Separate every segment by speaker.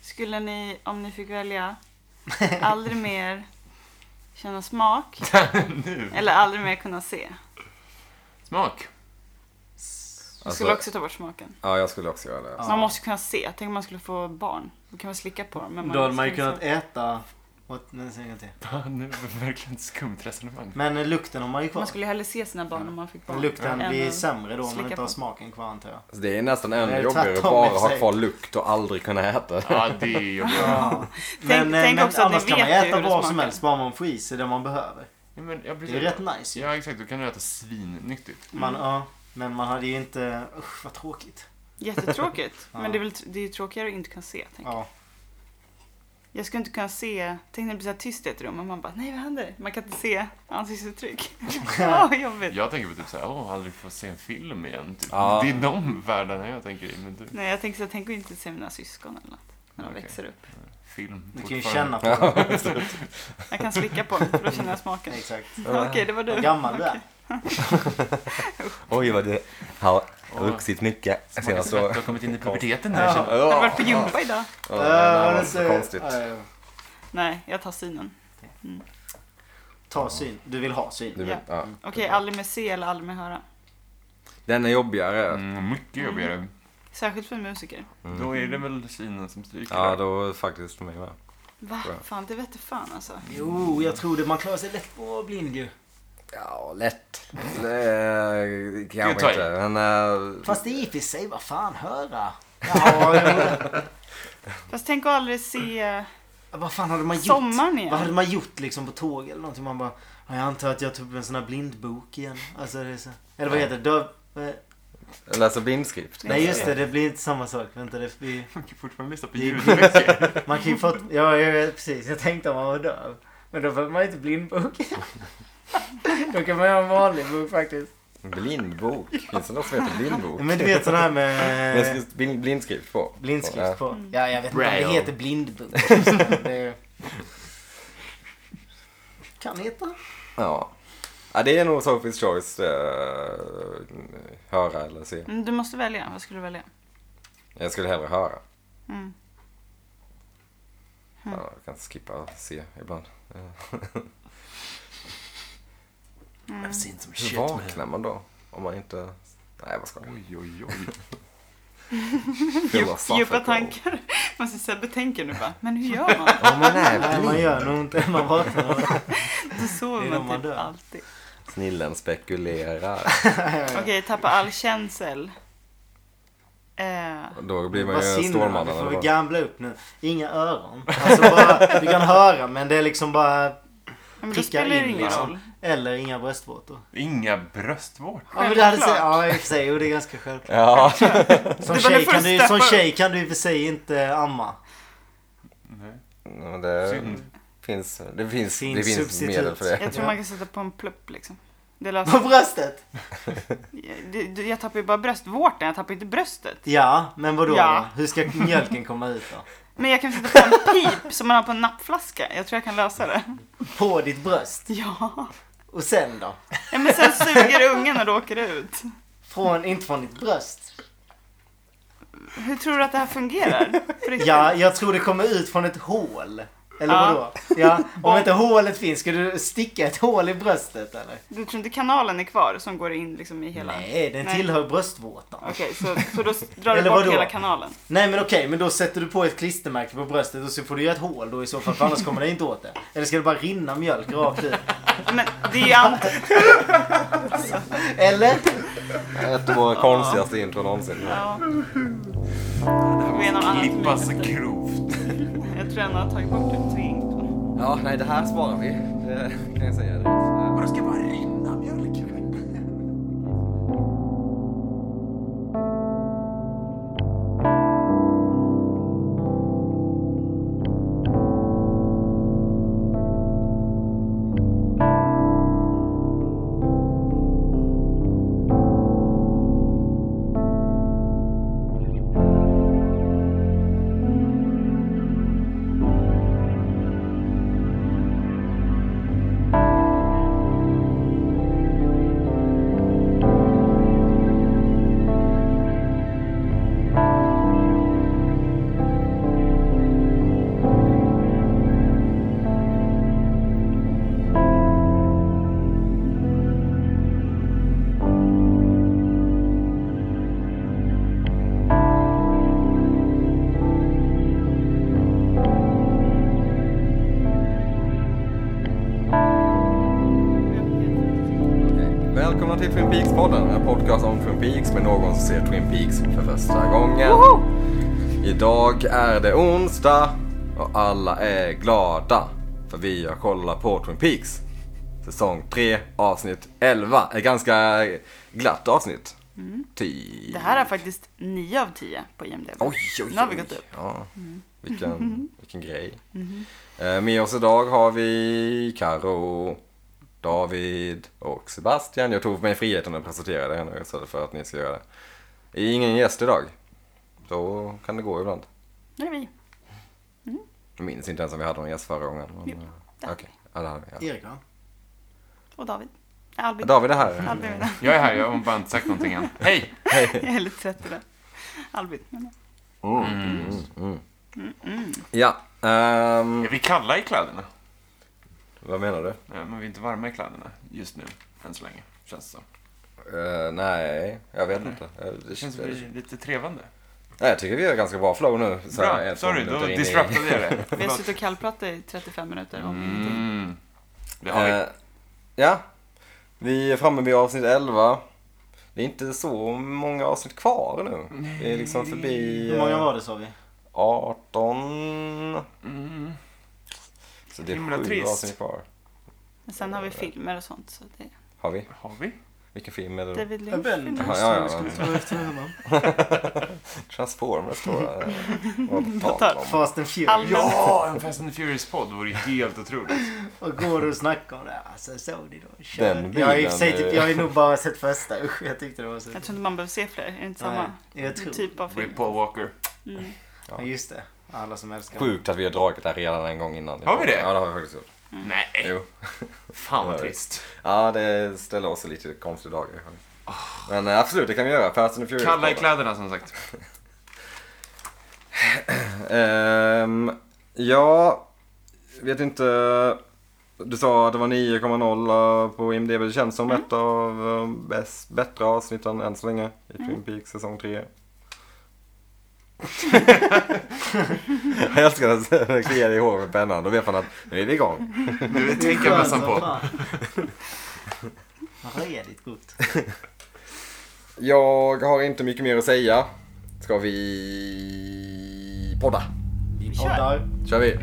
Speaker 1: Skulle ni, om ni fick välja, aldrig mer känna smak
Speaker 2: nu.
Speaker 1: eller aldrig mer kunna se?
Speaker 2: Smak.
Speaker 1: Du
Speaker 3: Alltså-
Speaker 1: skulle också ta bort smaken.
Speaker 3: Ja, jag skulle också göra det.
Speaker 1: Man måste kunna se. Tänk om man skulle få barn. Då kan man slicka på dem. Men man
Speaker 4: Då hade man ju
Speaker 1: skulle
Speaker 4: kunnat
Speaker 1: se.
Speaker 4: äta. åt- Men, sen till.
Speaker 2: Ja, nu var det verkligen ett skumt resonemang.
Speaker 4: men eh, lukten har man ju kvar.
Speaker 1: Man skulle ju hellre se sina barn om man fick barn.
Speaker 4: Men lukten
Speaker 1: än
Speaker 4: blir
Speaker 1: att-
Speaker 4: sämre då om man
Speaker 1: slicka
Speaker 4: inte har
Speaker 1: på.
Speaker 4: smaken kvar antar jag.
Speaker 3: Så Alltså, det är nästan
Speaker 4: Det
Speaker 3: ännu
Speaker 4: är
Speaker 3: jobbigare att
Speaker 4: tvärtom i
Speaker 3: bara ha
Speaker 4: sig.
Speaker 3: kvar lukt och aldrig kunna äta det.
Speaker 2: Ja, det är jobbigt.
Speaker 4: Ja.
Speaker 1: Tänk-
Speaker 4: eh,
Speaker 1: tänk också att ni
Speaker 4: annars kan man
Speaker 1: vet ju
Speaker 4: äta
Speaker 1: hur det
Speaker 4: vad som
Speaker 1: smakar.
Speaker 4: helst bara man får i sig det man behöver.
Speaker 2: Ja, men jag blir
Speaker 4: Det är
Speaker 2: så-
Speaker 4: rätt nice ju.
Speaker 2: Ja, exakt. Då kan du äta svinnyttigt.
Speaker 4: Man, ja, men man hade ju inte... Usch vad tråkigt.
Speaker 1: Jättetråkigt.
Speaker 4: Ja.
Speaker 1: Men det är, väl, det är ju tråkigare att inte kunna se. Tänk.
Speaker 4: Ja.
Speaker 1: Jag skulle inte kunna se. Tänk när det blir så här tyst i ett rum och man bara, nej vad händer? Man kan inte se ansiktsuttryck. Åh, vad jobbigt.
Speaker 2: Jag tänker på typ såhär, åh, aldrig få se en film igen. Typ.
Speaker 3: Ja.
Speaker 2: Det är de världarna jag tänker i. Men du,
Speaker 1: Nej, jag tänker så här, tänk att inte se mina syskon eller något. När de
Speaker 2: Okej.
Speaker 1: växer upp.
Speaker 2: film.
Speaker 4: Du kan ju
Speaker 2: fortfarande.
Speaker 4: känna på det.
Speaker 1: Jag kan slicka på dem för då känner jag smaken.
Speaker 4: Exakt.
Speaker 1: Okej, det var du.
Speaker 4: Vad gammal du är.
Speaker 3: Oj, vad det har vuxit mycket
Speaker 2: Smakar
Speaker 3: senaste
Speaker 2: svett. Du
Speaker 3: året.
Speaker 2: har kommit in i puberteten
Speaker 4: Ja.
Speaker 2: här. känner jag.
Speaker 1: Har du varit på gympa idag?
Speaker 3: Ja, det här
Speaker 4: Eh,
Speaker 3: var
Speaker 4: det
Speaker 3: så
Speaker 4: är-
Speaker 3: konstigt.
Speaker 4: ja, ja.
Speaker 1: Nej, jag tar synen.
Speaker 4: Ta syn. Du vill ha syn.
Speaker 3: Du vet, ja.
Speaker 1: Okej, aldrig mer se eller aldrig mer höra.
Speaker 3: Den är jobbigare.
Speaker 2: Mm, mycket jobbigare. Mm.
Speaker 1: Särskilt för en musiker.
Speaker 2: Då är det väl Kina som stryker
Speaker 3: Ja,
Speaker 2: där.
Speaker 3: då faktiskt för mig med.
Speaker 1: Va?
Speaker 3: Bra.
Speaker 1: Fan, det vette fan alltså.
Speaker 4: Jo, jag tror det. Man klarar sig lätt på blind ju.
Speaker 3: Ja, lätt. Nej, Kanske
Speaker 2: ta i.
Speaker 3: inte, men... eh,
Speaker 4: Fast det är i och för sig, vad fan, höra. Ja,
Speaker 1: Fast tänk att aldrig se
Speaker 4: jo. vad fan hade man gjort?
Speaker 1: sommaren
Speaker 4: Vad hade
Speaker 1: igen.
Speaker 4: man gjort liksom på tåg eller någonting? Man bara, "Ja, jag antar att jag tog upp en sån här blindbok igen. Alltså det är så. Eller vad heter det? Döv... eh,
Speaker 3: Läsa blindskrift.
Speaker 4: Nej just det, det blir inte samma sak. Vänta, det blir...
Speaker 2: Man kan fortfarande lyssna på
Speaker 4: Det är-
Speaker 2: ljudböcker.
Speaker 4: Man kan ju få... Ja, ja, ja, precis. Jag tänkte om man var döv. Men då behöver man ju inte blindbok. då kan man ha en vanlig bok faktiskt.
Speaker 3: Blindbok. Finns det något som heter blindbok?
Speaker 4: Men du vet sån här
Speaker 3: Men
Speaker 4: med...
Speaker 3: skrivs blind- blindskrift på?
Speaker 4: Blindskrift
Speaker 3: Ja.
Speaker 4: på. Ja, jag vet inte om det
Speaker 2: Braille.
Speaker 4: heter blindbok. Det är- Kan heta.
Speaker 3: Ja. ja. Det är nog Sophie's Choice. eh, höra eller se.
Speaker 1: Mm, Du måste välja. Vad skulle du välja?
Speaker 3: Jag skulle hellre höra.
Speaker 1: Mm.
Speaker 3: Ja, jag kan skippa och se ibland.
Speaker 4: I've seen some
Speaker 3: Hur vaknar man då? Om man inte... Nej, vad ska jag?
Speaker 2: Oj, oj, oj.
Speaker 3: Philosophical.
Speaker 1: Djupa tankar. Man ser Sebbe tänker nu bara, men hur gör man?
Speaker 3: Om man är
Speaker 4: Nej,
Speaker 3: blind.
Speaker 4: man gör nog inte. Man vaknar.
Speaker 1: Då sover
Speaker 4: Det är då man
Speaker 1: man typ
Speaker 4: dör.
Speaker 1: alltid.
Speaker 3: Snillen spekulerar.
Speaker 1: Okej, tappa all känsel. Eh,
Speaker 3: Då blir man
Speaker 4: Vad
Speaker 3: ju
Speaker 4: sinne då? Vi
Speaker 3: Stålmannen.
Speaker 4: får
Speaker 3: eller
Speaker 4: väl
Speaker 3: vad?
Speaker 4: gambla upp nu. Inga öron. Alltså bara, vi kan höra men det är liksom bara...
Speaker 1: men då
Speaker 4: Prickar
Speaker 1: spelar det
Speaker 4: in,
Speaker 1: ingen
Speaker 4: liksom.
Speaker 1: roll.
Speaker 4: Eller inga bröstvårtor.
Speaker 2: Inga bröstvårtor.
Speaker 4: Ja men det hade
Speaker 1: Självklart.
Speaker 4: sig, ja i och för sig, jo det är ganska självklart.
Speaker 3: Ja,
Speaker 4: Som,
Speaker 1: Det var
Speaker 4: tjej
Speaker 1: det
Speaker 4: kan, du,
Speaker 1: första.
Speaker 4: som tjej kan du i och för sig inte amma.
Speaker 2: Nej.
Speaker 3: men
Speaker 4: Eh.
Speaker 3: det
Speaker 2: Synd.
Speaker 3: finns, det finns,
Speaker 4: Finns
Speaker 3: det finns
Speaker 4: substitut.
Speaker 3: medel för det.
Speaker 1: Jag tror man kan sätta på en plupp liksom. Det löser
Speaker 4: På bröstet?
Speaker 1: Det- det- Jag tappar ju bara bröstvårtan, jag tappar inte bröstet.
Speaker 4: Ja, men vadå
Speaker 1: Ja.
Speaker 4: då? Hur ska mjölken komma ut då?
Speaker 1: Men jag kan sätta på en pip som man har på en nappflaska. Jag tror jag kan lösa det.
Speaker 4: På ditt bröst?
Speaker 1: Ja.
Speaker 4: Och sen då?
Speaker 1: ja men sen suger ungen och då åker det ut.
Speaker 4: Från, inte från ditt bröst?
Speaker 1: Hur tror du att det här fungerar? På riktigt?
Speaker 4: Ja, jag tror det kommer ut från ett hål. Eller
Speaker 1: Ja.
Speaker 4: vadå? Ja, om inte hålet finns, ska du sticka ett hål i bröstet eller?
Speaker 1: Du tror inte kanalen är kvar som går in liksom i hela...
Speaker 4: Nej, den
Speaker 1: Nej.
Speaker 4: tillhör bröstvårtan.
Speaker 1: Okej, så, så då drar du
Speaker 4: Eller
Speaker 1: bort
Speaker 4: vadå?
Speaker 1: hela kanalen.
Speaker 4: Nej men okej, men då sätter du på ett klistermärke på bröstet och så får du göra ett hål då i så fall för annars kommer det inte åt det. Eller ska det bara rinna mjölk rakt ut?
Speaker 1: Men det är ju anti...
Speaker 4: Eller?
Speaker 3: Ett av våra konstigaste intron någonsin.
Speaker 1: Ja,
Speaker 2: Det här
Speaker 1: Genom annat
Speaker 2: måste klippas grovt.
Speaker 1: jag tror ändå jag har tagit bort det. Tre intron.
Speaker 3: Ja, nej, det här sparar vi. Det kan jag säga direkt.
Speaker 2: Och det ska bara rinna mjölk.
Speaker 3: till Twin Peaks-podden. En podcast om Twin Peaks med någon som ser Twin Peaks för första gången. Idag är det onsdag och alla är glada. För vi har kollat på Twin Peaks. Säsong 3, avsnitt 11. Ett ganska glatt avsnitt. Typ. Ty-
Speaker 1: Mm. Det här är faktiskt 9 av 10 på IMDB.
Speaker 3: Oj, oj, oj.
Speaker 1: Nu har vi gått upp.
Speaker 3: Ja, vilken, vilken grej. Eh, Med oss idag har vi Karo, David och Sebastian. Jag tog mig friheten att presentera det här nu istället för att ni ska göra det. Det är ingen gäst idag. Då kan det gå ibland.
Speaker 1: Nu är vi.
Speaker 3: Jag minns inte ens om vi hade någon gäst förra gången. Men,
Speaker 1: Jo, det
Speaker 3: eh, Okej, ja, det hade vi.
Speaker 4: Erik va?
Speaker 1: Och David. Albin.
Speaker 3: Ja. David är här.
Speaker 1: Albin är där.
Speaker 2: Jag är här, jag har bara inte sagt någonting än. Hej!
Speaker 1: Jag är lite trött idag. Albin. men-
Speaker 3: Ja, ehm,
Speaker 2: Är vi kalla i kläderna?
Speaker 3: vad menar du?
Speaker 2: Nej, men vi är inte varma i kläderna just nu, än så länge. Känns det som.
Speaker 3: Eh, nej, jag vet inte. Eh,
Speaker 2: Det känns som vi är lite trevande.
Speaker 3: Nej, jag tycker vi har ganska bra flow nu. så här
Speaker 2: Bra,
Speaker 3: ett, två
Speaker 2: sorry,
Speaker 3: minuter
Speaker 2: då
Speaker 3: in i-
Speaker 2: disruptade jag det.
Speaker 1: Vi har
Speaker 2: Förlåt.
Speaker 1: suttit och kallpratat i 35 minuter om ingenting.
Speaker 2: Mm. Det har vi.
Speaker 3: Eh, ja, vi är framme vid avsnitt 11. Det är inte så många avsnitt kvar nu. vi är liksom förbi
Speaker 4: Hur många var det sa vi?
Speaker 3: eh, 18.
Speaker 2: Mm.
Speaker 3: Så det är
Speaker 2: Himla
Speaker 3: sju
Speaker 2: trist.
Speaker 3: avsnitt kvar.
Speaker 1: Men sen har vi filmer och sånt. Så det
Speaker 3: Har vi?
Speaker 2: Har vi?
Speaker 3: Vilken film är det? då?
Speaker 1: David Lynch.
Speaker 4: Ben.
Speaker 3: Ja, ja, ja. Transformers tror jag. Vad på tal om.
Speaker 4: Fast and
Speaker 1: Alma.
Speaker 4: Furious.
Speaker 2: Ja, en Fast and Furious-podd vore ju helt otroligt.
Speaker 4: Och går och snackar om det. Alltså såg ni då? Kör.
Speaker 3: Den bilen eh,
Speaker 4: jag, har i och för sig
Speaker 3: är-
Speaker 4: typ, jag har ju nog bara sett första. Usch, jag tyckte det var så...
Speaker 1: Jag tror inte man behöver se fler. Är det inte samma
Speaker 4: Nej, jag tror...
Speaker 1: typ av film? Mm.
Speaker 2: Rip Paul Walker.
Speaker 3: Mm.
Speaker 4: Ja, just det. Alla som älskar
Speaker 3: Sjukt att vi har dragit det här redan en gång innan.
Speaker 2: Har vi det?
Speaker 3: Ja, det har vi faktiskt gjort.
Speaker 2: Nej,
Speaker 3: Jo.
Speaker 2: fan vad trist.
Speaker 3: Ja, det ställer oss i lite konstiga dagar. Men eh, absolut, det kan vi göra. Fast and Furious.
Speaker 2: Ah. Kalla i kläderna som sagt.
Speaker 3: Ehm, ja, vet inte. Du sa att det var 9,0 på IMDB. Det känns som ett av um, bäst, bättre avsnitten än så länge i Twin Peaks säsong 3. jag älskar att det kliar i håret med pennan. Då vet man att nu är vi igång.
Speaker 2: Nu
Speaker 4: Det är
Speaker 2: tänker jag
Speaker 4: skönt som
Speaker 2: på.
Speaker 4: fan. Vad Redigt gott.
Speaker 3: Jag har inte mycket mer att säga. Ska vi podda?
Speaker 4: Vi
Speaker 1: kör.
Speaker 4: poddar.
Speaker 3: kör vi.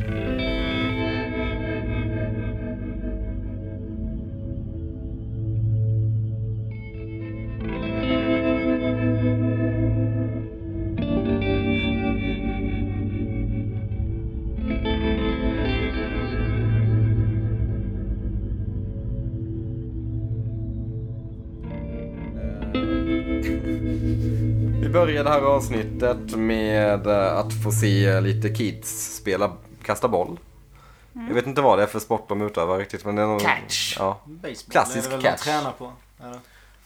Speaker 3: Vi börjar det här avsnittet med eh, att få se lite kids spela, kasta boll.
Speaker 4: Mm.
Speaker 3: Jag vet inte vad det är för sport de utövar riktigt. Men det är någon,
Speaker 2: Catch.
Speaker 3: Ja,
Speaker 4: Baseball
Speaker 3: Klassisk
Speaker 4: är det väl
Speaker 3: catch.
Speaker 4: de tränar på. Eller?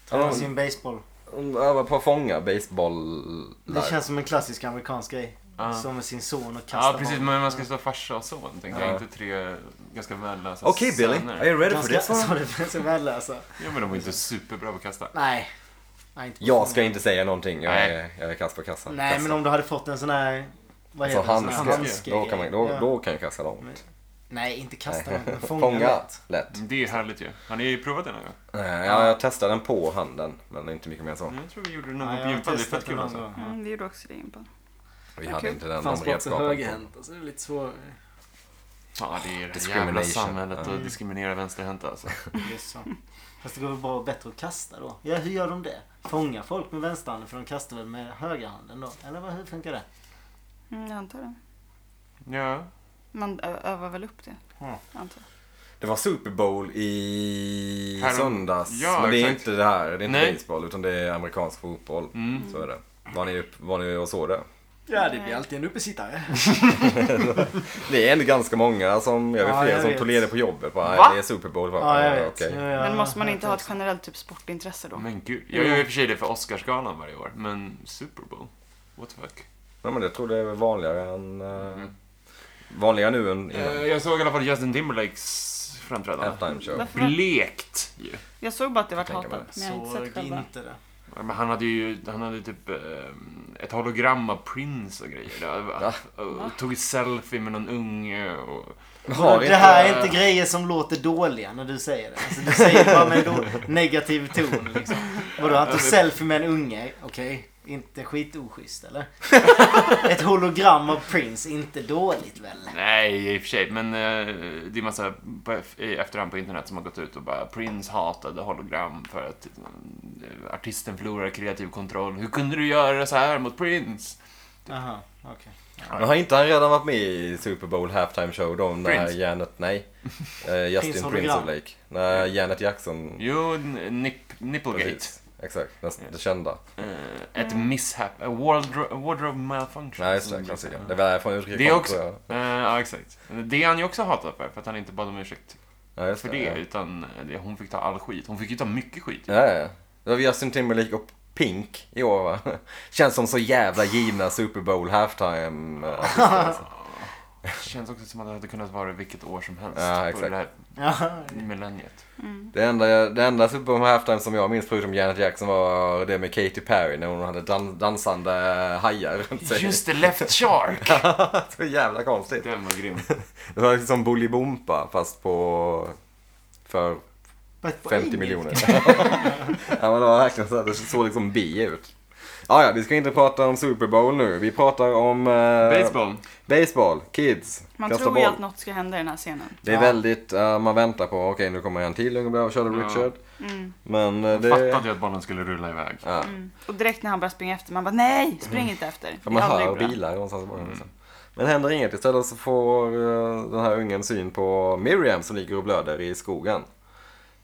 Speaker 4: Tränar
Speaker 3: Ja.
Speaker 4: sin baseball.
Speaker 3: de övar på att fånga baseball.
Speaker 4: Det känns som en klassisk amerikansk grej.
Speaker 2: Ja.
Speaker 4: Som med sin son och kastar
Speaker 2: Ja, precis.
Speaker 4: boll.
Speaker 2: Men man ska stå farsa och son, tänkte jag.
Speaker 3: Ja.
Speaker 2: Inte tre ganska värdelösa
Speaker 3: Okej Billy,
Speaker 2: söner.
Speaker 3: are you ready for
Speaker 4: Ganska,
Speaker 3: this one?
Speaker 4: så det finns en väl alltså.
Speaker 2: Ja, men de är inte superbra på att kasta.
Speaker 4: Nej. Nej inte på
Speaker 3: Jag
Speaker 4: fan.
Speaker 3: ska inte säga någonting. Jag är,
Speaker 2: Nej.
Speaker 3: jag är kast på kassan.
Speaker 4: Nej men om du hade fått en sån här... Vad
Speaker 3: Alltså
Speaker 4: heter det? Sån
Speaker 3: handske,
Speaker 4: här
Speaker 2: handske.
Speaker 3: Då kan, man, då,
Speaker 4: Ja.
Speaker 3: då kan jag kasta långt.
Speaker 4: Nej inte kasta den. men Fånga.
Speaker 3: Fånga
Speaker 4: lätt.
Speaker 3: lätt.
Speaker 2: Det är ju härligt ju. Har ni provat det någon gång?
Speaker 3: Eh, Ja, jag testade den på handen, men inte mycket mer så.
Speaker 2: Jag tror vi gjorde det någon
Speaker 4: Mm. Ja,
Speaker 2: gång
Speaker 4: jag
Speaker 2: på gympan.
Speaker 4: har
Speaker 2: Det är
Speaker 4: testat
Speaker 2: fett kul
Speaker 4: någon
Speaker 2: alltså.
Speaker 4: gång.
Speaker 1: Mm, det gjorde också det på.
Speaker 3: Vi hade
Speaker 1: Kul.
Speaker 3: inte den, de
Speaker 4: Fanns bara också
Speaker 3: redskapen.
Speaker 4: högerhänt. Alltså det är lite svårare.
Speaker 2: Fan, det är det jävla Mm.
Speaker 3: Discrimination.
Speaker 2: samhället
Speaker 3: Ja.
Speaker 2: att diskriminera vänsterhänta alltså.
Speaker 4: Det är så. Fast det går väl bara bättre att kasta då? Ja, hur gör de det? Fånga folk med vänsterhanden för de kastar väl med högerhanden då? Eller vad, hur funkar det?
Speaker 1: Mm, jag antar det.
Speaker 2: Ja.
Speaker 1: Man ö- övar väl upp det.
Speaker 4: Ja.
Speaker 1: Antar.
Speaker 3: Det var Super Bowl i
Speaker 2: Härom-
Speaker 3: söndags.
Speaker 2: Ja,
Speaker 3: men det är
Speaker 2: exakt.
Speaker 3: inte det här. Det är inte
Speaker 2: Nej.
Speaker 3: baseball, utan det är amerikansk fotboll.
Speaker 2: Mm.
Speaker 3: Så är det. Var ni, upp, var ni och såg det?
Speaker 5: Ja, det blir alltid en uppesittare.
Speaker 3: Det är ändå ganska många som, jag vet
Speaker 4: Ja,
Speaker 3: flera
Speaker 4: jag
Speaker 3: som
Speaker 4: vet.
Speaker 3: tog ledigt på jobbet. Bara,
Speaker 2: Va?
Speaker 3: "Nej, Det är Super Bowl. Bara,
Speaker 4: Ja, jag
Speaker 3: "Ja,
Speaker 4: vet.
Speaker 3: Ah, okej."
Speaker 4: Ja, ja,
Speaker 1: Men måste man
Speaker 4: jag
Speaker 1: inte
Speaker 4: vet
Speaker 1: ha ett
Speaker 4: också.
Speaker 1: generellt typ sportintresse då?
Speaker 2: Men gud. Jag gör i och för sig det för Oscarsgalan varje år. Men Super Bowl? What the fuck?
Speaker 3: Ja, men jag tror det är vanligare än... eh,
Speaker 2: Mm.
Speaker 3: Vanligare nu än innan.
Speaker 2: Eh, Jag såg i alla fall Justin Timberlakes framträdande.
Speaker 3: halftime show.
Speaker 1: Varför?
Speaker 2: Blekt ju.
Speaker 1: Jag såg bara att det vart
Speaker 3: Jag tänker
Speaker 1: hatat. Men jag har inte sett
Speaker 4: Såg
Speaker 1: själva.
Speaker 4: inte det.
Speaker 2: Men han hade ju han hade typ eh, ett hologram av Prince och grejer.
Speaker 3: Va?
Speaker 2: Där. Och, och tog ett selfie med någon unge. Och,
Speaker 3: Har
Speaker 4: det
Speaker 3: inte-
Speaker 4: här är inte grejer som låter dåliga när du säger det. Alltså, du säger det bara med en då- negativ ton liksom. Vadå, han tog selfie med en unge. Okej, inte skitoschysst eller? Ett hologram av Prince, inte dåligt väl?
Speaker 2: nej, i och för sig. Men eh, det är massa på, i efterhand på internet som har gått ut och bara Prince hatade hologram för att eh, artisten förlorar kreativ kontroll. Hur kunde du göra så här mot Prince?
Speaker 4: Aha, okej.
Speaker 3: Men har inte han redan varit med i Super Bowl halftime show då? När
Speaker 2: Prince.
Speaker 3: Janet, nej. Eh, Justin
Speaker 4: Prince
Speaker 3: Prince
Speaker 4: hologram.
Speaker 3: of Lake. När Janet Jackson.
Speaker 2: Jo, n- nip, Nipplegate.
Speaker 3: Precis. Exakt, den, det kända.
Speaker 2: Eh, ett misshap. A wardrobe, wardrobe malfunction.
Speaker 3: Nej, just det, klassikern. Det var därifrån uttrycket
Speaker 2: Det är
Speaker 3: kom,
Speaker 2: också-
Speaker 3: tror jag.
Speaker 2: Eh, ja, exakt. Det är han ju också hatad för, för att han inte bad om ursäkt
Speaker 3: Ja, just
Speaker 2: för det, utan det, hon fick ta all skit. Hon fick ju ta mycket skit.
Speaker 3: Ja, ja. Det var Justin Timberlake och Pink i år va? Känns som så jävla givna Super Bowl halftime. eh, artister, alltså.
Speaker 2: Känns också som att det hade kunnat vara vilket år som helst
Speaker 3: Ja,
Speaker 2: på
Speaker 3: exakt.
Speaker 2: det här
Speaker 4: Ja,
Speaker 2: millenniet.
Speaker 3: Det enda, jag- det enda Super Bowl halftime som jag minns förutom Janet Jackson var det med Katy Perry när hon hade dan- dansande hajar runt sig.
Speaker 2: Just det, Left Shark!
Speaker 3: Så jävla konstigt.
Speaker 2: Den var grym.
Speaker 3: Det var liksom Bolibompa fast på... För
Speaker 4: but på
Speaker 3: 50
Speaker 4: engelska.
Speaker 3: miljoner. ja, men det var verkligen så här, det såg liksom B ut. Ah, ja, vi ska inte prata om Super Bowl nu. Vi pratar om... eh,
Speaker 2: Baseball.
Speaker 3: Baseball, kids,
Speaker 1: Man
Speaker 3: kasta
Speaker 1: tror
Speaker 3: boll.
Speaker 1: ju att något ska hända i den här scenen.
Speaker 3: Det är
Speaker 4: Ja.
Speaker 3: väldigt, eh, man väntar på, okej nu kommer en till unge och köra
Speaker 2: Ja.
Speaker 3: Richard.
Speaker 1: Mm.
Speaker 3: Men eh, det...
Speaker 2: Fattade ju att bollen skulle rulla iväg.
Speaker 3: Ja.
Speaker 1: Mm. Och direkt när han börjar springa efter, man bara nej, spring inte efter.
Speaker 3: För
Speaker 1: Det
Speaker 3: Mm. man
Speaker 1: är aldrig
Speaker 3: hör
Speaker 1: bra.
Speaker 3: bilar någonstans bakom. liksom.
Speaker 2: Mm.
Speaker 3: Men händer inget. Istället så får eh, den här ungen syn på Miriam som ligger och blöder i skogen.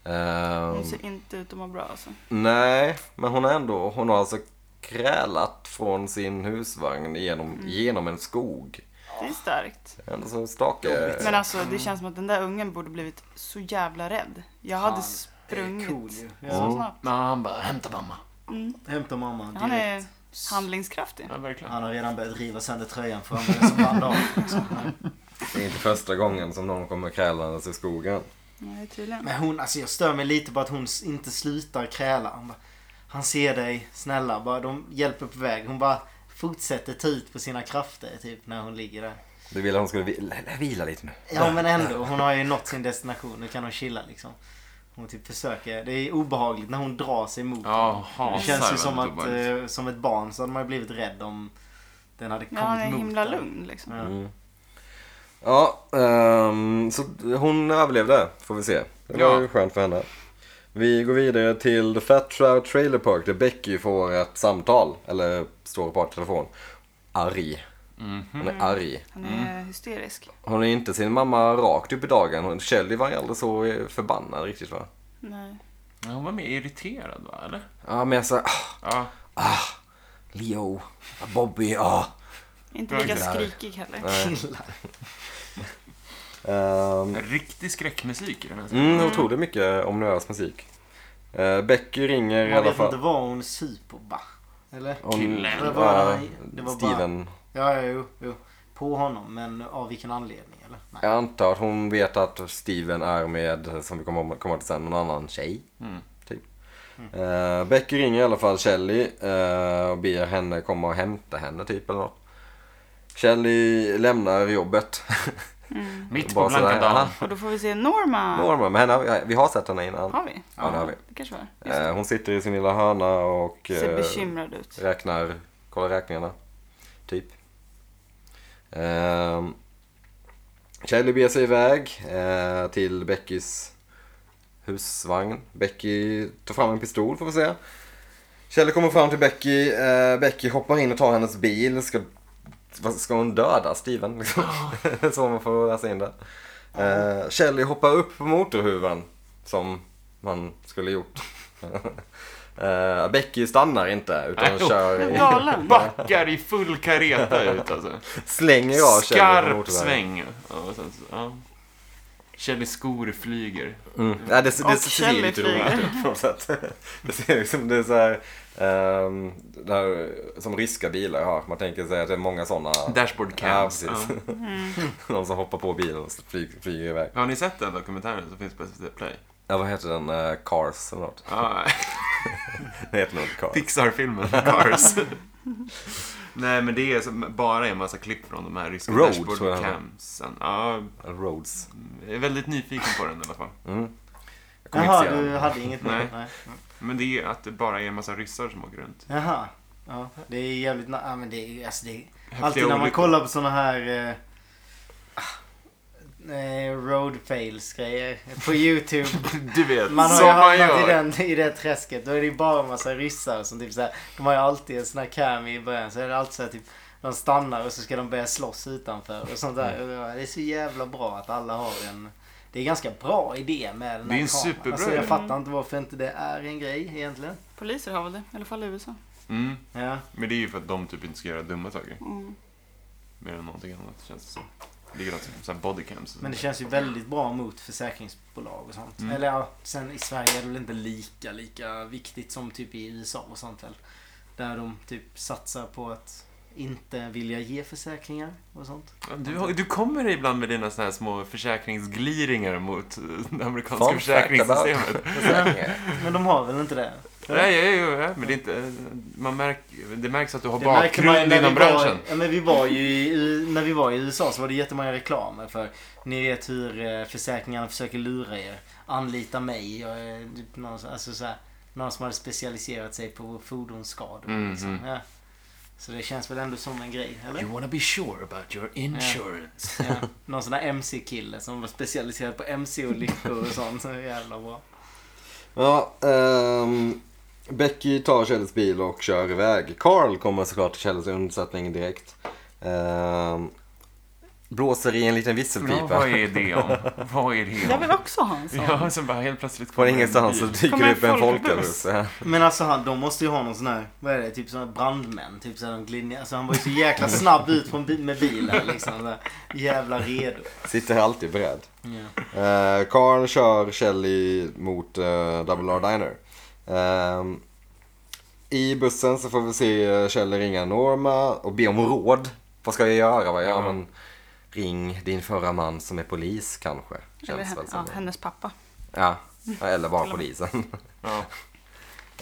Speaker 3: Ehm,
Speaker 1: Hon ser inte ut att må bra alltså.
Speaker 3: nej, men hon är ändå, hon har alltså krälat från sin husvagn genom,
Speaker 1: Mm.
Speaker 3: genom en skog.
Speaker 1: Det är starkt.
Speaker 3: Ändå så stake.
Speaker 1: Men alltså det känns som att den där ungen borde blivit så jävla rädd. Jag hade
Speaker 4: Han
Speaker 1: sprungit
Speaker 4: är cool ju. Ja.
Speaker 3: Mm.
Speaker 1: så snabbt.
Speaker 2: Men han bara, hämta mamma.
Speaker 4: Hämta mamma
Speaker 1: Han
Speaker 4: direkt.
Speaker 1: är handlingskraftig.
Speaker 2: Ja, verkligen.
Speaker 4: Han har redan börjat riva sönder tröjan för mig som bandage. liksom.
Speaker 3: Det är inte första gången som någon kommer krälandes i skogen.
Speaker 1: Nej, tydligen.
Speaker 4: Men hon, alltså jag stör mig lite på att hon s- inte slutar kräla. Hon bara, han ser dig, snälla, bara, de hjälper på väg. Hon bara fortsätter ta ut på sina krafter typ när hon ligger där.
Speaker 3: Du ville att hon skulle vila, vila lite nu.
Speaker 4: Ja men ändå, hon har ju nått sin destination. Nu kan hon chilla liksom. Hon typ försöker, det är obehagligt när hon drar sig mot
Speaker 2: Ja,
Speaker 4: honom. Det
Speaker 2: hasar
Speaker 4: känns ju
Speaker 2: väldigt
Speaker 4: som att,
Speaker 2: obehagligt.
Speaker 4: eh, som ett barn så hade man ju blivit rädd om den hade
Speaker 1: Ja,
Speaker 4: kommit
Speaker 1: han är
Speaker 4: mot
Speaker 1: himla
Speaker 4: den.
Speaker 1: lugn liksom.
Speaker 4: Ja.
Speaker 3: Mm. Ja, ehm, så hon överlevde, får vi se. Det var
Speaker 2: Ja.
Speaker 3: ju skönt för henne. Vi går vidare till The Fat Trout Trailer Park där Becky får ett samtal, eller står och pratar i telefon. Arg. Hon är arg.
Speaker 1: Han är hysterisk.
Speaker 3: Hon är inte sin mamma rakt upp i dagen. Hon- Shelly var ju aldrig så förbannad riktigt va?
Speaker 1: Nej.
Speaker 2: Men Hon var mer irriterad va, eller?
Speaker 3: Ja, men jag sa, ah,
Speaker 2: Ja.
Speaker 3: Leo, Bobby, ah.
Speaker 1: Inte lika
Speaker 3: Killar.
Speaker 1: skrikig heller.
Speaker 3: Ehm,
Speaker 2: Riktig skräckmusik i den här
Speaker 3: mm,
Speaker 2: scenen.
Speaker 3: jag tror det mycket om nervös musik. Eh, Becky ringer i
Speaker 4: Man
Speaker 3: alla
Speaker 4: vet inte
Speaker 3: fall.
Speaker 4: var hon super va? Eller?
Speaker 3: Hon,
Speaker 2: Killen.
Speaker 4: Det var-
Speaker 3: ja,
Speaker 4: det var bara-
Speaker 3: Steven.
Speaker 4: Ja, ja, jo, jo. På honom, men av vilken anledning eller? Nej.
Speaker 3: Jag antar att hon vet att Steven är med, som vi kommer komma till sen, någon annan tjej.
Speaker 2: Mm.
Speaker 3: Typ. Eh, Becky ringer i alla fall Shelly eh, och ber henne komma och hämta henne typ eller något. Shelly lämnar jobbet.
Speaker 1: Mm.
Speaker 2: Mitt på
Speaker 3: Bara sådär,
Speaker 2: blanka dagen.
Speaker 1: Och då får vi se Norma.
Speaker 3: Norma, men henne, har vi- vi har sett henne innan.
Speaker 1: Har vi?
Speaker 3: Ja, det har vi.
Speaker 1: Det kanske var. Just
Speaker 3: Eh, hon sitter i sin lilla hörna och
Speaker 1: det. Ser
Speaker 3: eh,
Speaker 1: bekymrad ut.
Speaker 3: räknar, kollar räkningarna. Typ. Ehm, Shelly beger sig iväg eh, till Beckys husvagn. Becky tar fram en pistol får vi se. Kjell kommer fram till Becky. Eh, Becky hoppar in och tar hennes bil. Ska, vad- ska hon döda Steven? Liksom? Så man får läsa in det. Eh, Kjell hoppar upp på motorhuven. Som man skulle gjort. eh, Becky stannar inte utan
Speaker 2: Nej,
Speaker 3: kör
Speaker 1: Men
Speaker 3: i,
Speaker 1: Galen.
Speaker 2: Backar i full kareta ut alltså.
Speaker 3: slänger av Kjell på
Speaker 2: Skarp
Speaker 3: motorvägen.
Speaker 2: sväng. Ja, och sen så- ja. Kelly skor flyger.
Speaker 3: Mm. Ja, det, det,
Speaker 1: Och
Speaker 3: det ser ju
Speaker 1: Kelly
Speaker 3: lite
Speaker 1: flyger.
Speaker 3: roligt ut på något sätt. Det ser ut som det är så här, ehm, det här, som ryska bilar har. Man tänker sig att det är många sådana.
Speaker 2: Dashboard
Speaker 3: Ja,
Speaker 2: cams.
Speaker 3: precis.
Speaker 2: Ja.
Speaker 3: Någon som hoppar på bilen och flyger, flyger iväg.
Speaker 2: Har ni sett den dokumentären som finns på SVT Play?
Speaker 3: Ja, vad heter den? Eh, Cars eller något.
Speaker 2: Ja.
Speaker 3: Det heter nog Cars.
Speaker 2: Pixar-filmen Cars. Nej, men det är som bara en massa klipp från de här ryska
Speaker 3: Road, tror jag
Speaker 2: dashboard
Speaker 3: han var.
Speaker 2: campsen. Ja,
Speaker 3: Roads.
Speaker 2: jag är väldigt nyfiken på den i alla fall.
Speaker 3: Mm. Jag kommer
Speaker 4: Jaha,
Speaker 3: inte se
Speaker 4: du
Speaker 3: den.
Speaker 4: hade inget
Speaker 2: Nej.
Speaker 4: mer? Nej.
Speaker 2: Men det är att det bara är en massa ryssar som åker runt.
Speaker 4: Jaha. Ja, det är jävligt... na- Ja, men det är, alltså, det är
Speaker 2: Häftiga
Speaker 4: Alltid när man
Speaker 2: olyckor.
Speaker 4: kollar på såna här eh, ah, eh, road fails grejer på YouTube.
Speaker 2: Du vet,
Speaker 4: Man har ju
Speaker 2: som man
Speaker 4: hamnat i,
Speaker 2: gör.
Speaker 4: den, i det träsket. Då är det ju bara en massa ryssar som typ så här, De har ju alltid en sån här cam i början. Så är det alltid så här, typ de stannar och så ska de börja slåss utanför och sånt där. Och
Speaker 2: Mm.
Speaker 4: Det är så jävla bra att alla har en... Det är en ganska bra idé med den här
Speaker 2: Det är en
Speaker 4: kameran.
Speaker 2: superbra
Speaker 4: alltså,
Speaker 2: idé.
Speaker 4: Jag fattar inte varför inte det är en grej egentligen.
Speaker 1: Poliser har väl det, i alla fall i USA.
Speaker 2: Mm.
Speaker 4: Ja.
Speaker 2: Men det är ju för att de typ inte ska göra dumma saker.
Speaker 4: Mm.
Speaker 2: Mer än någonting annat känns det som. Likadant som så här bodycams. och
Speaker 4: Men det
Speaker 2: sånt
Speaker 4: känns ju väldigt bra mot försäkringsbolag och sånt.
Speaker 2: Mm.
Speaker 4: Eller ja, sen i Sverige är det väl inte lika, lika viktigt som typ i USA och sånt väl. Där de typ satsar på att inte vilja ge försäkringar och sånt.
Speaker 2: där. du, har- du kommer ibland med dina såna här små försäkringsgliringar mot eh, det amerikanska
Speaker 3: Fun fact
Speaker 2: försäkringssystemet.
Speaker 4: Men de har väl inte det?
Speaker 2: Nej, ja, ja, ja, men det är inte... Man märker, det märks att du har
Speaker 4: Det märker man ju
Speaker 2: bakgrund
Speaker 4: när
Speaker 2: inom
Speaker 4: vi var,
Speaker 2: branschen.
Speaker 4: ja, men vi var ju i, när vi var i USA så var det jättemånga reklamer för ni vet hur eh, försäkringarna försöker lura er. Anlita mig. Jag är typ någon, alltså så här, någon som hade specialiserat sig på fordonsskador.
Speaker 5: Mhm.
Speaker 2: Mm,
Speaker 4: liksom.
Speaker 2: mm.
Speaker 4: Ja. Så det känns väl ändå som en grej, eller?
Speaker 5: You wanna be sure about your insurance.
Speaker 4: Ja. Någon sån där MC-kille som var specialiserad på MC-olyckor och sånt. Så jävla bra.
Speaker 3: Ja, ehm, Becky tar Kjelles bil och kör iväg. Carl kommer såklart till Kjelles undsättning direkt. Ehm, blåser i en liten
Speaker 2: Ja, Typ. vad
Speaker 3: visselpipa.
Speaker 2: är det om? Vad är det
Speaker 1: Jag
Speaker 2: om?
Speaker 1: vill också ha en sån.
Speaker 2: Ja, sen bara helt plötsligt
Speaker 3: Från
Speaker 2: kommer en
Speaker 3: ingenstans så
Speaker 2: bil.
Speaker 3: dyker
Speaker 1: Kommer
Speaker 3: det
Speaker 1: en
Speaker 3: upp en
Speaker 1: folkbuss.
Speaker 3: folkbuss. Ja.
Speaker 4: Men alltså han, de måste ju ha någon sån här, vad är det, typ sån här brandmän. Typ så här, de glidningar. Alltså han var ju så jäkla
Speaker 3: Mm.
Speaker 4: snabb ut från bi- med bilen liksom. Så här, jävla redo.
Speaker 3: Sitter alltid beredd.
Speaker 4: Ja.
Speaker 3: Eh, Karn kör Shelly mot eh, Double R Diner. Ehm, I bussen så får vi se eh, Shelly ringa Norma och be om råd. Vad ska jag göra? Va? Ja,
Speaker 2: Ja.
Speaker 3: men ring din förra man som är polis kanske.
Speaker 1: Eller
Speaker 3: Känns väl
Speaker 1: ja,
Speaker 3: som.
Speaker 1: hennes pappa.
Speaker 3: Ja. Ja, eller bara polisen.
Speaker 2: Ja.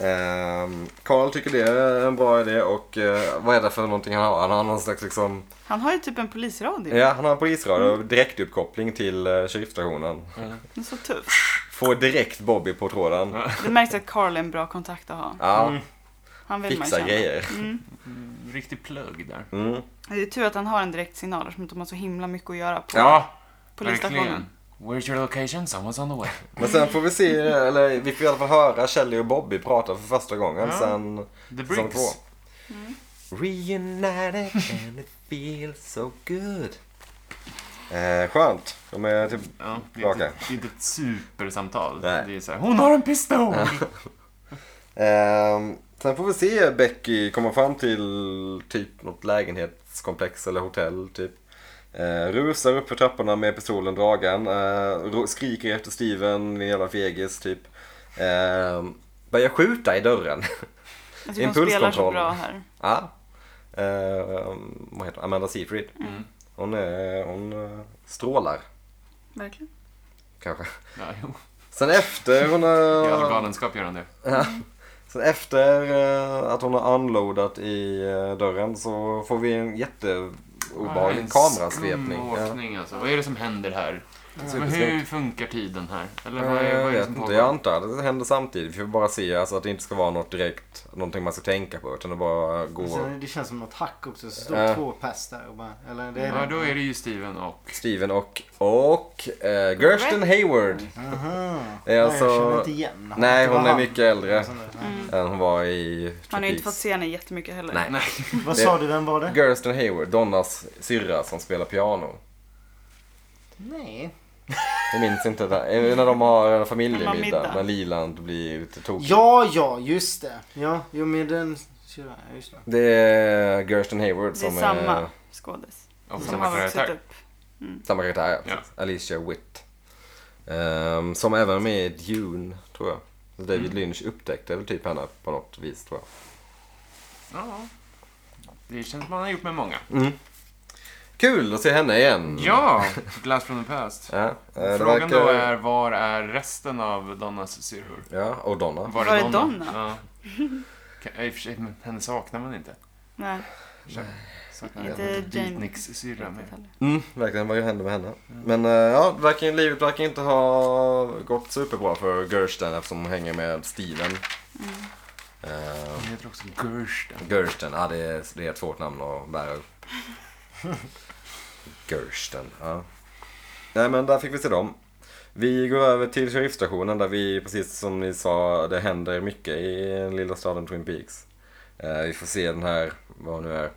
Speaker 3: Ehm, Karl tycker det är en bra idé och eh, vad är det för någonting han har? Han har någon slags liksom,
Speaker 1: Han har ju typ en polisradio.
Speaker 3: ja han har en polisradio och direktuppkoppling till eh, sheriffstationen.
Speaker 1: Den är så tuff.
Speaker 3: Får direkt Bobby på tråden.
Speaker 1: Det märks att Carl är en bra kontakt att ha.
Speaker 3: Ja,
Speaker 4: Mm.
Speaker 1: Han vill man
Speaker 3: fixa
Speaker 1: känna.
Speaker 3: grejer.
Speaker 1: Mm.
Speaker 2: Riktig plugg där.
Speaker 3: Mm.
Speaker 1: Det är tur att han har en direktsignal eftersom de har så himla mycket att göra på
Speaker 2: Ja, verkligen.
Speaker 1: polisstationen.
Speaker 2: Where's your location? Someone's on the way.
Speaker 3: Men sen får vi se, eller vi får i alla fall höra Kelly och Bobby prata för första gången
Speaker 2: Ja.
Speaker 3: sen
Speaker 2: The Mm.
Speaker 3: säsong två.
Speaker 2: Briggs.
Speaker 3: Reunited and it feels so good. Eh, skönt, de är typ...
Speaker 2: Ja, det, är
Speaker 3: Okej.
Speaker 2: inte, det är inte ett supersamtal.
Speaker 3: Nej.
Speaker 2: Det är så här, hon har en pistol!
Speaker 3: Ehm, sen får vi se Becky komma fram till typ något lägenhetskomplex eller hotell typ. Eh, rusar upp för trapporna med pistolen dragen. Eh, ro- skriker efter Steven, en jävla fegis typ. Ehm, börjar skjuta i dörren.
Speaker 1: Jag tycker Alltså, de spelar så
Speaker 3: Impulskontroll.
Speaker 1: bra här.
Speaker 3: Ja. Eh, vad heter hon? Amanda Seyfried. Hon, är, hon eh, strålar,
Speaker 1: Verkligen.
Speaker 3: kanske.
Speaker 2: Ja, jo.
Speaker 3: Sen efter hon
Speaker 2: I all
Speaker 3: har...
Speaker 2: galenskap gör han det.
Speaker 3: Sen efter eh, att hon har unloadat i eh, dörren så får vi en jätteobehaglig
Speaker 2: En
Speaker 3: kamerasvepning.
Speaker 2: skum
Speaker 3: Ja.
Speaker 2: åkning, alltså. Vad är det som händer här? Men hur
Speaker 3: supersnyggt.
Speaker 2: funkar tiden här? Eller vad är,
Speaker 3: Jag
Speaker 2: vad är det liksom
Speaker 3: vet
Speaker 2: som
Speaker 3: inte,
Speaker 2: pågår?
Speaker 3: jag antar att det händer samtidigt. Vi får bara se alltså, att det inte ska vara något direkt, någonting man ska tänka på. Utan det bara går.
Speaker 4: Sen, det känns som något hack också. Så står
Speaker 3: Ja.
Speaker 4: två pers där och bara, eller det är
Speaker 2: Ja,
Speaker 4: det.
Speaker 2: då är det ju Steven och...
Speaker 3: Steven och, och eh, Gersten Hayward.
Speaker 4: Aha.
Speaker 3: Det är
Speaker 4: Nej,
Speaker 3: alltså-
Speaker 4: jag känner inte igen honom.
Speaker 3: Nej,
Speaker 4: Det var
Speaker 3: hon är
Speaker 4: han.
Speaker 3: mycket äldre.
Speaker 4: Sån där.
Speaker 3: än hon var i
Speaker 1: Han har ju inte fått
Speaker 3: Tropics.
Speaker 1: se henne jättemycket heller.
Speaker 3: Nej.
Speaker 2: Nej,
Speaker 4: Vad
Speaker 3: Det-
Speaker 4: sa du, vem var det?
Speaker 3: Gersten Hayward, Donnas syrra som spelar piano.
Speaker 4: Nej.
Speaker 3: Jag minns inte det. Är det När de har en
Speaker 1: När man
Speaker 3: familjemiddag.
Speaker 1: middag.
Speaker 3: När Liland blir lite tokig.
Speaker 4: Ja, ja, just det. Ja, jo men den... Ja, just det.
Speaker 3: Det är Gersten Hayward
Speaker 1: Det är
Speaker 3: som
Speaker 1: samma skådis.
Speaker 2: och
Speaker 1: Som
Speaker 2: samma
Speaker 1: har vuxit
Speaker 2: karaktär.
Speaker 1: upp.
Speaker 3: samma karaktär. Ja.
Speaker 2: Ja.
Speaker 3: precis. Alicia Witt. Ehm, som även är med i Dune, tror jag. Så
Speaker 2: Mm.
Speaker 3: David Lynch upptäckte väl typ henne på något vis, tror jag.
Speaker 2: Ja. Det känns man har gjort med många.
Speaker 3: Kul att se henne igen.
Speaker 2: Mm. Ja, Glass from the Past.
Speaker 3: Ja, Mm. eh, det
Speaker 2: Frågan
Speaker 3: verkar-
Speaker 2: då är, var är resten av Donnas syrror?
Speaker 3: Ja, och Donna.
Speaker 1: Var är Donna?
Speaker 2: Ja. Kan- I och för sig, men henne saknar man inte.
Speaker 1: Nej,
Speaker 2: Saknar
Speaker 1: Inte
Speaker 2: även
Speaker 1: Jane.
Speaker 2: Beatniks syrra med.
Speaker 3: Mm, verkligen. Vad händer med henne?
Speaker 2: Mm.
Speaker 3: Men eh, ja, verkar, livet verkar inte ha gått superbra för Gersten eftersom hon hänger med Steven.
Speaker 1: Mm.
Speaker 3: Eh,
Speaker 2: Hon heter också Gersten.
Speaker 3: Gersten, ja det är, det är ett svårt namn att bära upp. Gersten, ja. Nej men där fick vi se dem. Vi går över till sheriffstationen där vi, precis som ni sa, det händer mycket i den lilla staden Twin Peaks. Eh, vi får se den här, vad hon nu är,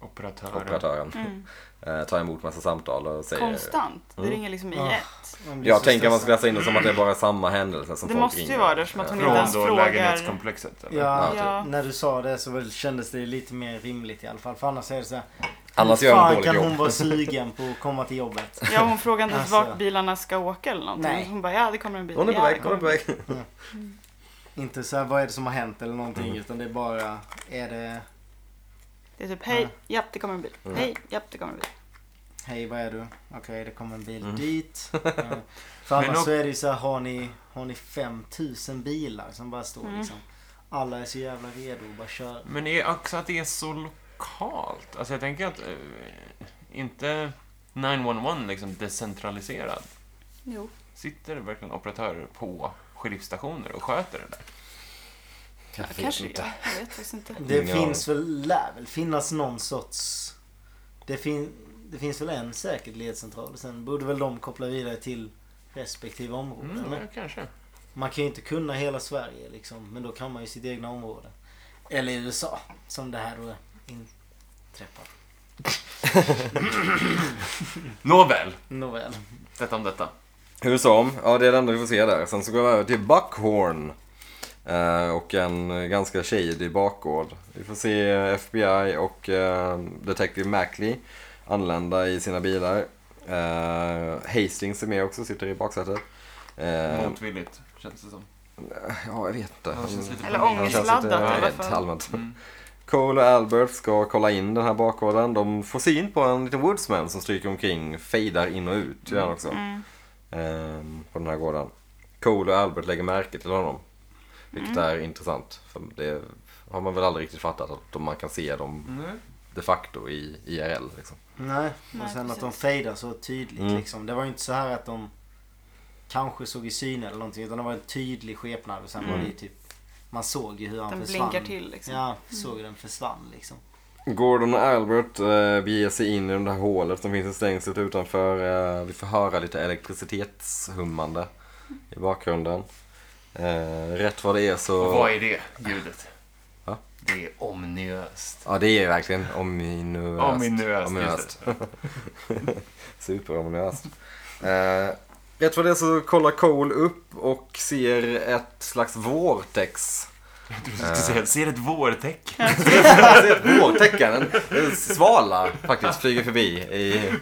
Speaker 2: Operatören.
Speaker 3: operatören. Eh, ta emot massa samtal och säger...
Speaker 1: Mm. Konstant. Det
Speaker 3: Mm.
Speaker 1: ringer liksom i
Speaker 4: Ah.
Speaker 1: ett.
Speaker 4: Man blir
Speaker 3: Jag
Speaker 4: så
Speaker 3: tänker att man ska
Speaker 4: stressad.
Speaker 3: läsa in det som att det är bara samma händelse som
Speaker 1: Det
Speaker 3: folk
Speaker 1: måste ju
Speaker 3: ringer.
Speaker 1: vara det, eftersom att hon inte ens
Speaker 2: Från då
Speaker 1: frågar.
Speaker 2: lägenhetskomplexet. Eller?
Speaker 4: Ja,
Speaker 3: Ja,
Speaker 1: Ja.
Speaker 4: när du sa det så väl kändes det lite mer rimligt i alla fall. För annars är det så här.
Speaker 3: Annars
Speaker 4: hur
Speaker 3: gör hon
Speaker 4: fan
Speaker 3: dåligt
Speaker 4: kan
Speaker 3: jobb.
Speaker 4: hon vara sugen på att komma till jobbet?
Speaker 1: Ja, hon frågar inte ens
Speaker 4: Alltså.
Speaker 1: vart bilarna ska åka eller någonting.
Speaker 4: Nej.
Speaker 1: Hon bara, ja det kommer en bil.
Speaker 3: Hon är på
Speaker 1: ja,
Speaker 3: väg,
Speaker 1: det
Speaker 3: hon är på
Speaker 1: kommer en
Speaker 3: väg.
Speaker 4: Inte så här, vad är det som har hänt eller någonting.
Speaker 3: Mm.
Speaker 4: Utan det är bara, är det,
Speaker 1: bil." Det är typ,
Speaker 4: Ah.
Speaker 1: hej, japp det kommer en bil.
Speaker 3: Mm.
Speaker 1: Hej, japp det kommer en bil.
Speaker 4: hej vad är du? Okej, det kommer en bil
Speaker 3: Mm.
Speaker 4: dit. Eh, För annars
Speaker 2: Men
Speaker 4: så är det ju så här, har ni, har ni 5000 bilar som bara står liksom. Alla är så jävla redo och bara kör.
Speaker 2: Men det är också att det är så lokalt. Alltså jag tänker att... eh, inte 911 liksom decentraliserad.
Speaker 1: Jo.
Speaker 2: Sitter det verkligen operatörer på sheriffstationer och sköter det där?
Speaker 1: Ja, kanske det gör. Jag vet faktiskt inte.
Speaker 4: Det
Speaker 3: Ingen
Speaker 4: finns väl, lär väl finnas någon sorts... Det, fin, det finns väl en säkert ledcentral. Sen borde väl de koppla vidare till respektive områden.
Speaker 2: Mm,
Speaker 4: eller?
Speaker 2: ja, kanske.
Speaker 4: Man kan ju inte kunna hela Sverige liksom. Men då kan man ju sitt egna område. Eller i USA. Som det här då inträffar.
Speaker 2: Nåväl,
Speaker 4: Nåväl.
Speaker 2: detta om detta.
Speaker 3: Hur som, ja det är det enda vi får se där. Sen så går vi över till Buckhorn. Eh, och en eh, ganska shady bakgård. Vi får se eh, FBI och eh, Detective Mackley anlända i sina bilar. Eh, Hastings är med också, sitter i baksätet. Eh,
Speaker 2: Motvilligt, känns det som.
Speaker 3: ja, jag vet inte.
Speaker 2: Han känns lite
Speaker 1: Eller
Speaker 2: panikslagen.
Speaker 3: han känns lite
Speaker 1: ångestladdat i alla
Speaker 3: rädd
Speaker 1: fall.
Speaker 3: allmänt.
Speaker 2: Mm.
Speaker 3: Cole och Albert ska kolla in den här bakgården. De får syn på en liten woodsman som stryker omkring, fejdar in och ut gör han också.
Speaker 1: Mm.
Speaker 3: Ehm, på den här gården. Cole och Albert lägger märke till honom. Vilket
Speaker 1: Mm.
Speaker 3: är intressant. För det har man väl aldrig riktigt fattat att de- man kan se dem
Speaker 2: Nej.
Speaker 3: de facto i IRL. Liksom.
Speaker 4: Nej.
Speaker 1: Nej,
Speaker 4: Och sen att de
Speaker 1: precis.
Speaker 4: fejdar så tydligt
Speaker 3: Mm.
Speaker 4: liksom. Det var ju inte så här att de kanske såg i syn eller någonting. Utan det var en tydlig skepnad. Och sen var
Speaker 3: Mm.
Speaker 4: det ju typ... Man såg ju hur han
Speaker 1: Den
Speaker 4: försvann.
Speaker 1: blinkar till liksom.
Speaker 4: Ja, såg hur den försvann liksom.
Speaker 3: Gordon och Albert eh, beger sig in i det här hålet som finns i stängslet utanför. Eh, vi får höra lite elektricitetshummande i bakgrunden. Eh, rätt vad det är så...
Speaker 2: Och vad är det ljudet?
Speaker 3: Va?
Speaker 2: Det är omniöst.
Speaker 3: Ja, det är verkligen ominöst.
Speaker 2: Ominöst,
Speaker 3: Ominöst.
Speaker 2: just det.
Speaker 3: Superominöst. Eh, rätt vad det är så kollar Cole upp och ser ett slags vortex. Eh,
Speaker 2: Du skulle säga, ser ett vårtecken.
Speaker 3: Han ser ett vårtecken, en, en svala faktiskt, flyger förbi. I...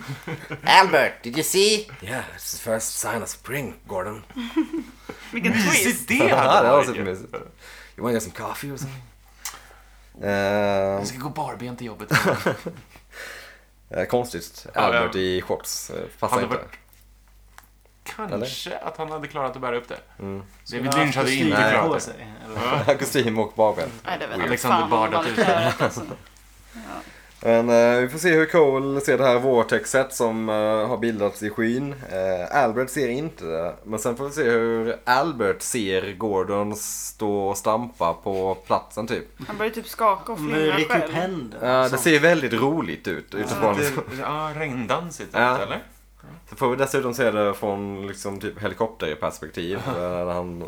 Speaker 3: Albert, did you see? Yeah, it's the first sign of spring, Gordon.
Speaker 1: Vilken twist!
Speaker 2: Mysigt det
Speaker 3: Ja, det
Speaker 2: hade
Speaker 3: var
Speaker 2: varit ju.
Speaker 3: supermysigt. You wanna get some coffee or something?
Speaker 2: Jag
Speaker 3: Eh,
Speaker 2: ska gå barbent till jobbet.
Speaker 3: eh, konstigt.
Speaker 2: ja.
Speaker 3: Albert i shorts. eh, Passar
Speaker 2: Hade
Speaker 3: inte.
Speaker 2: varit- Kanske att han hade klarat att bära upp det. David
Speaker 4: Han har
Speaker 2: Lynch hade
Speaker 4: kostym
Speaker 2: inte
Speaker 3: Nej.
Speaker 4: på
Speaker 2: klarat det.
Speaker 4: sig. Eller?
Speaker 3: Kostym och barbent.
Speaker 1: Nej, det vet jag.
Speaker 2: Alexander
Speaker 1: Fan, vad de
Speaker 2: Bardot
Speaker 1: hade
Speaker 2: ut.
Speaker 3: typ.
Speaker 1: klarat, alltså.
Speaker 3: Men eh, vi får se hur Cole ser det här vortexet som eh, har bildats i skyn. Eh, Albert ser inte det. Men sen får vi se hur Albert ser Gordon stå och stampa på platsen typ.
Speaker 1: Han börjar typ skaka och
Speaker 4: Men
Speaker 1: flimra
Speaker 4: räck upp
Speaker 1: själv.
Speaker 4: händer.
Speaker 3: Eh, det ser väldigt roligt ut utifrån.
Speaker 2: Lite, Ja, regndansigt
Speaker 3: Ja.
Speaker 2: eller?
Speaker 3: Så får vi dessutom se det från liksom, typ helikopterperspektiv. eh, Där han,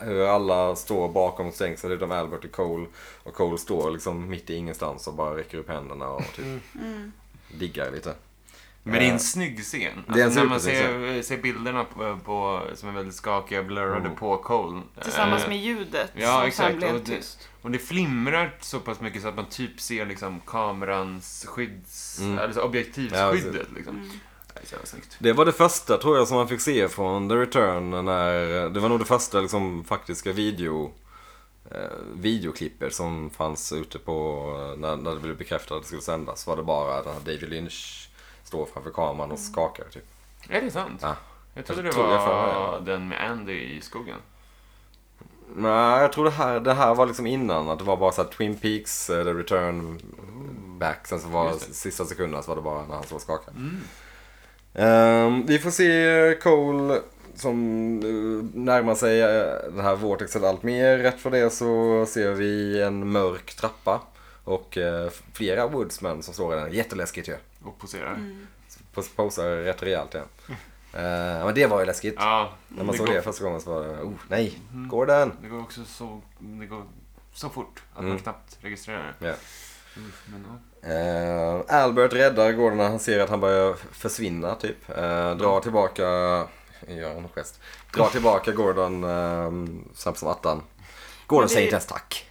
Speaker 3: hur alla står bakom stängslet utom typ Albert och Cole. Och Cole står liksom mitt i ingenstans och bara räcker upp händerna och typ diggar lite.
Speaker 2: Men det är en snygg scen.
Speaker 3: Eh, Det är en
Speaker 2: Alltså, när man
Speaker 3: supersnygg
Speaker 2: ser, ser bilderna på, på, som är väldigt skakiga, blurrade
Speaker 3: Mm.
Speaker 2: på Cole.
Speaker 1: Tillsammans
Speaker 2: Eh,
Speaker 1: med ljudet
Speaker 2: ja,
Speaker 1: som
Speaker 2: exakt.
Speaker 1: sen blev
Speaker 2: Och det-
Speaker 1: tyst.
Speaker 2: Och det flimrar så pass mycket så att man typ ser liksom kamerans skydds...
Speaker 3: Mm.
Speaker 2: Alltså
Speaker 3: Ja,
Speaker 2: objektivskyddet liksom.
Speaker 1: Mm.
Speaker 2: Det är så jävla snyggt.
Speaker 3: Det var det första tror jag som man fick se från The Return. När, det var nog det första liksom, faktiska video, eh, videoklippet eh, som fanns ute på, när, när det blev bekräftat att det skulle sändas. Var det bara den här David Lynch står framför kameran och skakar typ. Ah.
Speaker 2: Är det sant?
Speaker 3: Ja.
Speaker 2: Jag trodde det
Speaker 3: Jag tror jag
Speaker 2: var
Speaker 3: får-
Speaker 2: den med Andy i skogen.
Speaker 3: Nej, jag tror det här, det här var liksom innan. Att det var bara så här Twin Peaks, eh, The Return Back. Sen så var
Speaker 2: Just det. Mm.
Speaker 3: sista sekunden så var det bara när han så skakad. Ehm, vi får se Cole som eh, närmar sig eh, den här vortexen allt mer. Rätt för det så ser vi en mörk trappa. Och eh, flera woodsmen som står i den. Jätteläskigt ju.
Speaker 2: Och poserar.
Speaker 1: Mm.
Speaker 3: Pos- Posar rätt rejält igen. Eh, men det var ju läskigt.
Speaker 2: Mm. Ja,
Speaker 3: När man
Speaker 2: det
Speaker 3: såg
Speaker 2: går-
Speaker 3: det första gången så var det, oh nej, Gordon!
Speaker 2: Det går också så, det går så fort att
Speaker 3: Mm.
Speaker 2: man knappt registrerar det.
Speaker 3: Ja.
Speaker 2: Men, ja.
Speaker 3: Eh, Albert räddar Gordon när han ser att han börjar försvinna typ. Eh,
Speaker 1: Mm.
Speaker 3: drar tillbaka, gör en gest. Drar tillbaka Gordon eh, snabbt som attan. Gordon
Speaker 1: Men det-
Speaker 3: säger inte ens tack.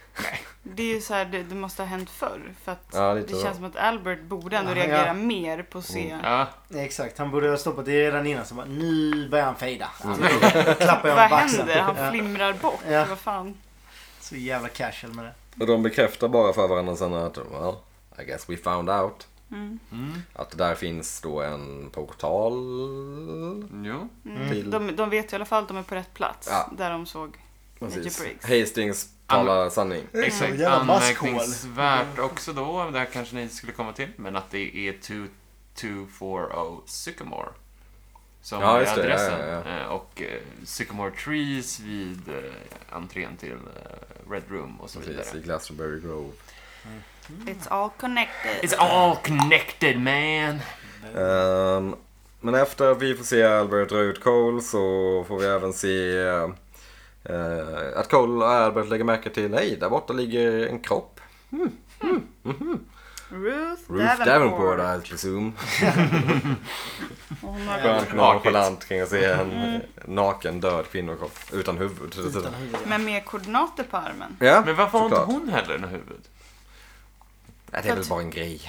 Speaker 1: Det är ju så här, det, det måste ha hänt förr. För att
Speaker 3: Ja,
Speaker 1: det
Speaker 3: lite så. Mm.
Speaker 1: känns som att Albert borde ändå
Speaker 4: Ja,
Speaker 1: reagera
Speaker 4: ja.
Speaker 1: mer på att se.
Speaker 2: ja,
Speaker 4: Exakt, han borde ha stoppat det redan innan. Så bara, nu börjar han fejda.
Speaker 3: Mm.
Speaker 4: Alltså, Klappar jag
Speaker 1: Vad
Speaker 4: honom på axeln.
Speaker 1: händer? Han
Speaker 4: Ja,
Speaker 1: flimrar bort.
Speaker 4: Ja.
Speaker 1: Vad fan?
Speaker 4: Så jävla casual med det.
Speaker 3: Och de bekräftar bara för varandra sen att, well, I guess we found out.
Speaker 1: Mm.
Speaker 3: Att där finns då en portal.
Speaker 2: jo.
Speaker 3: Till,
Speaker 1: Mm. De, de vet ju i alla fall att de är på rätt plats.
Speaker 3: Ja.
Speaker 1: Där de såg
Speaker 3: precis.
Speaker 1: Magic Briggs.
Speaker 3: Hastings talar sanning.
Speaker 4: Så
Speaker 2: Exakt.
Speaker 4: jävla maskhål.
Speaker 2: Anmärkningsvärt också då, det här kanske ni skulle komma till, men att det är 2240 Sycamore. Som
Speaker 3: Ja,
Speaker 2: är
Speaker 3: just det. Ja,
Speaker 2: adressen.
Speaker 3: ja,
Speaker 2: Eh, Och eh, Sycamore Trees vid eh, entrén till eh, Red Room och så vidare.
Speaker 3: Precis, i Glastonbury Grove.
Speaker 1: It's all connected.
Speaker 2: It's all connected man!
Speaker 3: Ehm, men efter att vi får se Albert dra ut Cole så får vi även se eh, att Cole och Albert lägger märke till, nej, där borta ligger en kropp.
Speaker 1: Ruth,
Speaker 3: Ruth Davenport, I presume.
Speaker 1: Och hon har
Speaker 4: Ja.
Speaker 3: Skönt nonchalant kring att se en eh, naken död kvinnokropp utan huvud.
Speaker 4: Utan huvud.
Speaker 1: Men med koordinater på armen.
Speaker 3: Ja,
Speaker 2: Men varför har inte
Speaker 3: såklart.
Speaker 2: hon heller något huvud?
Speaker 3: Nej, Det är väl bara en grej.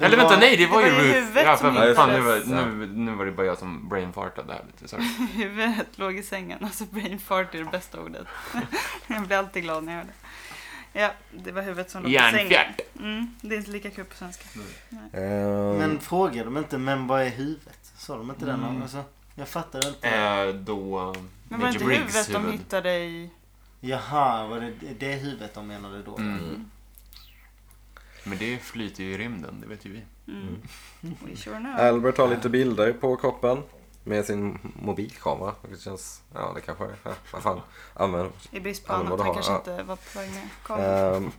Speaker 2: Eller vänta, nej det var ju
Speaker 1: det var ju
Speaker 2: Ruth.
Speaker 1: huvudet
Speaker 2: Ja,
Speaker 1: som
Speaker 2: fan, fan, nu,
Speaker 1: hittades.
Speaker 2: var- nu, nu var det bara jag som brainfartade här lite. Sorry.
Speaker 1: Huvudet låg i sängen. Alltså brain fart är det bästa ordet. jag blir alltid glad när jag hör det. Ja, det var huvudet som låg i sängen.
Speaker 2: Hjärnfjärt.
Speaker 1: Mm, det är inte lika kul på svenska.
Speaker 3: Ehm,
Speaker 4: Men frågar de inte, men vad är huvudet? Sa de inte
Speaker 3: Mm.
Speaker 4: den? Alltså, jag fattar inte.
Speaker 2: Eh, då...
Speaker 1: Men var det inte huvudet de hittade i...
Speaker 4: Jaha, var det det huvudet de menade då?
Speaker 2: Mm. Men det flyter ju i rymden, det vet ju vi.
Speaker 1: Mm. We sure know.
Speaker 3: Albert har lite bilder på kroppen med sin mobilkamera. Vilket känns, ja det kanske, ja, vad fan, använder
Speaker 1: I brist på
Speaker 3: Ja, men
Speaker 1: annat. Han
Speaker 3: vad har-
Speaker 1: kanske
Speaker 3: ja.
Speaker 1: inte var på väg med kameran.
Speaker 3: Ehm,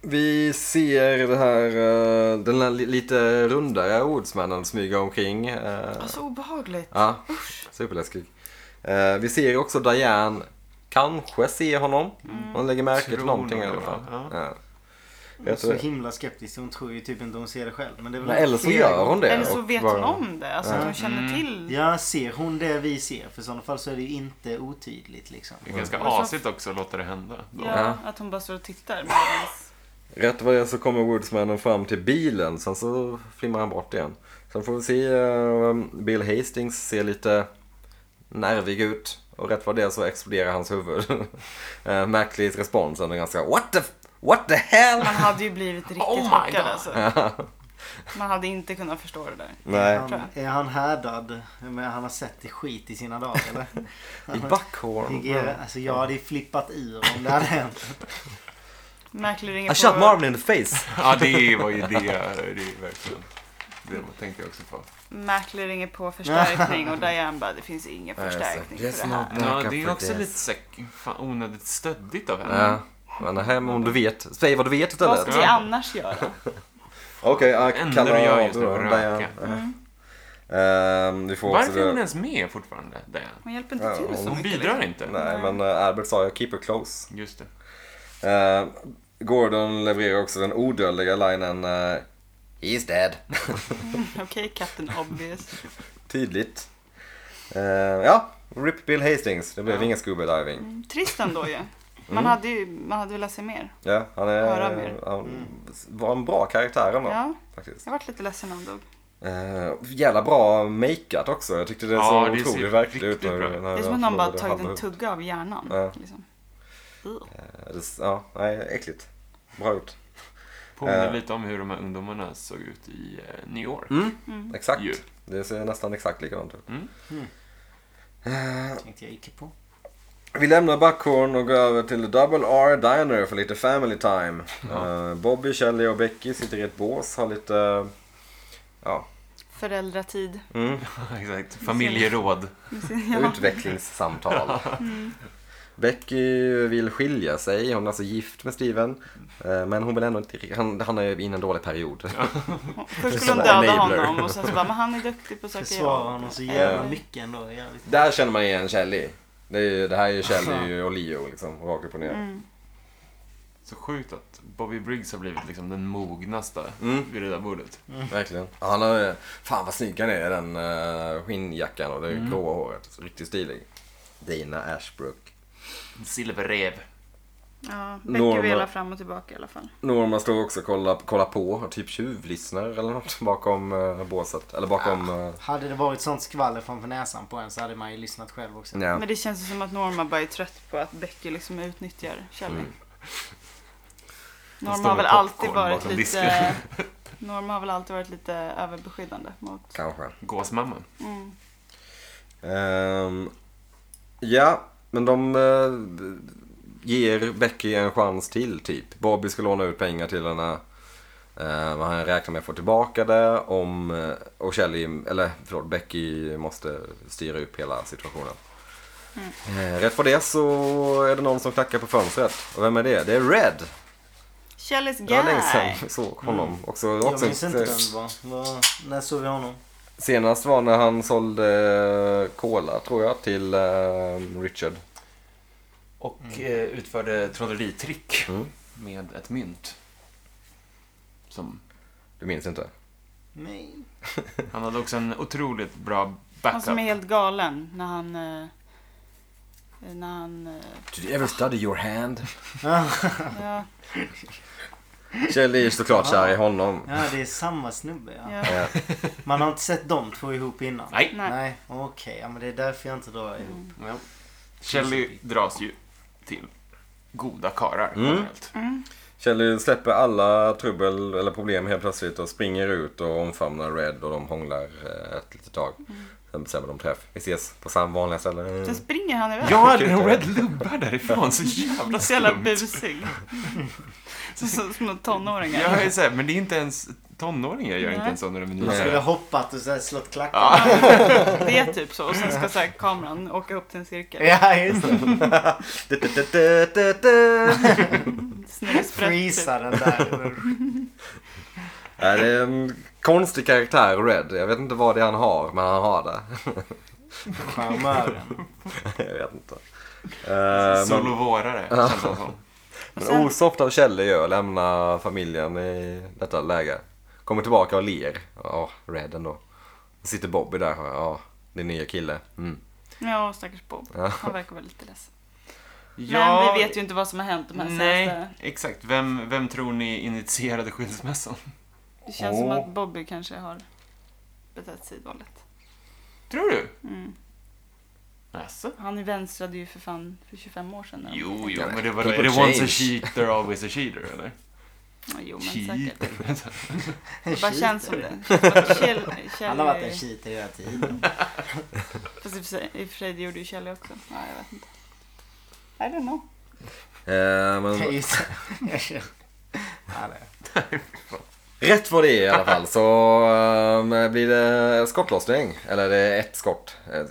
Speaker 3: vi ser det här, eh, den här li- lite rundare ordsmannen smyga omkring. eh,
Speaker 1: Alltså obehagligt.
Speaker 3: Ja, superläskig. Eh, vi ser också Diane kanske se honom. Hon lägger märke till
Speaker 2: Mm. Tror
Speaker 3: någonting i
Speaker 2: nog
Speaker 3: alla
Speaker 2: det,
Speaker 3: fall.
Speaker 2: va?
Speaker 3: Ja.
Speaker 4: Hon är
Speaker 3: Jag
Speaker 4: så
Speaker 3: tror det.
Speaker 4: himla skeptisk. Hon tror ju typ inte hon ser det själv. Men det är väl
Speaker 3: Men eller så gör hon det.
Speaker 1: Eller så
Speaker 3: och
Speaker 1: vet
Speaker 3: bara-
Speaker 1: hon om det. Alltså att hon känner till.
Speaker 4: Mm. Ja, ser hon det vi ser? För i sådana fall så är det ju inte otydligt liksom.
Speaker 2: Det är ganska
Speaker 1: Och så-
Speaker 2: asigt också att låta det hända. Då.
Speaker 1: Ja, att hon bara står och tittar. medans-
Speaker 3: Rätt vad det är så kommer Woodsmannen fram till bilen, sen så flimmar han bort igen. Sen får vi se, eh, Bill Hastings ser lite nervig ut och rätt vad det är så exploderar hans huvud. uh, märklig respons, han är ganska what the, what the hell?
Speaker 1: Man hade ju blivit riktigt
Speaker 2: Oh my
Speaker 1: chockad
Speaker 2: God.
Speaker 1: alltså. Man hade inte kunnat förstå det där.
Speaker 3: Nej,
Speaker 4: Han, är han härdad? Men han har sett det skit i sina dagar eller?
Speaker 3: i Buckhorn.
Speaker 4: Nigeria, alltså jag hade ju flippat ur om det hade hänt.
Speaker 1: Märklig ringer
Speaker 3: I shot
Speaker 1: på...
Speaker 3: Marvin in the face!
Speaker 2: Ja, det var ju det. Det är verkligen... Det tänkte jag också på.
Speaker 1: Mackley ringer på förstärkning och Diane bara, det finns ingen
Speaker 3: Ja, just det.
Speaker 1: förstärkning
Speaker 3: Yes,
Speaker 1: för det här.
Speaker 3: no.
Speaker 2: Ja,
Speaker 3: Tackar
Speaker 2: det är
Speaker 3: för
Speaker 2: också
Speaker 3: det.
Speaker 2: lite så här, fan, onödigt stöddigt av henne.
Speaker 3: Ja, men nej, men om du vet, säg vad du vet
Speaker 1: Vad
Speaker 3: istället.
Speaker 1: ska vi annars göra?
Speaker 3: Okej,
Speaker 2: Det
Speaker 3: jag
Speaker 2: enda
Speaker 3: kallar
Speaker 2: du gör
Speaker 3: av
Speaker 2: just nu är
Speaker 3: då,
Speaker 2: att
Speaker 3: Diane.
Speaker 2: röka. Mm.
Speaker 3: Ehm, vi får också
Speaker 2: Varför är
Speaker 3: det-
Speaker 2: hon ens med fortfarande, Diane?
Speaker 1: Hon hjälper inte
Speaker 3: Ja,
Speaker 1: till så
Speaker 3: hon
Speaker 2: Hon
Speaker 1: mycket.
Speaker 2: bidrar
Speaker 1: liksom.
Speaker 2: inte.
Speaker 3: Nej, men eh, Albert sa jag keep her close.
Speaker 2: Just det.
Speaker 3: Eh, Gordon levererar också den odödliga linen eh, He's dead.
Speaker 1: liksom. Okej, Captain Obvious.
Speaker 3: Tydligt. Eh, ja, RIP Bill Hastings. Det blev
Speaker 2: Ja.
Speaker 3: ingen scuba diving.
Speaker 1: Trist ändå ju. Man hade ju man hade velat se mer.
Speaker 3: Ja, han,
Speaker 1: Höra
Speaker 3: är,
Speaker 1: mer. Mm.
Speaker 3: han var en bra karaktär ändå.
Speaker 1: Ja,
Speaker 3: Faktiskt.
Speaker 1: jag vart lite ledsen när han dog.
Speaker 3: Eh, jävla bra makeat också. Jag tyckte det
Speaker 2: Ja,
Speaker 3: såg
Speaker 2: det ser
Speaker 3: otroligt verkligt ut.
Speaker 2: riktigt bra ut.
Speaker 1: Det är som att någon bara tagit en tugga av hjärnan.
Speaker 3: Ja.
Speaker 1: Liksom.
Speaker 3: Ja, nej, äckligt. Bra gjort.
Speaker 2: Påminner
Speaker 3: Eh.
Speaker 2: lite om hur de här ungdomarna såg ut i eh, New York.
Speaker 3: Mm. Exakt.
Speaker 2: Ju.
Speaker 3: Det ser nästan exakt likadant ut.
Speaker 2: Mm.
Speaker 4: Tänkte jag icke på.
Speaker 3: Vi lämnar Buckhorn och går över till Double R Diner för lite family time. Eh, Bobby, Shelley och Becky sitter i ett bås, har lite... Ja,
Speaker 1: Föräldratid.
Speaker 3: mm,
Speaker 2: Exakt. Familjeråd.
Speaker 3: utvecklingssamtal. Becky vill skilja sig, hon är alltså gift med Steven. eh, Men hon vill ändå inte... Han, han är i en dålig period.
Speaker 1: Först skulle
Speaker 3: Som
Speaker 1: hon döda
Speaker 3: enabler.
Speaker 1: honom och sen så bara, men han är duktig på saker.
Speaker 4: Försvarar honom så jävla mycket ändå. Jävligt.
Speaker 3: Där känner man igen Shelley. Det, är, ju- det här är ju Shelley och Leo liksom, rakt upp och ner.
Speaker 1: Mm.
Speaker 2: Så sjukt att Bobby Briggs har blivit liksom den mognaste
Speaker 3: Mm.
Speaker 2: vid det där bordet.
Speaker 3: Verkligen. Ja, Han har, ju- fan vad snygg han är i den eh, skinnjackan och det
Speaker 1: Mm.
Speaker 3: gråa håret. Så Riktigt stilig. Dina Ashbrook.
Speaker 2: En Silverräv.
Speaker 1: Ja, Becky
Speaker 3: Norma-
Speaker 1: velar fram och tillbaka i alla fall.
Speaker 3: Norma står också och kollar, kollar på och typ tjuvlyssnar eller något bakom eh, båset. Eller bakom... eh,
Speaker 4: Hade det varit sånt skvaller framför näsan på en så hade man ju lyssnat själv också.
Speaker 3: ja.
Speaker 1: Men det känns ju som att Norma bara är trött på att Becky liksom utnyttjar Shelley.
Speaker 2: Hon
Speaker 1: Norma
Speaker 2: står
Speaker 1: har
Speaker 2: med
Speaker 1: väl alltid
Speaker 2: popcorn
Speaker 1: varit
Speaker 2: bakom
Speaker 1: lite...
Speaker 2: disken.
Speaker 1: Norma har väl alltid varit lite överbeskyddande mot...
Speaker 3: Kanske.
Speaker 2: Gåsmamman.
Speaker 1: Mm.
Speaker 3: Ehm, ja, men de eh, ger Becky en chans till typ. Bobby ska låna ut pengar till henne. Uh, han räknar med att få tillbaka det om, eh, och Shelley, eller förlåt, Becky måste styra upp hela situationen. Eh, rätt på det så är det någon som knackar på fönstret. Och vem är det? Det är Red!
Speaker 1: Shelleys
Speaker 3: Det var länge
Speaker 1: guy!
Speaker 3: sedan vi såg honom. Också,
Speaker 4: Mm. Jag
Speaker 3: också
Speaker 4: minns inte
Speaker 3: ett-
Speaker 4: vem det var. Var- När såg vi honom?
Speaker 3: Senast var när han sålde eh, cola tror jag till eh, Richard.
Speaker 2: Och eh, utförde trolleritrick
Speaker 3: Mm.
Speaker 2: med ett mynt. Som,
Speaker 3: Du minns inte?
Speaker 4: Nej.
Speaker 2: han hade också en otroligt bra
Speaker 1: Han
Speaker 2: backup.
Speaker 1: som är helt galen när han... eh, När han... eh,
Speaker 3: Did you ever study your hand?
Speaker 1: Ja,
Speaker 3: Kjell är ju såklart kär i honom.
Speaker 4: Ja, det är samma snubbe ja.
Speaker 1: ja.
Speaker 3: Eh,
Speaker 4: Man har inte sett de två ihop innan?
Speaker 2: Nej,
Speaker 1: Nej.
Speaker 4: Nej, okej. Ja, men det är därför jag inte drar ihop.
Speaker 2: Shelley dras ju till goda karlar
Speaker 3: Mm.
Speaker 2: generellt.
Speaker 3: Kjell släpper alla trubbel eller problem helt plötsligt och springer ut och omfamnar Red och de hånglar eh, ett litet tag. Sen bestämmer de träff. Vi ses på samma vanliga ställe.
Speaker 1: Sen springer han iväg.
Speaker 2: Ja, när Red lubbar därifrån så jävla
Speaker 1: Så jävla
Speaker 2: skumt.
Speaker 1: busig. Så, så, små tonåringar.
Speaker 2: Jag är så här, men det är inte ens tonåringar gör inte
Speaker 1: Nej.
Speaker 2: ens sådana
Speaker 3: Nej.
Speaker 4: Jag
Speaker 2: menyer.
Speaker 4: skulle ha hoppat och så här slått klacken.
Speaker 2: Ja.
Speaker 1: Det är typ så. Och sen ska så här, kameran åka upp till en cirkel.
Speaker 4: Ja, just det.
Speaker 1: Snurrsprätt. typ.
Speaker 4: Freeza den där.
Speaker 3: Ja, det är en konstig karaktär, Red. Jag vet inte vad det är han har, men han har det.
Speaker 4: Charmören.
Speaker 3: Jag vet inte. Eh, men-
Speaker 2: Solovårare, känns det som.
Speaker 3: Men osoft av Kjell är ju att lämna familjen i detta läge. Kommer tillbaka och ler. Ja, red ändå. Sitter Bobby där. Ja, din nya kille. Mm.
Speaker 1: Ja, stackars Bob.
Speaker 3: Ja.
Speaker 1: Han verkar vara lite ledsen.
Speaker 2: Ja,
Speaker 1: Men vi vet ju inte vad som har hänt de här
Speaker 2: Nej,
Speaker 1: senaste...
Speaker 2: exakt. Vem, vem tror ni initierade skilsmässan?
Speaker 1: Det känns som
Speaker 3: Åh.
Speaker 1: att Bobby kanske har betett sig dåligt.
Speaker 2: Tror du?
Speaker 1: Mm.
Speaker 2: Jaså?
Speaker 1: Han vänstrade ju för fan för 25 år sedan. eller
Speaker 2: Jo,
Speaker 1: någonting.
Speaker 2: jo, men det var
Speaker 3: People
Speaker 2: Är det once a
Speaker 3: change.
Speaker 2: cheat, they're always a cheater, eller?
Speaker 1: Ja, jo men säkert.
Speaker 2: Cheater.
Speaker 1: Det bara känns som det. Kjell, Kjell,
Speaker 4: Han har varit en cheater hela tiden.
Speaker 1: Fast i och för sig- i och för sig, det gjorde ju Kjell också. Ja, jag vet inte. I don't know.
Speaker 3: Eh,
Speaker 4: Jag
Speaker 3: men
Speaker 4: gissar. Jag känner- Alltså. Ja, det.
Speaker 3: rätt vad det är i alla fall så eh, blir det skottlossning. Eller det är ett skott. Eh,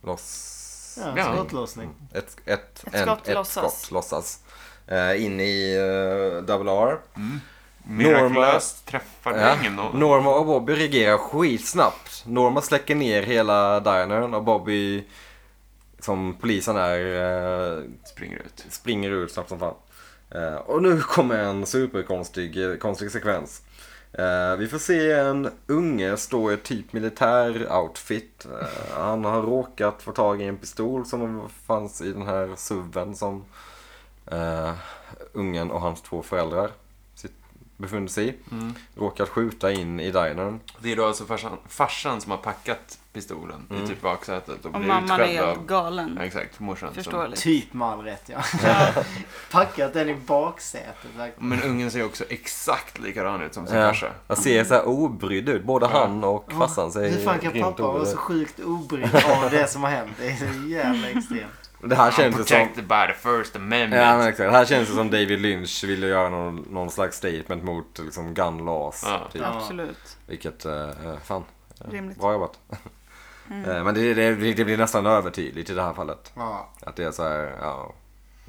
Speaker 3: Skottloss...
Speaker 4: Ja, skottlossning.
Speaker 3: Ett, ett,
Speaker 1: Ett
Speaker 3: en-
Speaker 1: skott
Speaker 3: ett
Speaker 1: lossas.
Speaker 3: skott lossas. Eh, In i eh, Double R.
Speaker 2: Mirakulöst träffade
Speaker 3: Ja.
Speaker 2: ingen någon.
Speaker 3: Norma och Bobby reagerar skitsnabbt. Norma släcker ner hela dinern och Bobby, som polisen där, eh,
Speaker 2: Springer ut.
Speaker 3: springer ut snabbt som fan. Eh, och nu kommer en superkonstig eh, konstig sekvens. Eh, vi får se en unge stå i typ militär outfit. Eh, han har råkat få tag i en pistol som fanns i den här suven som eh, ungen och hans två föräldrar sitt- befunnit sig i. Råkat skjuta in i dinern.
Speaker 2: Det är då alltså farsan, farsan som har packat pistolen
Speaker 3: Mm.
Speaker 2: i typ baksätet och,
Speaker 1: Och
Speaker 2: blir
Speaker 1: mamman är
Speaker 2: utskälld
Speaker 1: helt
Speaker 2: av...
Speaker 1: galen. liksom.
Speaker 2: Ja, exakt, morsan. Som...
Speaker 1: Förståeligt.
Speaker 4: Typ med all rätt ja.
Speaker 1: Ja.
Speaker 4: Packat den i baksätet. verkligen.
Speaker 2: Men ungen ser också exakt likadan ut som sin
Speaker 3: Ja.
Speaker 2: farsa.
Speaker 3: Eh, Jag ser så här obrydd ut. Både han och Mm, farsan ser
Speaker 4: Hur fan kan
Speaker 3: grymt
Speaker 4: pappa vara
Speaker 3: obrydd
Speaker 4: så
Speaker 3: ut.
Speaker 4: sjukt obrydd av det som har hänt? Det är så jävla extremt.
Speaker 3: Det här
Speaker 2: I'm
Speaker 3: känns ju som...
Speaker 2: protected by the first amendment.
Speaker 3: Ja, men exakt. Det här känns ju som David Lynch ville göra någon, någon slags statement mot liksom gun laws.
Speaker 2: Ja.
Speaker 3: Typ.
Speaker 1: Absolut.
Speaker 3: Vilket, eh, eh, fan,
Speaker 1: Rimligt. Mm.
Speaker 3: bra jobbat. Eh, men det, det, det blir nästan övertydligt i det här fallet.
Speaker 4: Ja.
Speaker 3: Att det är så här, ja,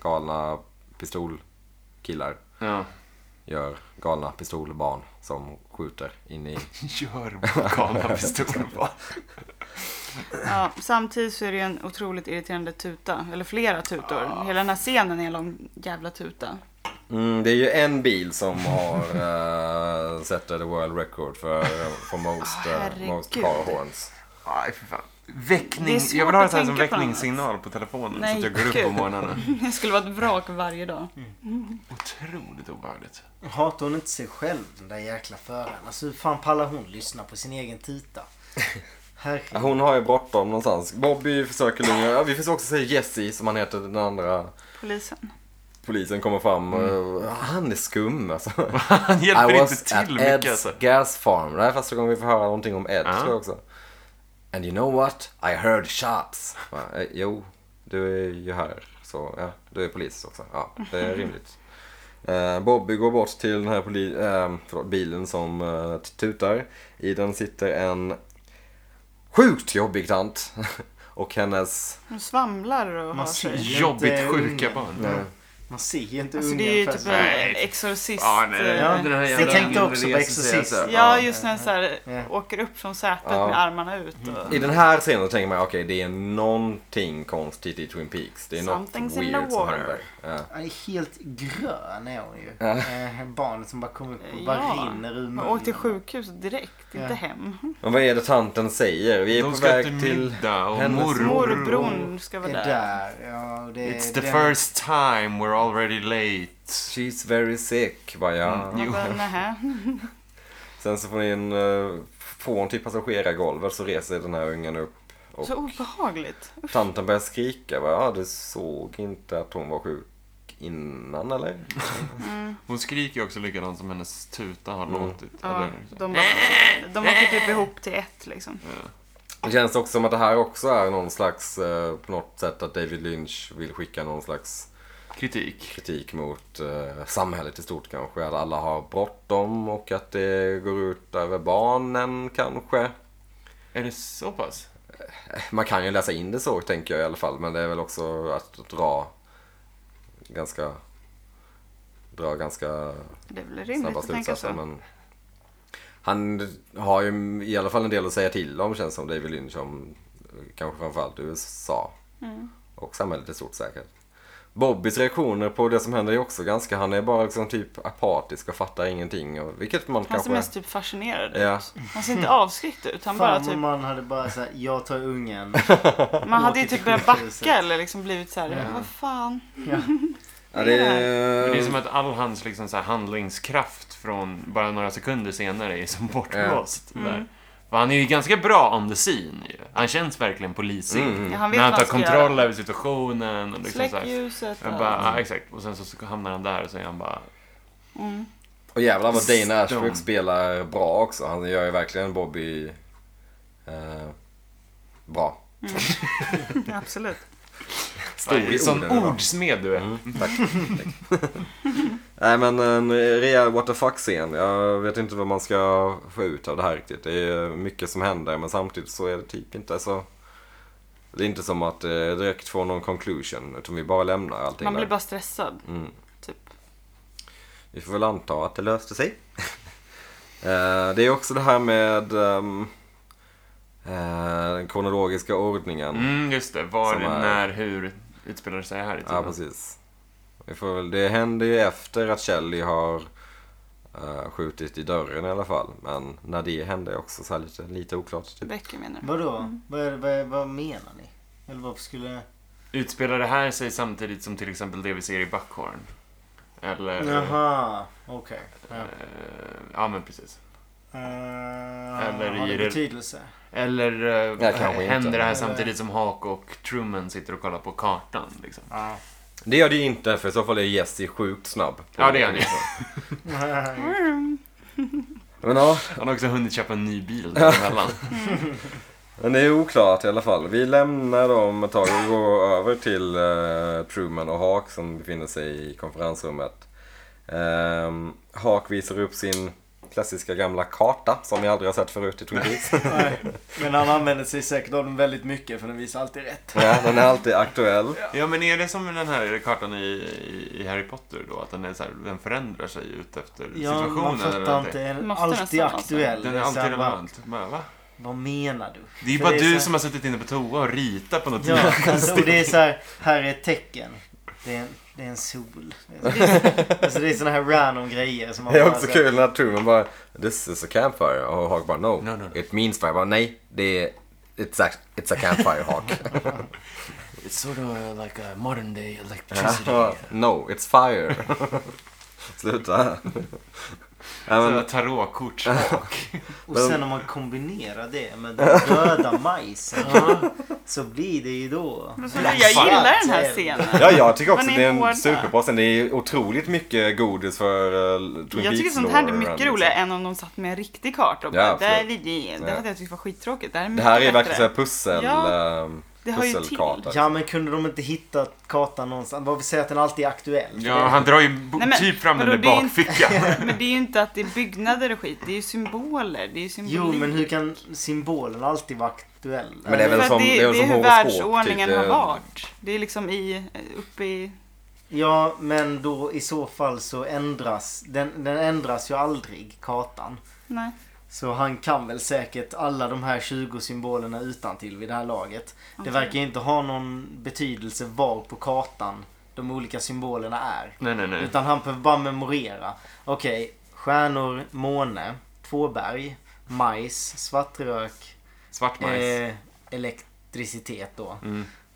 Speaker 3: galna pistolkillar
Speaker 2: Ja.
Speaker 3: gör galna pistolbarn som skjuter in i...
Speaker 2: Gör galna pistolen bara.
Speaker 1: Ja, samtidigt så är det ju en otroligt irriterande tuta. Eller flera tutor. Hela den här scenen är en lång jävla tuta.
Speaker 3: Mm, det är ju en bil som har uh, set the world record för, for most, eh, most
Speaker 1: herregud.
Speaker 3: car horns.
Speaker 2: Nej, för fan.
Speaker 1: Det är
Speaker 2: Väckning.
Speaker 1: svårt
Speaker 2: Jag vill ha en
Speaker 1: att
Speaker 2: sån här som
Speaker 1: tänka på
Speaker 2: väckningssignal på telefonen
Speaker 1: Nej,
Speaker 2: så att jag går upp på
Speaker 1: gud.
Speaker 2: morgnarna.
Speaker 1: Det skulle vara ett vrak varje dag.
Speaker 4: Mm.
Speaker 2: Otroligt obehagligt.
Speaker 4: Hatar hon inte sig själv den där jäkla föraren? Alltså hur fan pallar hon lyssna på sin egen tita?
Speaker 3: Ja,
Speaker 4: Herregud.
Speaker 3: Hon har ju bortom någonstans. Bobby försöker lugna... Ja, vi försöker också säga Jesse som han heter, den andra
Speaker 1: Polisen.
Speaker 3: polisen kommer fram. och eh, han är skum alltså.
Speaker 2: Mm. Han hjälper inte till mycket
Speaker 3: Ed's
Speaker 2: alltså.
Speaker 3: gas farm. Det här är första gången vi får höra någonting om Ed
Speaker 2: Ja.
Speaker 3: tror jag också. And you know what? I heard shots. Va, eh, Jo, du är ju här. Så ja, du är polis också. Ja, det är rimligt. Eh, Bobby går bort till den här poli- eh, förlåt, bilen som eh, tutar. I den sitter en sjukt jobbig tant. Och hennes...
Speaker 1: De svamlar och har
Speaker 4: Man ser
Speaker 1: sig.
Speaker 4: ju
Speaker 2: Jobbigt
Speaker 4: inte
Speaker 2: sjuka
Speaker 4: ungen.
Speaker 2: barn.
Speaker 4: Man ser ju inte
Speaker 1: Alltså
Speaker 4: ungen
Speaker 1: det är ju typ
Speaker 4: först.
Speaker 2: Nej,
Speaker 1: en
Speaker 2: fy-
Speaker 1: exorcist.
Speaker 2: Ja, nej, nej,
Speaker 1: eh,
Speaker 2: den här
Speaker 4: Jag
Speaker 2: jävla
Speaker 4: tänkte också på
Speaker 2: ingrediensen
Speaker 4: Exorcist.
Speaker 2: säger så här,
Speaker 1: Ja, just när den så här
Speaker 4: Ja.
Speaker 1: åker upp från sätet
Speaker 3: Ja.
Speaker 1: med armarna ut.
Speaker 2: Mm.
Speaker 1: Och...
Speaker 3: I den här scenen tänker man okej, det är någonting konstigt i Twin Peaks. Det är något
Speaker 1: Something's in the
Speaker 3: weird som
Speaker 1: water.
Speaker 3: händer. Ja.
Speaker 4: Han är helt grön är hon ju.
Speaker 3: Ja.
Speaker 4: Eh, barnet som bara kommer upp och bara
Speaker 1: Ja.
Speaker 4: rinner ur munnen.
Speaker 1: Man åker till sjukhus direkt,
Speaker 4: Ja.
Speaker 1: inte hem.
Speaker 3: Men vad är det tanten säger? Vi är
Speaker 2: De
Speaker 3: på
Speaker 2: ska
Speaker 3: väg
Speaker 2: till
Speaker 3: till...
Speaker 2: middag och
Speaker 3: hennes
Speaker 2: morbror.
Speaker 1: Morbrorn ska vara
Speaker 4: Det är
Speaker 1: där.
Speaker 4: där. Ja, det är
Speaker 2: It's the
Speaker 4: den-
Speaker 2: first time we're already late.
Speaker 3: She's very sick, var jag.
Speaker 2: Mm.
Speaker 1: Man bara, nähä.
Speaker 3: Sen så får ni en... eh, Får hon till passagerargolvet så reser den här ungen upp. Och
Speaker 1: Så obehagligt.
Speaker 3: tanten börjar skrika. Bara, ja, du såg inte att hon var sjuk innan eller?
Speaker 2: Hon skriker ju också likadant som hennes tuta har låtit.
Speaker 1: Ja,
Speaker 2: Eller,
Speaker 1: de åker- de åker typ ihop till ett liksom.
Speaker 3: Det känns också som att det här också är någon slags... eh, På något sätt att David Lynch vill skicka någon slags
Speaker 2: kritik.
Speaker 3: kritik mot eh, samhället i stort kanske. Att alla har bråttom och att det går ut över barnen kanske.
Speaker 2: Är det så pass?
Speaker 3: Man kan ju läsa in det så tänker jag i alla fall. Men det är väl också att dra ganska dra ganska
Speaker 1: Det är väl rimligt
Speaker 3: snabba
Speaker 1: att tänka
Speaker 3: slutsatser.
Speaker 1: så.
Speaker 3: Men han har ju i alla fall en del att säga till om känns som David Lynch om kanske framförallt USA.
Speaker 1: Mm.
Speaker 3: Och samhället i stort säkert. Bobbys reaktioner på det som händer är också ganska, han är bara liksom typ apatisk och fattar ingenting. Och, vilket man
Speaker 1: Han ser
Speaker 3: kanske...
Speaker 1: mest typ fascinerad
Speaker 3: Ja.
Speaker 1: ut. Han ser inte avskräckt ut. Han
Speaker 4: Mm. Fan
Speaker 1: bara
Speaker 4: vad
Speaker 1: typ,
Speaker 4: man hade bara såhär, jag tar ungen.
Speaker 1: man hade ju
Speaker 4: åker
Speaker 1: typ
Speaker 4: till
Speaker 1: börjat
Speaker 4: sjukhuset.
Speaker 1: backa eller liksom blivit så här, vad fan.
Speaker 3: Ja, det
Speaker 2: Men det är som att all hans liksom, så här, handlingskraft från bara några sekunder senare är som bortblåst.
Speaker 1: Mm.
Speaker 2: Där. För han är ju ganska bra on the scene ju. Han känns verkligen polisig.
Speaker 1: Ja, han vet
Speaker 2: När han
Speaker 1: vad
Speaker 2: tar
Speaker 1: han ska
Speaker 2: kontroll
Speaker 1: göra.
Speaker 2: över situationen. Och liksom,
Speaker 1: Släck
Speaker 2: så här.
Speaker 1: ljuset.
Speaker 2: Jag
Speaker 1: och-
Speaker 2: bara, ja, exakt. Och sen så hamnar han där och så är han bara...
Speaker 3: Och jävlar vad Dana Ashbrook
Speaker 2: Stone.
Speaker 3: spelar bra också. Han gör ju verkligen Bobby eh, bra.
Speaker 1: Absolut.
Speaker 3: Stor i
Speaker 2: Sån
Speaker 3: orden Mm. idag.
Speaker 2: ordsmed du är.
Speaker 3: Tack. Tack. Nej men eh, en rejäl what the fuck-scen. Jag vet inte vad man ska få ut av det här riktigt. Det är mycket som händer men samtidigt så är det typ inte så... Det är inte som att eh, direkt få någon conclusion utan vi bara lämnar allting
Speaker 1: Man blir
Speaker 3: där.
Speaker 1: bara stressad.
Speaker 3: Mm.
Speaker 1: Typ.
Speaker 3: Vi får väl anta att det löste sig. Eh, det är också det här med ehm, eh, den kronologiska ordningen.
Speaker 2: Mm, just det. Var,
Speaker 3: Som är-
Speaker 2: när, hur utspelar det sig här i
Speaker 3: Ja,
Speaker 2: tiden?
Speaker 3: precis. Vi får väl, det händer ju efter att Shelley har eh, skjutit i dörren i alla fall. Men när det hände är också så här lite, lite oklart. Typ.
Speaker 1: Becker menar du?
Speaker 4: Vadå? Vad, är- vad, är- vad menar ni? Eller varför skulle...
Speaker 2: Utspelar det här sig samtidigt som till exempel det vi ser i Buckhorn? Eller...
Speaker 4: Jaha, okej. Ja.
Speaker 2: Eh, ja, men precis.
Speaker 4: Eller har
Speaker 2: i
Speaker 4: det
Speaker 2: det-
Speaker 4: betydelse?
Speaker 2: Eller eh,
Speaker 3: Nej, kanske inte.
Speaker 2: händer det här
Speaker 4: Nej.
Speaker 2: samtidigt som Hawk och Truman sitter och kollar på kartan? Liksom.
Speaker 4: Ja.
Speaker 3: Det gör det ju inte för i så fall är Jesse sjukt snabb.
Speaker 2: Ja, det är han ju.
Speaker 3: Men ja,
Speaker 2: Han har också hunnit köpa en ny bil däremellan.
Speaker 3: men det är oklart i alla fall. Vi lämnar dem ett tag och går över till eh, Truman och Hawk som befinner sig i konferensrummet. Um, Hawk visar upp sin klassiska gamla karta som vi aldrig har sett förut i Twin Peaks.
Speaker 4: Nej. Men han använder sig säkert av den väldigt mycket för den visar alltid rätt.
Speaker 3: ja, den är alltid aktuell.
Speaker 2: ja, men är det som den här kartan i, i- i Harry Potter då? Att den, är så här, den förändrar sig ut efter
Speaker 4: Ja, man
Speaker 2: situationen? eller
Speaker 4: fattar
Speaker 2: någonting?
Speaker 4: inte. Den är
Speaker 1: Måste
Speaker 4: alltid
Speaker 1: nästan vara så.
Speaker 4: aktuell.
Speaker 2: Den
Speaker 4: Det
Speaker 2: är
Speaker 4: är så
Speaker 2: alltid
Speaker 4: här, va,
Speaker 2: relevant. Men, va?
Speaker 4: Vad menar du?
Speaker 2: Det är ju
Speaker 4: För
Speaker 2: bara
Speaker 4: är
Speaker 2: du
Speaker 4: så-
Speaker 2: som har suttit inne på toa och ritat på något.
Speaker 4: Ja, alltså, och det är så här, här är ett tecken. Det är en, det är en sol. Det är så- Alltså det är såna här random grejer som man
Speaker 3: Det är
Speaker 4: bara
Speaker 3: också
Speaker 4: så-
Speaker 3: kul när Truman bara This is a campfire och Hawk bara no,
Speaker 2: No, no, no.
Speaker 3: it means fire. Jag bara, nej, det är It's a, it's a campfire Hawk.
Speaker 5: It's sort of uh, like a modern day electricity.
Speaker 3: no, it's fire. Sluta. Nej,
Speaker 2: Sådana
Speaker 3: men,
Speaker 2: tarotkort.
Speaker 4: Och sen om man kombinerar det med den döda majsen. Så blir det ju då.
Speaker 1: Men så, jag gillar den här scenen.
Speaker 3: ja, jag tycker också
Speaker 1: Man är
Speaker 3: det är en
Speaker 1: hårda.
Speaker 3: superbra scen. Det är otroligt mycket godis för uh, Twin
Speaker 1: Jag tycker
Speaker 3: Peaks
Speaker 1: sånt här är
Speaker 3: lore,
Speaker 1: mycket
Speaker 3: liksom.
Speaker 1: roligare än om de satt med en riktig karta och
Speaker 3: Ja,
Speaker 1: bara, där är
Speaker 3: absolut.
Speaker 1: vi. Det
Speaker 3: Ja.
Speaker 1: hade jag tyckt var skittråkigt. Det här är,
Speaker 3: Det här är
Speaker 1: mycket
Speaker 3: verkligen
Speaker 1: bättre.
Speaker 3: såhär pussel,
Speaker 1: Ja,
Speaker 3: ehm,
Speaker 1: det hör ju till.
Speaker 3: pusselkarta.
Speaker 4: Ja men kunde de inte hitta kartan någonstans? Vad vi säger att den alltid är aktuell.
Speaker 2: Ja, han drar ju bo-
Speaker 1: Nej, men-
Speaker 2: typ fram den
Speaker 1: vadå,
Speaker 2: där
Speaker 1: det är inte-
Speaker 2: bakfickan.
Speaker 1: Men det är ju inte att det är byggnader och skit. Det är ju symboler. Det är ju symbolik.
Speaker 4: Jo men hur kan symbolen alltid vara aktuell?
Speaker 3: Men det är väl
Speaker 1: För att
Speaker 3: som-
Speaker 1: det,
Speaker 3: det är väl
Speaker 1: det är
Speaker 3: som
Speaker 1: hur
Speaker 3: horoskop,
Speaker 1: världsordningen
Speaker 3: typ.
Speaker 1: har
Speaker 3: Det-
Speaker 1: varit. Det är liksom i, uppe i...
Speaker 4: Ja men då i så fall så ändras den, den ändras ju aldrig kartan.
Speaker 1: Nej.
Speaker 4: Så han kan väl säkert alla de här 20 symbolerna utan till vid det här laget. Det verkar ju inte ha någon betydelse var på kartan de olika symbolerna är.
Speaker 2: Nej, nej, nej.
Speaker 4: Utan han behöver bara memorera. Okej, stjärnor, måne, två berg, majs, svart rök,
Speaker 2: Svart majs. Mm.
Speaker 4: eh, elektricitet då.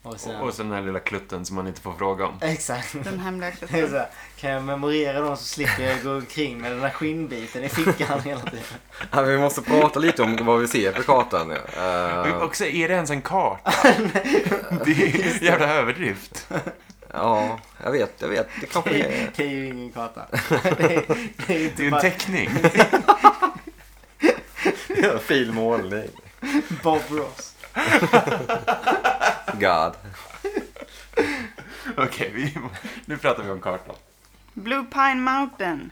Speaker 4: Och sen,
Speaker 2: Och, och sen den här lilla klutten som man inte får fråga om.
Speaker 4: Exakt.
Speaker 1: Den hemliga
Speaker 4: Det är så
Speaker 1: klubben.
Speaker 4: här, Kan jag memorera dem så slipper jag gå omkring med den här skinnbiten i fickan hela tiden.
Speaker 3: Ja, vi måste prata lite om vad vi ser på kartan. Uh,
Speaker 2: Och också, är det ens en karta? det är en jävla överdrift.
Speaker 3: ja, jag vet, jag vet. Det kanske
Speaker 4: Det
Speaker 3: är...
Speaker 4: är- det är ju ingen karta. Det är, det är ju
Speaker 2: Det är
Speaker 4: typ
Speaker 2: ju
Speaker 4: bara
Speaker 2: en teckning.
Speaker 3: Fin målning.
Speaker 4: Bob Ross.
Speaker 3: God.
Speaker 2: Okej, vi, nu pratar vi om kartan.
Speaker 1: Blue Pine Mountain.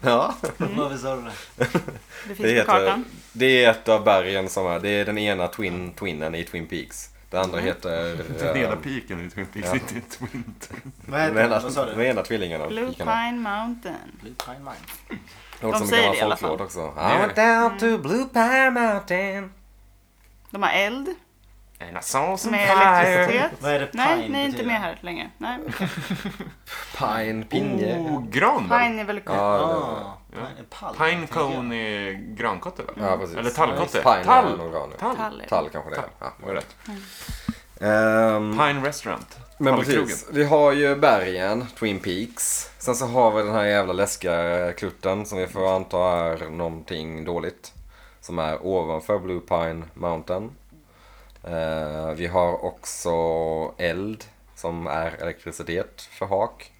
Speaker 3: Ja.
Speaker 4: Varför sa du det?
Speaker 1: Det finns
Speaker 3: Det
Speaker 1: på
Speaker 3: heter,
Speaker 1: kartan.
Speaker 3: det är ett av bergen som är, det är den ena twin, twinen i Twin Peaks. Det andra
Speaker 1: Mm.
Speaker 3: heter...
Speaker 2: Den
Speaker 3: eh,
Speaker 2: ena piken i Twin Peaks, inte i Twin
Speaker 4: Vad
Speaker 3: den
Speaker 4: heter den?
Speaker 3: ena,
Speaker 4: Vad sa du?
Speaker 3: den ena tvillingen av
Speaker 1: Blue
Speaker 3: pikarna.
Speaker 1: Pine Mountain.
Speaker 4: Blue Pine Mine.
Speaker 3: Det
Speaker 1: De
Speaker 3: låter som en
Speaker 1: säger
Speaker 3: gammal
Speaker 1: det i alla
Speaker 3: folklåt
Speaker 1: fall.
Speaker 3: också. I went down to Blue Pine Mountain.
Speaker 1: De har eld
Speaker 2: Renaissance
Speaker 1: med elektricitet.
Speaker 4: Vad är det pine
Speaker 1: Nej, ni är inte
Speaker 4: betyder?
Speaker 1: med här längre. Nej.
Speaker 3: Pine, pinje.
Speaker 2: Oh, gran väl?
Speaker 1: Pine är väl
Speaker 3: Ja, det-
Speaker 4: Ah,
Speaker 2: Ja.
Speaker 4: pine, palm,
Speaker 2: Pine
Speaker 4: tänker jag.
Speaker 2: cone är grankotte va?
Speaker 3: Ja, precis.
Speaker 2: Eller tallkotte.
Speaker 3: Pine är en
Speaker 2: Tall.
Speaker 3: organ.
Speaker 2: Tall.
Speaker 1: tall.
Speaker 3: Tall kanske det är. Ja,
Speaker 2: Var rätt.
Speaker 3: Ehm,
Speaker 2: Pine restaurant.
Speaker 3: Men
Speaker 2: Hallkrogen.
Speaker 3: precis, vi har ju bergen, Twin Peaks. Sen så har vi den här jävla läskiga klutten som vi får anta är någonting dåligt. Som är ovanför Blue Pine Mountain. Eh, vi har också eld som är elektricitet för Hawk.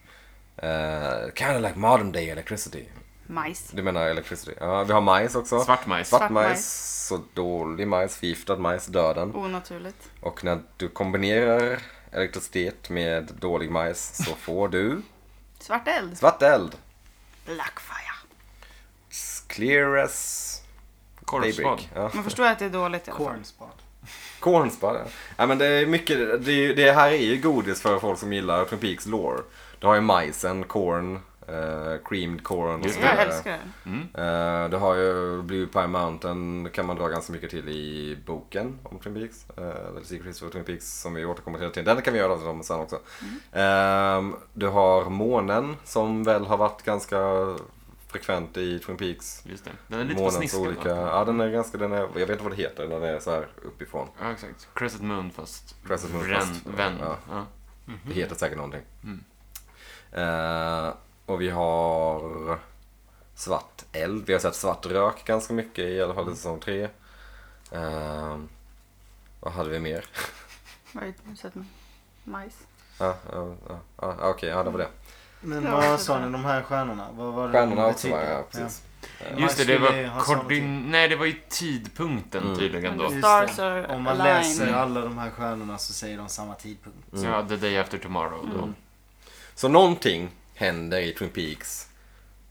Speaker 3: Uh, kind of like modern day electricity.
Speaker 1: majs.
Speaker 3: Du menar electricity? Ja, vi har majs också.
Speaker 2: Svart majs.
Speaker 3: Svart
Speaker 1: Svart
Speaker 3: majs,
Speaker 1: majs.
Speaker 3: så dålig majs, förgiftad majs, döden.
Speaker 1: Onaturligt.
Speaker 3: Och när du kombinerar elektricitet med dålig majs så får du
Speaker 1: Svart eld.
Speaker 3: svart eld.
Speaker 1: Blackfire.
Speaker 3: Clear as
Speaker 2: Korvspad.
Speaker 3: daybreak. Ja.
Speaker 1: Man förstår att det är dåligt i alla fall.
Speaker 4: Corn spot.
Speaker 3: Kornspad, ja. ja. men det är mycket, det, är, ju- det här är ju godis för folk som gillar Twin Peaks lore. Du har ju majsen, corn, eh, creamed corn och
Speaker 2: Just
Speaker 3: så
Speaker 2: det.
Speaker 1: Jag
Speaker 3: vidare.
Speaker 1: älskar den.
Speaker 3: Eh, du har ju Blue Pine Mountain, det kan man dra ganska mycket till i boken om Twin Peaks. Uh, The Secret History of Twin Peaks som vi återkommer till hela tiden. Den kan vi göra om sen också.
Speaker 2: Mm.
Speaker 3: Ehm, du har månen som väl har varit ganska frekvent i Twin Peaks.
Speaker 2: Just det. Den är lite på
Speaker 3: Månens
Speaker 2: sniskan. va?
Speaker 3: olika, ja den är ganska, den är, jag vet inte vad det heter när den är så här uppifrån.
Speaker 2: Ja, exakt. Crescent Moon fast
Speaker 3: Crescent Moon
Speaker 2: vänd.
Speaker 3: fast-
Speaker 2: vänd.
Speaker 3: ja.
Speaker 2: Ja.
Speaker 3: Det heter säkert någonting. Eh, och vi har svart eld. Vi har sett svart rök ganska mycket i alla fall i säsong tre. Ehm, vad hade vi mer?
Speaker 1: Vad är det? Så att- Majs.
Speaker 3: Ja, ja, ja, ja, ah, okej, ja det var det.
Speaker 4: Men
Speaker 1: Ja,
Speaker 4: vad
Speaker 1: precis.
Speaker 4: sa ni, de här stjärnorna? Vad var det
Speaker 3: Stjärnorna
Speaker 4: de
Speaker 3: också var
Speaker 4: betydde?
Speaker 3: ja, precis.
Speaker 2: Just det,
Speaker 4: Man
Speaker 2: det
Speaker 4: skulle
Speaker 2: var
Speaker 4: ha samma tid.
Speaker 2: koordin... Nej, det var ju tidpunkten
Speaker 3: Mm.
Speaker 2: tydligen då.
Speaker 1: The
Speaker 4: Just
Speaker 1: stars
Speaker 4: det.
Speaker 1: are
Speaker 4: Om man
Speaker 1: aligned.
Speaker 4: läser alla de här stjärnorna så säger de samma tidpunkt.
Speaker 3: Mm.
Speaker 2: Ja, the day after tomorrow då.
Speaker 3: Så någonting händer i Twin Peaks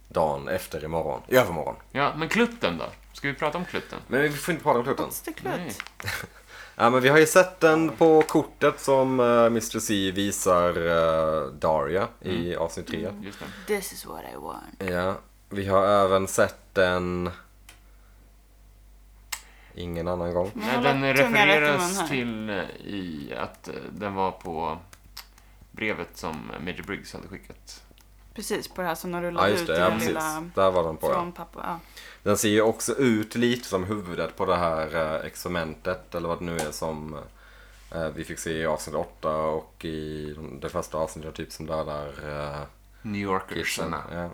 Speaker 3: dagen efter imorgon, i övermorgon.
Speaker 2: Ja, men klutten då? Ska vi prata om klutten?
Speaker 3: Men vi får inte prata om kluten.
Speaker 1: What's the
Speaker 2: Nej.
Speaker 1: clue?
Speaker 3: Ja, men vi har ju sett den på kortet som eh, Mr. C visar eh, Daria i avsnitt 3.
Speaker 2: Just det.
Speaker 1: This is what I want.
Speaker 3: Ja, vi har även sett den... Ingen annan gång.
Speaker 1: Man
Speaker 2: Nej,
Speaker 1: Mm, har
Speaker 2: den
Speaker 1: lagt tungan rätt i mun
Speaker 2: refereras
Speaker 1: här.
Speaker 2: till i att eh, den var på brevet som Major Briggs hade skickat.
Speaker 1: Precis, på det här som de
Speaker 3: Ja,
Speaker 1: rullade
Speaker 3: just
Speaker 1: ut i
Speaker 3: det. Ja,
Speaker 1: den
Speaker 3: precis.
Speaker 1: lilla...
Speaker 3: Där var den på, ja.
Speaker 1: Från pappa. Ja.
Speaker 3: Den ser ju också ut lite som huvudet på det här eh, experimentet eller vad det nu är som eh, vi fick se i avsnitt 8 och i de- det första avsnittet typ som dödar eh,
Speaker 2: New
Speaker 3: kidsen.
Speaker 2: Yorkersarna.
Speaker 3: Ja.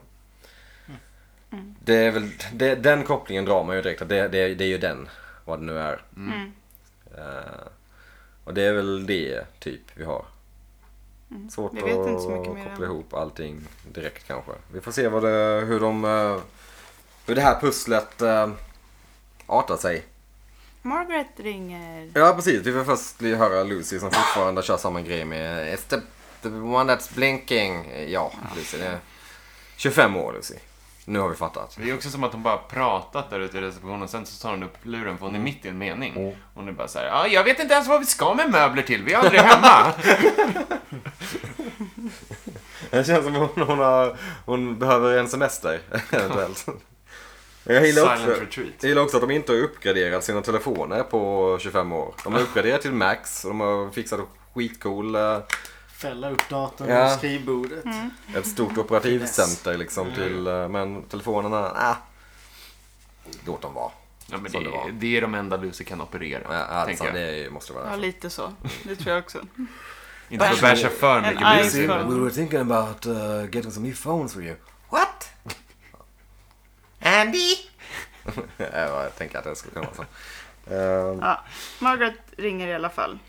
Speaker 1: Mm.
Speaker 3: Det är väl, det, den kopplingen drar man ju direkt att det, det, det är ju den, vad det nu är.
Speaker 1: Mm.
Speaker 3: Eh, och det är väl det typ vi har. Svårt
Speaker 1: Mm. Vi vet inte så mycket
Speaker 3: att
Speaker 1: mer
Speaker 3: koppla
Speaker 1: än-
Speaker 3: ihop allting direkt kanske. Vi får se vad det, hur, de, eh, hur det här pusslet eh, artar sig.
Speaker 1: Margaret ringer.
Speaker 3: Ja precis, vi får först li- höra Lucy som fortfarande kör samma grej med It's the, the one that's blinking. Ja, Lucy. Det är 25 år Lucy. Nu har vi fattat.
Speaker 2: Det är också som att hon bara pratat där ute i receptionen, sen så tar hon upp luren för hon är
Speaker 3: Mm.
Speaker 2: mitt i en mening. Hon är bara så här, ah, jag vet inte ens vad vi ska med möbler till, vi är aldrig hemma.
Speaker 3: Det känns som hon, hon, har, hon behöver en semester. eventuellt. Jag gillar
Speaker 2: Silent
Speaker 3: också,
Speaker 2: retreat.
Speaker 3: jag gillar också att de inte har uppgraderat sina telefoner på 25 år. De har uppgraderat till Max och de har fixat skitcool, eh,
Speaker 4: Fälla upp datorn
Speaker 3: Ja.
Speaker 4: på skrivbordet.
Speaker 3: ett stort operativcenter liksom till, eh, men telefonerna, ah, låt dem vara.
Speaker 2: Ja, men
Speaker 3: Så det var.
Speaker 2: det, det är de enda Lucy kan operera,
Speaker 3: Ja, Alltså,
Speaker 2: tänker jag.
Speaker 3: det är- måste vara
Speaker 1: Ja,
Speaker 3: därför.
Speaker 1: lite så. Det tror jag också.
Speaker 2: Inte för att basha för
Speaker 1: En
Speaker 2: mycket
Speaker 1: ice
Speaker 2: Lucy.
Speaker 1: cream.
Speaker 2: men-
Speaker 1: We
Speaker 3: were thinking about uh, getting some new phones for you.
Speaker 6: What? Andy?
Speaker 3: jag tänker att det skulle kunna vara så. Eh,
Speaker 1: Ja. Margaret ringer i alla fall.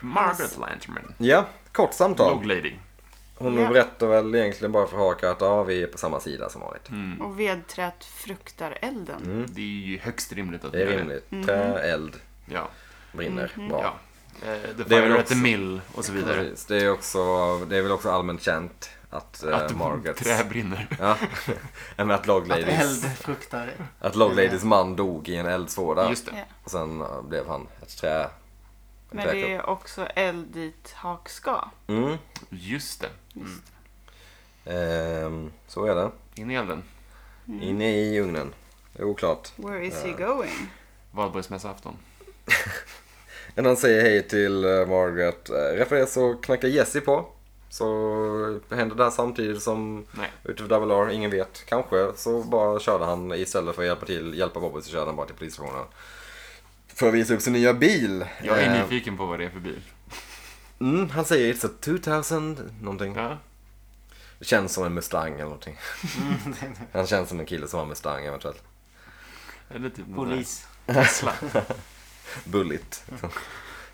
Speaker 2: Margaret Lanterman.
Speaker 3: Ja, kort samtal.
Speaker 2: Log lady.
Speaker 3: Hon
Speaker 1: Ja.
Speaker 3: berättar väl egentligen bara för Haka att ja, vi är på samma sida som vanligt.
Speaker 2: Mm.
Speaker 1: Och vedträt fruktar elden.
Speaker 3: Mm.
Speaker 2: Det är ju högst rimligt att
Speaker 3: Det är
Speaker 2: göra
Speaker 3: rimligt.
Speaker 1: Mm.
Speaker 3: Trä, eld,
Speaker 2: Ja.
Speaker 3: brinner. Bra.
Speaker 2: ja. Eh, The
Speaker 3: Det är väl
Speaker 2: Fire at the
Speaker 3: också-
Speaker 2: Mill och så vidare.
Speaker 3: Precis. Det, är också, det är väl också allmänt känt att, eh,
Speaker 2: Att
Speaker 3: Margaret...
Speaker 2: trä brinner.
Speaker 3: Ja, men att Log
Speaker 4: Att
Speaker 3: Ladies, Mm.
Speaker 4: eld fruktar.
Speaker 3: att Log Ladies man dog i en eldsvåda.
Speaker 2: Just det.
Speaker 1: Ja.
Speaker 3: Och sen eh, blev han ett trä. en
Speaker 1: Men det
Speaker 3: träkropp.
Speaker 1: är också eld dit hak ska.
Speaker 3: Mm.
Speaker 2: Just det.
Speaker 3: Ehm, så är det.
Speaker 2: In i elden.
Speaker 3: Inne i ugnen. Det är oklart.
Speaker 1: Where is he going?
Speaker 2: Valborgsmässoafton.
Speaker 3: Men han säger hej till eh, Margaret. Eh, Refererar så knackar Jesse på. Så händer det här samtidigt som
Speaker 2: Nej.
Speaker 3: ute för Double R, ingen vet. Kanske så bara körde han istället för att hjälpa till, hjälpa Bobby så körde han bara till polisstationen. För att visa upp sin nya bil.
Speaker 2: Jag är
Speaker 3: Eh,
Speaker 2: nyfiken på vad det är för bil.
Speaker 3: mm, han säger it's a 2000 någonting.
Speaker 2: Ja.
Speaker 3: Det Känns som en Mustang eller någonting. han känns som en kille som har Mustang eventuellt.
Speaker 2: Eller typ någon
Speaker 4: Polis.
Speaker 2: där Tesla.
Speaker 3: Bullet.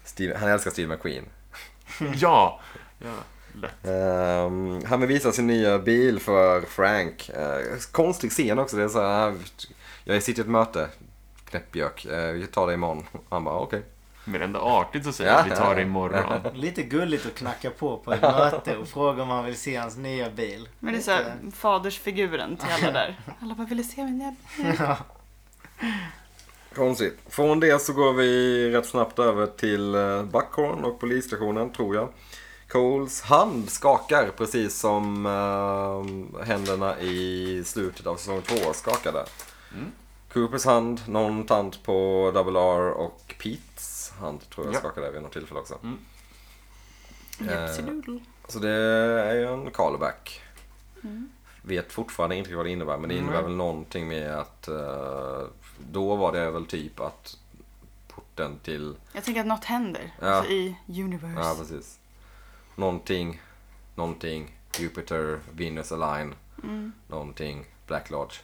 Speaker 3: Steve, han älskar Steve McQueen.
Speaker 2: Ja. ja. Lätt.
Speaker 3: Ehm, han vill visa sin nya bil för Frank. Eh, konstig scen också. Det är så här, jag sitter i ett möte, knäppjök. Eh, vi tar det imorgon. Han bara okej.
Speaker 2: Men ändå artigt så säger jag, vi tar det imorgon.
Speaker 4: Lite gulligt att knacka på på ett möte och fråga om man vill se hans nya bil.
Speaker 1: Men det är såhär fadersfiguren till alla där. Alla bara ville se min jävla...
Speaker 3: Konstigt. Från det så går vi rätt snabbt över till eh, Buckhorn och polisstationen tror jag. Coles hand skakar precis som eh, händerna i slutet av säsong två skakade. Coopers hand, någon tant på Double R och Pete's hand tror jag
Speaker 2: Ja.
Speaker 3: skakade vid något tillfälle också. Eh,
Speaker 1: Jipsidoodle.
Speaker 3: Så det är ju en callback. Vet fortfarande inte vad det innebär men det innebär väl någonting med att eh, då var det väl typ att porten till
Speaker 1: Jag tänker att något händer.
Speaker 3: Ja.
Speaker 1: Alltså i
Speaker 3: Ja, typ.
Speaker 1: universe.
Speaker 3: precis. Någonting, någonting, Jupiter, Venus align, någonting, Black Lodge.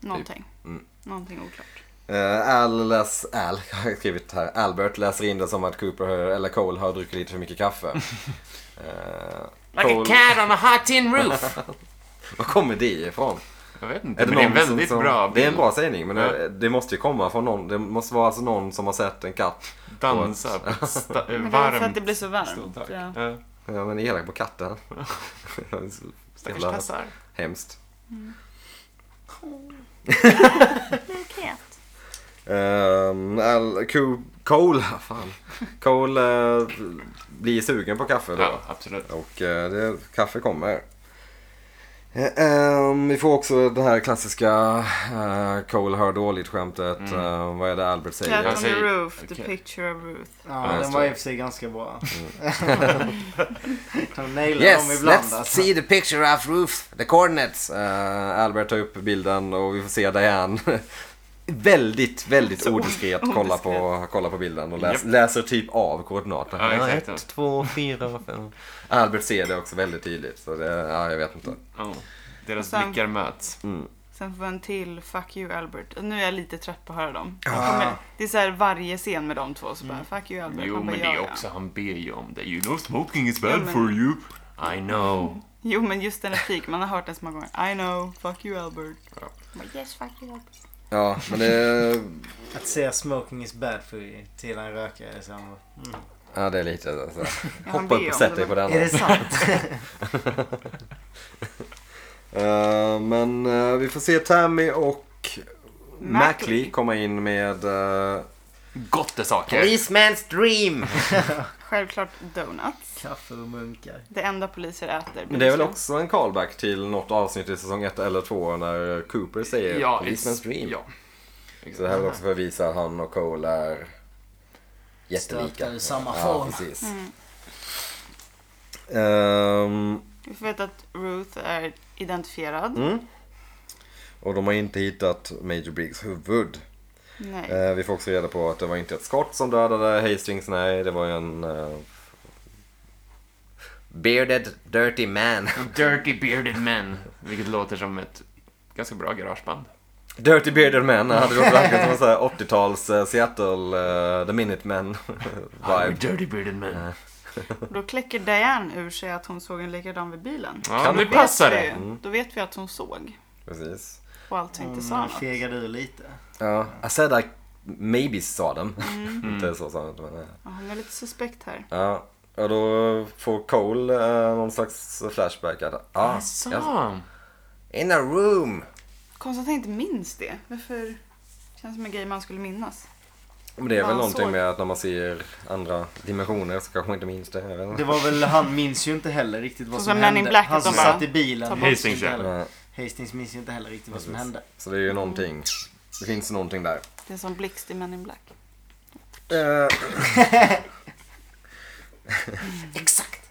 Speaker 1: Någonting.
Speaker 3: Mm.
Speaker 1: Någonting oklart.
Speaker 3: Eh, Al, läs, Al jag har skrivit här. Albert läser in det som att Cooper eller Cole har druckit lite för mycket kaffe. Eh,
Speaker 2: Like a
Speaker 3: Cole-
Speaker 2: cat on a hot tin roof.
Speaker 3: var kommer det ifrån?
Speaker 2: Jag vet inte, men
Speaker 3: det
Speaker 2: det är en
Speaker 3: någon
Speaker 2: väldigt
Speaker 3: som-
Speaker 2: bra bild.
Speaker 3: Det är en bra sägning, men
Speaker 2: Ja.
Speaker 3: det, det måste ju komma från någon. Det måste vara alltså någon som har sett en katt.
Speaker 2: Dansa på ett sta- eh,
Speaker 1: Men det är för att
Speaker 2: varmt
Speaker 1: det blir så varmt.
Speaker 2: ståltak.
Speaker 1: Ja.
Speaker 2: Ja.
Speaker 3: Ja, men elak på katten. Så
Speaker 2: Stackars
Speaker 3: jävla
Speaker 2: tassar.
Speaker 3: Hemskt.
Speaker 1: Raket.
Speaker 3: Um, Al, Co- Cole, fan. Cole eh, blir sugen på kaffe då.
Speaker 2: Ja, absolut.
Speaker 3: Och eh, det, kaffe kommer. Eh, ehm, vi får också det här klassiska eh, Cole hör dåligt-skämtet. Eh, vad är det Albert säger?
Speaker 1: Cat
Speaker 2: Jag
Speaker 1: on the
Speaker 2: säger-
Speaker 1: roof, the
Speaker 2: okej.
Speaker 1: picture of Ruth.
Speaker 4: Ja,
Speaker 3: just
Speaker 4: den
Speaker 3: det.
Speaker 4: var
Speaker 3: Mm.
Speaker 4: i och för sig ganska bra. De nailar dem
Speaker 3: Yes,
Speaker 4: ibland
Speaker 3: let's
Speaker 4: alltså.
Speaker 3: see the picture of roof, the coordinates. Eh, Albert tar upp bilden och vi får se Diane väldigt, väldigt
Speaker 1: Så
Speaker 3: odiskret
Speaker 1: o-
Speaker 3: kolla på,
Speaker 1: odiskret.
Speaker 3: kolla på bilden och läs,
Speaker 2: Japp.
Speaker 3: läser typ av koordinaterna.
Speaker 2: Ja, exakt.
Speaker 3: ett, två, fyra, fem. Albert ser det också väldigt tydligt. Så det, ja, jag vet inte.
Speaker 2: Ja. Deras
Speaker 1: Och sen-
Speaker 2: blickar möts.
Speaker 1: Sen får vi en till Fuck you Albert. Och nu är jag lite trött på att höra dem.
Speaker 3: Ah.
Speaker 1: Jag Kommer, det är så här varje scen med de två så bara Fuck you Albert.
Speaker 2: Mm. Jo,
Speaker 1: Man bara,
Speaker 2: men det är
Speaker 1: ja, ja.
Speaker 2: också, han ber ju om det. You know smoking is bad
Speaker 1: Ja, men-
Speaker 2: for you. I know.
Speaker 1: Jo men just den replik, man har hört den så många gånger. I know, fuck you Albert.
Speaker 2: Ja.
Speaker 1: Man bara, Yes fuck you Albert.
Speaker 3: Ja, men det,
Speaker 4: Att säga smoking is bad for you till en rökare. är Så han bara, mm.
Speaker 3: ja, det är lite så.
Speaker 1: Ja, han
Speaker 3: Hoppa
Speaker 1: ber
Speaker 3: upp och
Speaker 1: om
Speaker 3: sätt
Speaker 1: det,
Speaker 3: dig på
Speaker 1: men-
Speaker 3: den.
Speaker 4: Är det sant?
Speaker 3: Eh, men eh, vi får se Tammy och
Speaker 1: Mackley.
Speaker 3: Mackley komma in med eh,
Speaker 2: Gott är saker.
Speaker 3: Policeman's dream.
Speaker 1: Självklart donuts.
Speaker 4: Kaffe och munkar.
Speaker 1: Det enda poliser äter.
Speaker 3: Men det är väl också en callback till något avsnitt i säsong 1 eller 2 när Cooper säger
Speaker 2: Ja,
Speaker 3: Policeman's
Speaker 2: it's-
Speaker 3: dream.
Speaker 2: Ja.
Speaker 3: Så det här är väl också för att visa att han och Cole är jättelika.
Speaker 4: Stöpta i samma
Speaker 3: Ja,
Speaker 4: form.
Speaker 3: precis.
Speaker 1: Mm.
Speaker 3: Ehm,
Speaker 1: Vi får veta att Ruth är identifierad.
Speaker 3: mm. Och de har inte hittat Major Briggs huvud.
Speaker 1: Nej.
Speaker 3: Eh, vi får också reda på att det var inte ett skott som dödade Hastings. Nej, det var ju en... eh, Bearded dirty man.
Speaker 2: Dirty bearded men. Vilket låter som ett ganska bra garageband.
Speaker 3: Dirty Bearded Man hade gjort verkligen som en sån här 80-tals eh, Seattle eh, The Minutemen
Speaker 2: I'm a
Speaker 3: vibe.
Speaker 2: Ah, dirty bearded man.
Speaker 1: Då kläcker Diane ur sig att hon såg en likadan vid bilen.
Speaker 2: Ja, nu
Speaker 1: Då vet
Speaker 2: passar
Speaker 1: vi-
Speaker 2: det. Mm.
Speaker 1: Då vet vi att hon såg
Speaker 3: Precis.
Speaker 1: och alltså inte sa
Speaker 4: Hon
Speaker 1: något.
Speaker 4: Mm, fegade ur lite.
Speaker 3: Ja, I said I maybe saw them. Inte så sa han inte men... eh,
Speaker 1: Ja, hon är lite suspekt här.
Speaker 3: Ja, och då får Cole eh, någon slags flashback. Att, ah, jag-
Speaker 2: Asså.
Speaker 3: in a room.
Speaker 1: Konstigt att jag inte minns det. Varför? Känns som en grej man skulle minnas.
Speaker 3: Men det är
Speaker 1: Ja,
Speaker 3: väl
Speaker 1: han
Speaker 3: någonting
Speaker 1: såg.
Speaker 3: med att när man ser andra dimensioner så kanske man inte minns det. Jag vet
Speaker 4: Det
Speaker 3: inte.
Speaker 4: var väl, han minns ju inte heller riktigt vad
Speaker 1: Så
Speaker 4: som
Speaker 1: som Men in
Speaker 4: hände.
Speaker 1: Black,
Speaker 4: han
Speaker 1: att
Speaker 4: som
Speaker 1: de bara
Speaker 4: satt i bilen.
Speaker 1: tar bort
Speaker 4: minns ju inte
Speaker 2: Hastings, ja.
Speaker 4: heller.
Speaker 3: Ja,
Speaker 4: Hastings minns ju inte heller riktigt vad som
Speaker 3: Precis.
Speaker 4: hände.
Speaker 3: så det är ju någonting. Det finns någonting där.
Speaker 1: Det är som blixt i Men in Black.
Speaker 3: Eh,
Speaker 4: Exakt.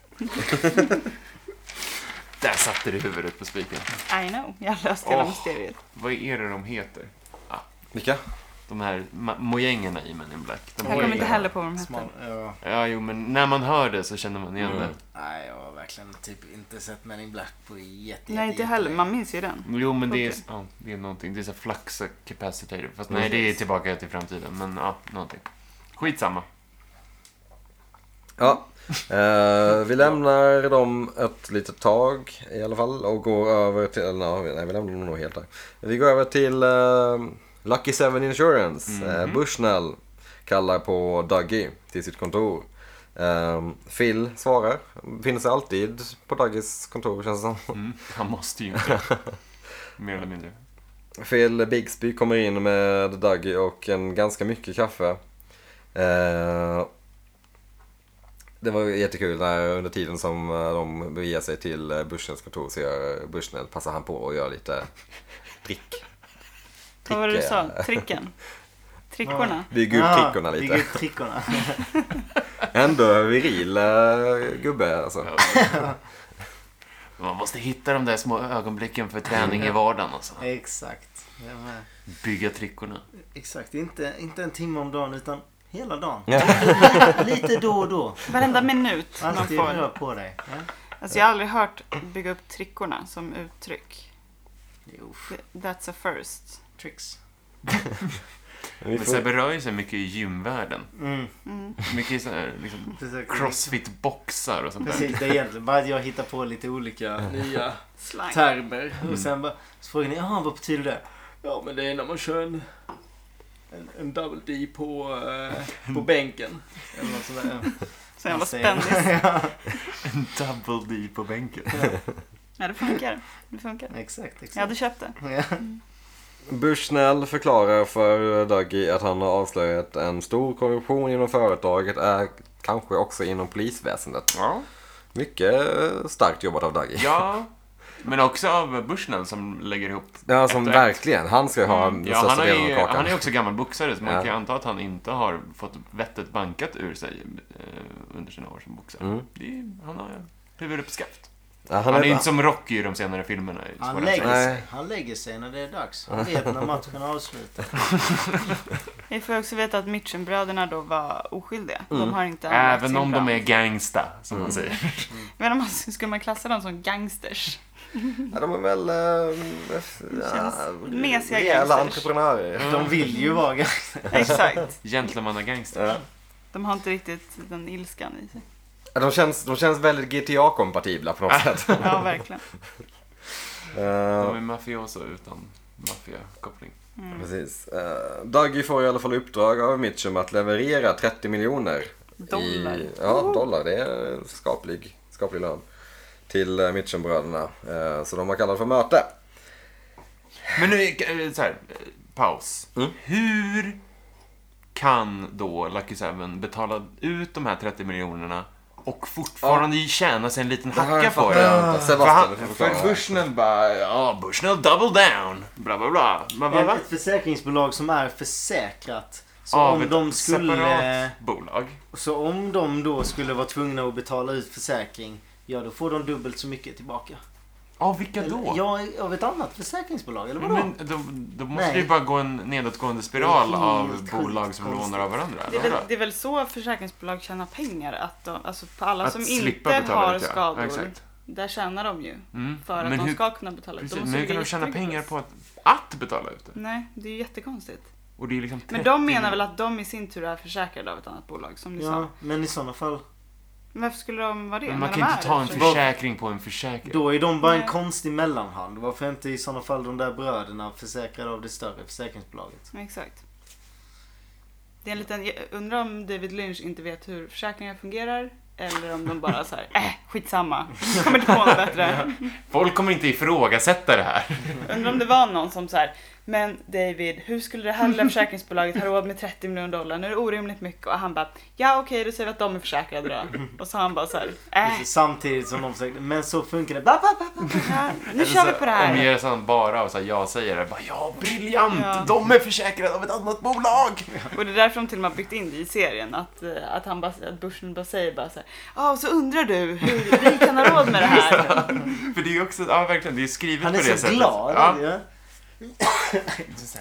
Speaker 2: Där satte du huvudet på spiken.
Speaker 1: I know, jag löste hela
Speaker 2: Åh.
Speaker 1: mysteriet.
Speaker 2: Vad är det de heter?
Speaker 3: vilka?
Speaker 2: De här ma- mojängerna i Men in Black.
Speaker 1: Jag
Speaker 2: De har
Speaker 1: kommer
Speaker 2: ju-
Speaker 1: inte heller på vad de
Speaker 4: Smal,
Speaker 1: hette.
Speaker 4: ja.
Speaker 2: Ja, jo, men när man hör det så känner man
Speaker 3: Mm.
Speaker 2: igen det.
Speaker 4: Nej, jag har verkligen typ inte sett Men in Black på jätte,
Speaker 1: Nej,
Speaker 4: jätte,
Speaker 1: inte heller.
Speaker 4: jättelänge.
Speaker 1: Man minns ju den.
Speaker 2: Jo, men det är,
Speaker 1: Okej.
Speaker 2: ja, det är någonting. Det är så här flux capacitor. Fast nej, det är tillbaka till framtiden. Men ja, någonting. Skitsamma.
Speaker 3: Ja, eh, vi lämnar dem ett litet tag i alla fall och går över till, eller ja, nej vi lämnar dem nog helt där. Vi går över till eh, Lucky Seven Insurance. Eh, Bushnell kallar på Dougie till sitt kontor. Eh, Phil svarar, finns alltid på Dougies kontor känns det som.
Speaker 2: Mm. Han måste ju inte. Mer eller mindre.
Speaker 3: Phil Bigsby kommer in med Dougie och en ganska mycket kaffe. Eh, det var ju jättekul när under tiden som eh, de beger sig till eh, Bushnells kontor så gör Bushnell, passar han på att göra lite drick.
Speaker 1: Vad var det du
Speaker 3: Tricka.
Speaker 1: sa? Tricken? Trickorna?
Speaker 3: Bygg ut
Speaker 4: Ja,
Speaker 3: trickorna
Speaker 4: Ah, Bygga
Speaker 3: lite.
Speaker 4: ut trickorna.
Speaker 3: Ändå viril eh, gubbe alltså.
Speaker 2: Man måste hitta de där små ögonblicken för träning i vardagen. Alltså.
Speaker 4: Exakt. Jag med.
Speaker 2: Bygga trickorna.
Speaker 4: Exakt. Inte, inte en timme om dagen utan hela dagen.
Speaker 3: Ja.
Speaker 4: lite då och då.
Speaker 1: Varenda minut man
Speaker 4: Alltid rör
Speaker 1: får.
Speaker 4: på dig. Ja.
Speaker 1: Alltså jag har aldrig hört bygga upp trickorna som uttryck.
Speaker 4: Jo,
Speaker 1: That's a first.
Speaker 4: tricks.
Speaker 3: Men vi
Speaker 2: Men
Speaker 3: får-
Speaker 2: Sebbe rör ju sig mycket i gymvärlden.
Speaker 4: Mm,
Speaker 1: Mm.
Speaker 2: Mycket sån här, liksom,
Speaker 4: försöker-
Speaker 2: crossfit-boxar och sånt där.
Speaker 4: Precis, det är egentligen bara att jag hittar på lite olika nya
Speaker 1: Slang.
Speaker 4: termer.
Speaker 3: Mm.
Speaker 4: Och sen bara, så frågar ni, jaha vad betyder det?
Speaker 5: Ja, men det är när man kör en, en, en double D på, eh, på bänken.
Speaker 4: Eller något sånt där.
Speaker 1: Så jävla
Speaker 4: Jag
Speaker 2: Alltså,
Speaker 4: säger-
Speaker 1: spändis.
Speaker 2: En double D på bänken.
Speaker 1: Ja, det funkar. Det funkar.
Speaker 4: Exakt, exakt.
Speaker 1: Jag hade köpt det.
Speaker 4: Ja.
Speaker 3: Bushnell förklarar för Dougie att han har avslöjat en stor korruption inom företaget, är kanske också inom polisväsendet.
Speaker 2: Ja.
Speaker 3: Mycket eh, starkt jobbat av Dougie.
Speaker 2: ja. Men också av Bushnell som lägger ihop.
Speaker 3: Ja, som
Speaker 2: Ett och ett.
Speaker 3: verkligen. Han ska ju ha den
Speaker 2: Ja, han,
Speaker 3: största
Speaker 2: har
Speaker 3: delen av
Speaker 2: ju,
Speaker 3: kakan.
Speaker 2: han är också gammal boxare så man
Speaker 3: Ja.
Speaker 2: kan ju anta att han inte har fått vettet bankat ur sig eh, under sina år som boxare.
Speaker 3: Mm.
Speaker 2: Det är, ju- han har ju huvudet på skaft.
Speaker 3: Ja, han
Speaker 2: Han,
Speaker 3: är
Speaker 2: är ju inte som Rocky i de senare filmerna. är
Speaker 4: Han
Speaker 2: svårare att
Speaker 4: lägger,
Speaker 2: säga.
Speaker 3: Nej.
Speaker 4: sig. han lägger sig när det är dags. Han vet när matchen är avslutad.
Speaker 1: Vi får också veta att Mitchenbröderna då var oskyldiga.
Speaker 3: Mm.
Speaker 1: De har inte anmält
Speaker 2: Även
Speaker 1: sin
Speaker 2: om de
Speaker 1: brand.
Speaker 2: är gangsta, som man säger.
Speaker 1: Men om man, skulle man klassa dem som gangsters?
Speaker 3: Ja, de är väl... Äh, ja,
Speaker 1: Känns mesiga
Speaker 3: rejäla
Speaker 1: gangsters.
Speaker 3: entreprenörer.
Speaker 4: De vill ju vara ganska-
Speaker 1: Exakt.
Speaker 2: Gentlemannagangster.
Speaker 3: Ja.
Speaker 1: De har inte riktigt den ilskan i sig.
Speaker 3: Ja, De känns, de känns väldigt GTA-kompatibla på något sätt.
Speaker 1: Ja, verkligen.
Speaker 2: De
Speaker 3: Eh,
Speaker 2: är mafioso utan maffiakoppling.
Speaker 3: precis. Eh, Dougie får i alla fall uppdrag av Mitchum att leverera 30 miljoner.
Speaker 1: Dollar.
Speaker 3: I, ja, dollar. Det är skaplig, skaplig lön. Till eh, Mitchum-bröderna. Eh, så de var kallade för möte.
Speaker 2: Men nu, eh, så här, eh, paus.
Speaker 3: Mm.
Speaker 2: Hur kan då Lucky Seven betala ut de här 30 miljonerna och fortfarande tjäna sig en liten
Speaker 3: Det här
Speaker 2: hacka på
Speaker 3: fattar jag
Speaker 2: det?
Speaker 3: inte.
Speaker 2: För,
Speaker 3: Sebastian,
Speaker 2: han,
Speaker 3: du får
Speaker 2: för
Speaker 3: förklara.
Speaker 2: Bushnell bara, ja, Bushnell double down. Bla, bla, bla. Men vad, va?
Speaker 4: Ett försäkringsbolag som är försäkrat. Så
Speaker 2: Av
Speaker 4: om
Speaker 2: ett
Speaker 4: de skulle...
Speaker 2: separat bolag.
Speaker 4: Så om de då skulle vara tvungna att betala ut försäkring. Ja då får de dubbelt så mycket tillbaka.
Speaker 2: Ja, vilka då?
Speaker 4: Eller, ja, av ett annat försäkringsbolag eller vadå?
Speaker 2: Men då, då måste
Speaker 4: Nej.
Speaker 2: det ju bara gå en nedåtgående spiral
Speaker 4: Det är
Speaker 2: av
Speaker 4: helt
Speaker 2: bolag
Speaker 4: sjukt
Speaker 2: som
Speaker 4: konstigt.
Speaker 2: lånar av varandra.
Speaker 1: Det är,
Speaker 2: eller vadå?
Speaker 1: väl, det är väl så försäkringsbolag tjänar pengar? Att de, alltså på alla
Speaker 2: Att
Speaker 1: som
Speaker 2: slippa
Speaker 1: inte
Speaker 2: betala
Speaker 1: har
Speaker 2: ut, ja.
Speaker 1: skador,
Speaker 2: Exakt.
Speaker 1: där tjänar de ju.
Speaker 2: Mm.
Speaker 1: För att
Speaker 2: men
Speaker 1: de
Speaker 2: hur,
Speaker 1: ska kunna betala ut.
Speaker 2: precis, men
Speaker 1: måste
Speaker 2: hur kan
Speaker 1: ju
Speaker 2: de tjäna
Speaker 1: jättetrygga.
Speaker 2: pengar på att, att betala ut det?
Speaker 1: Nej, det är ju jättekonstigt.
Speaker 2: Och det är liksom 30
Speaker 1: Men de menar väl att de i sin tur är försäkrade av ett annat bolag, som ni sa.
Speaker 4: Ja, men i sådana fall.
Speaker 1: Men Varför skulle de vara det?
Speaker 2: Men
Speaker 1: när
Speaker 2: man
Speaker 1: de
Speaker 2: kan
Speaker 1: är
Speaker 2: inte ta en
Speaker 1: det?
Speaker 2: försäkring på en försäkring.
Speaker 4: Då är de bara en
Speaker 1: Nej.
Speaker 4: konstig mellanhand. Varför är inte i sådana fall de där bröderna försäkrade av det större försäkringsbolaget?
Speaker 1: Ja, Exakt. Det är en liten, jag undrar om David Lynch inte vet hur försäkringar fungerar. Eller om de bara så här, äh, skitsamma. Jag Kommer inte på något bättre.
Speaker 2: Folk kommer inte ifrågasätta det här.
Speaker 1: Undrar om det var någon som så här, men David, hur skulle det här lilla försäkringsbolaget ha råd med 30 miljoner dollar? Nu är det orimligt mycket. Och han bara, ja okej, då säger vi att de är försäkrade då. Och så han bara så här, äh,
Speaker 4: Precis, Samtidigt som de försökte, men så funkar det. Ba, ba, ba, ba.
Speaker 1: ja, nu kör vi på det här.
Speaker 2: Omger sig bara av så här ja-sägare. Bara, Ja, briljant!
Speaker 1: Ja.
Speaker 2: De är försäkrade av ett annat bolag!
Speaker 1: Och det är därför de till och med har byggt in det i serien. Att, eh, att, han bara, att Bushen bara säger bara så här, ja och så undrar du hur vi kan ha råd med det här.
Speaker 2: För det är ju också, ja verkligen, det är skrivet
Speaker 4: Han
Speaker 2: på
Speaker 4: är
Speaker 2: det
Speaker 4: så
Speaker 2: sättet.
Speaker 4: glad.
Speaker 2: Ja.
Speaker 4: Ja.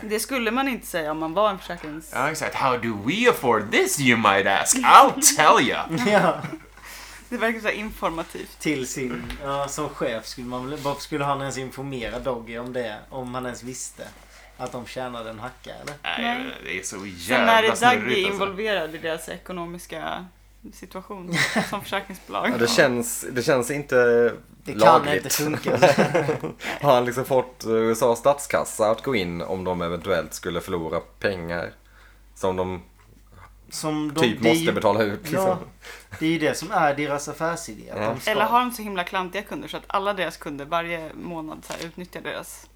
Speaker 1: Det skulle man inte säga om man var en försäkrings...
Speaker 2: Ja, exakt. How do we afford this you might ask? I'll tell ya!
Speaker 4: Ja,
Speaker 1: Det verkar så här informativt.
Speaker 4: till sin, ja, som chef skulle man väl, varför skulle han ens informera Doggy om det? Om han ens visste att de tjänade en hacka eller?
Speaker 2: Nej,
Speaker 1: Nej.
Speaker 2: men det är så
Speaker 1: Sen när
Speaker 2: jävla
Speaker 1: är Dagny
Speaker 2: snurrigt alltså.
Speaker 1: involverad i deras ekonomiska situation som försäkringsbolag.
Speaker 3: Ja, det, känns, det känns inte
Speaker 4: Det kan inte
Speaker 3: lagligt.
Speaker 4: funka.
Speaker 3: Har han liksom fått eh, USAs statskassa att gå in om de eventuellt skulle förlora pengar? Som de
Speaker 4: Som de,
Speaker 3: typ
Speaker 4: det är
Speaker 3: måste
Speaker 4: ju-
Speaker 3: betala ut liksom.
Speaker 4: Ja, det är ju det som är deras affärsidé. Att de ska,
Speaker 1: Eller har de så himla klantiga kunder så att alla deras kunder varje månad så här utnyttjar deras...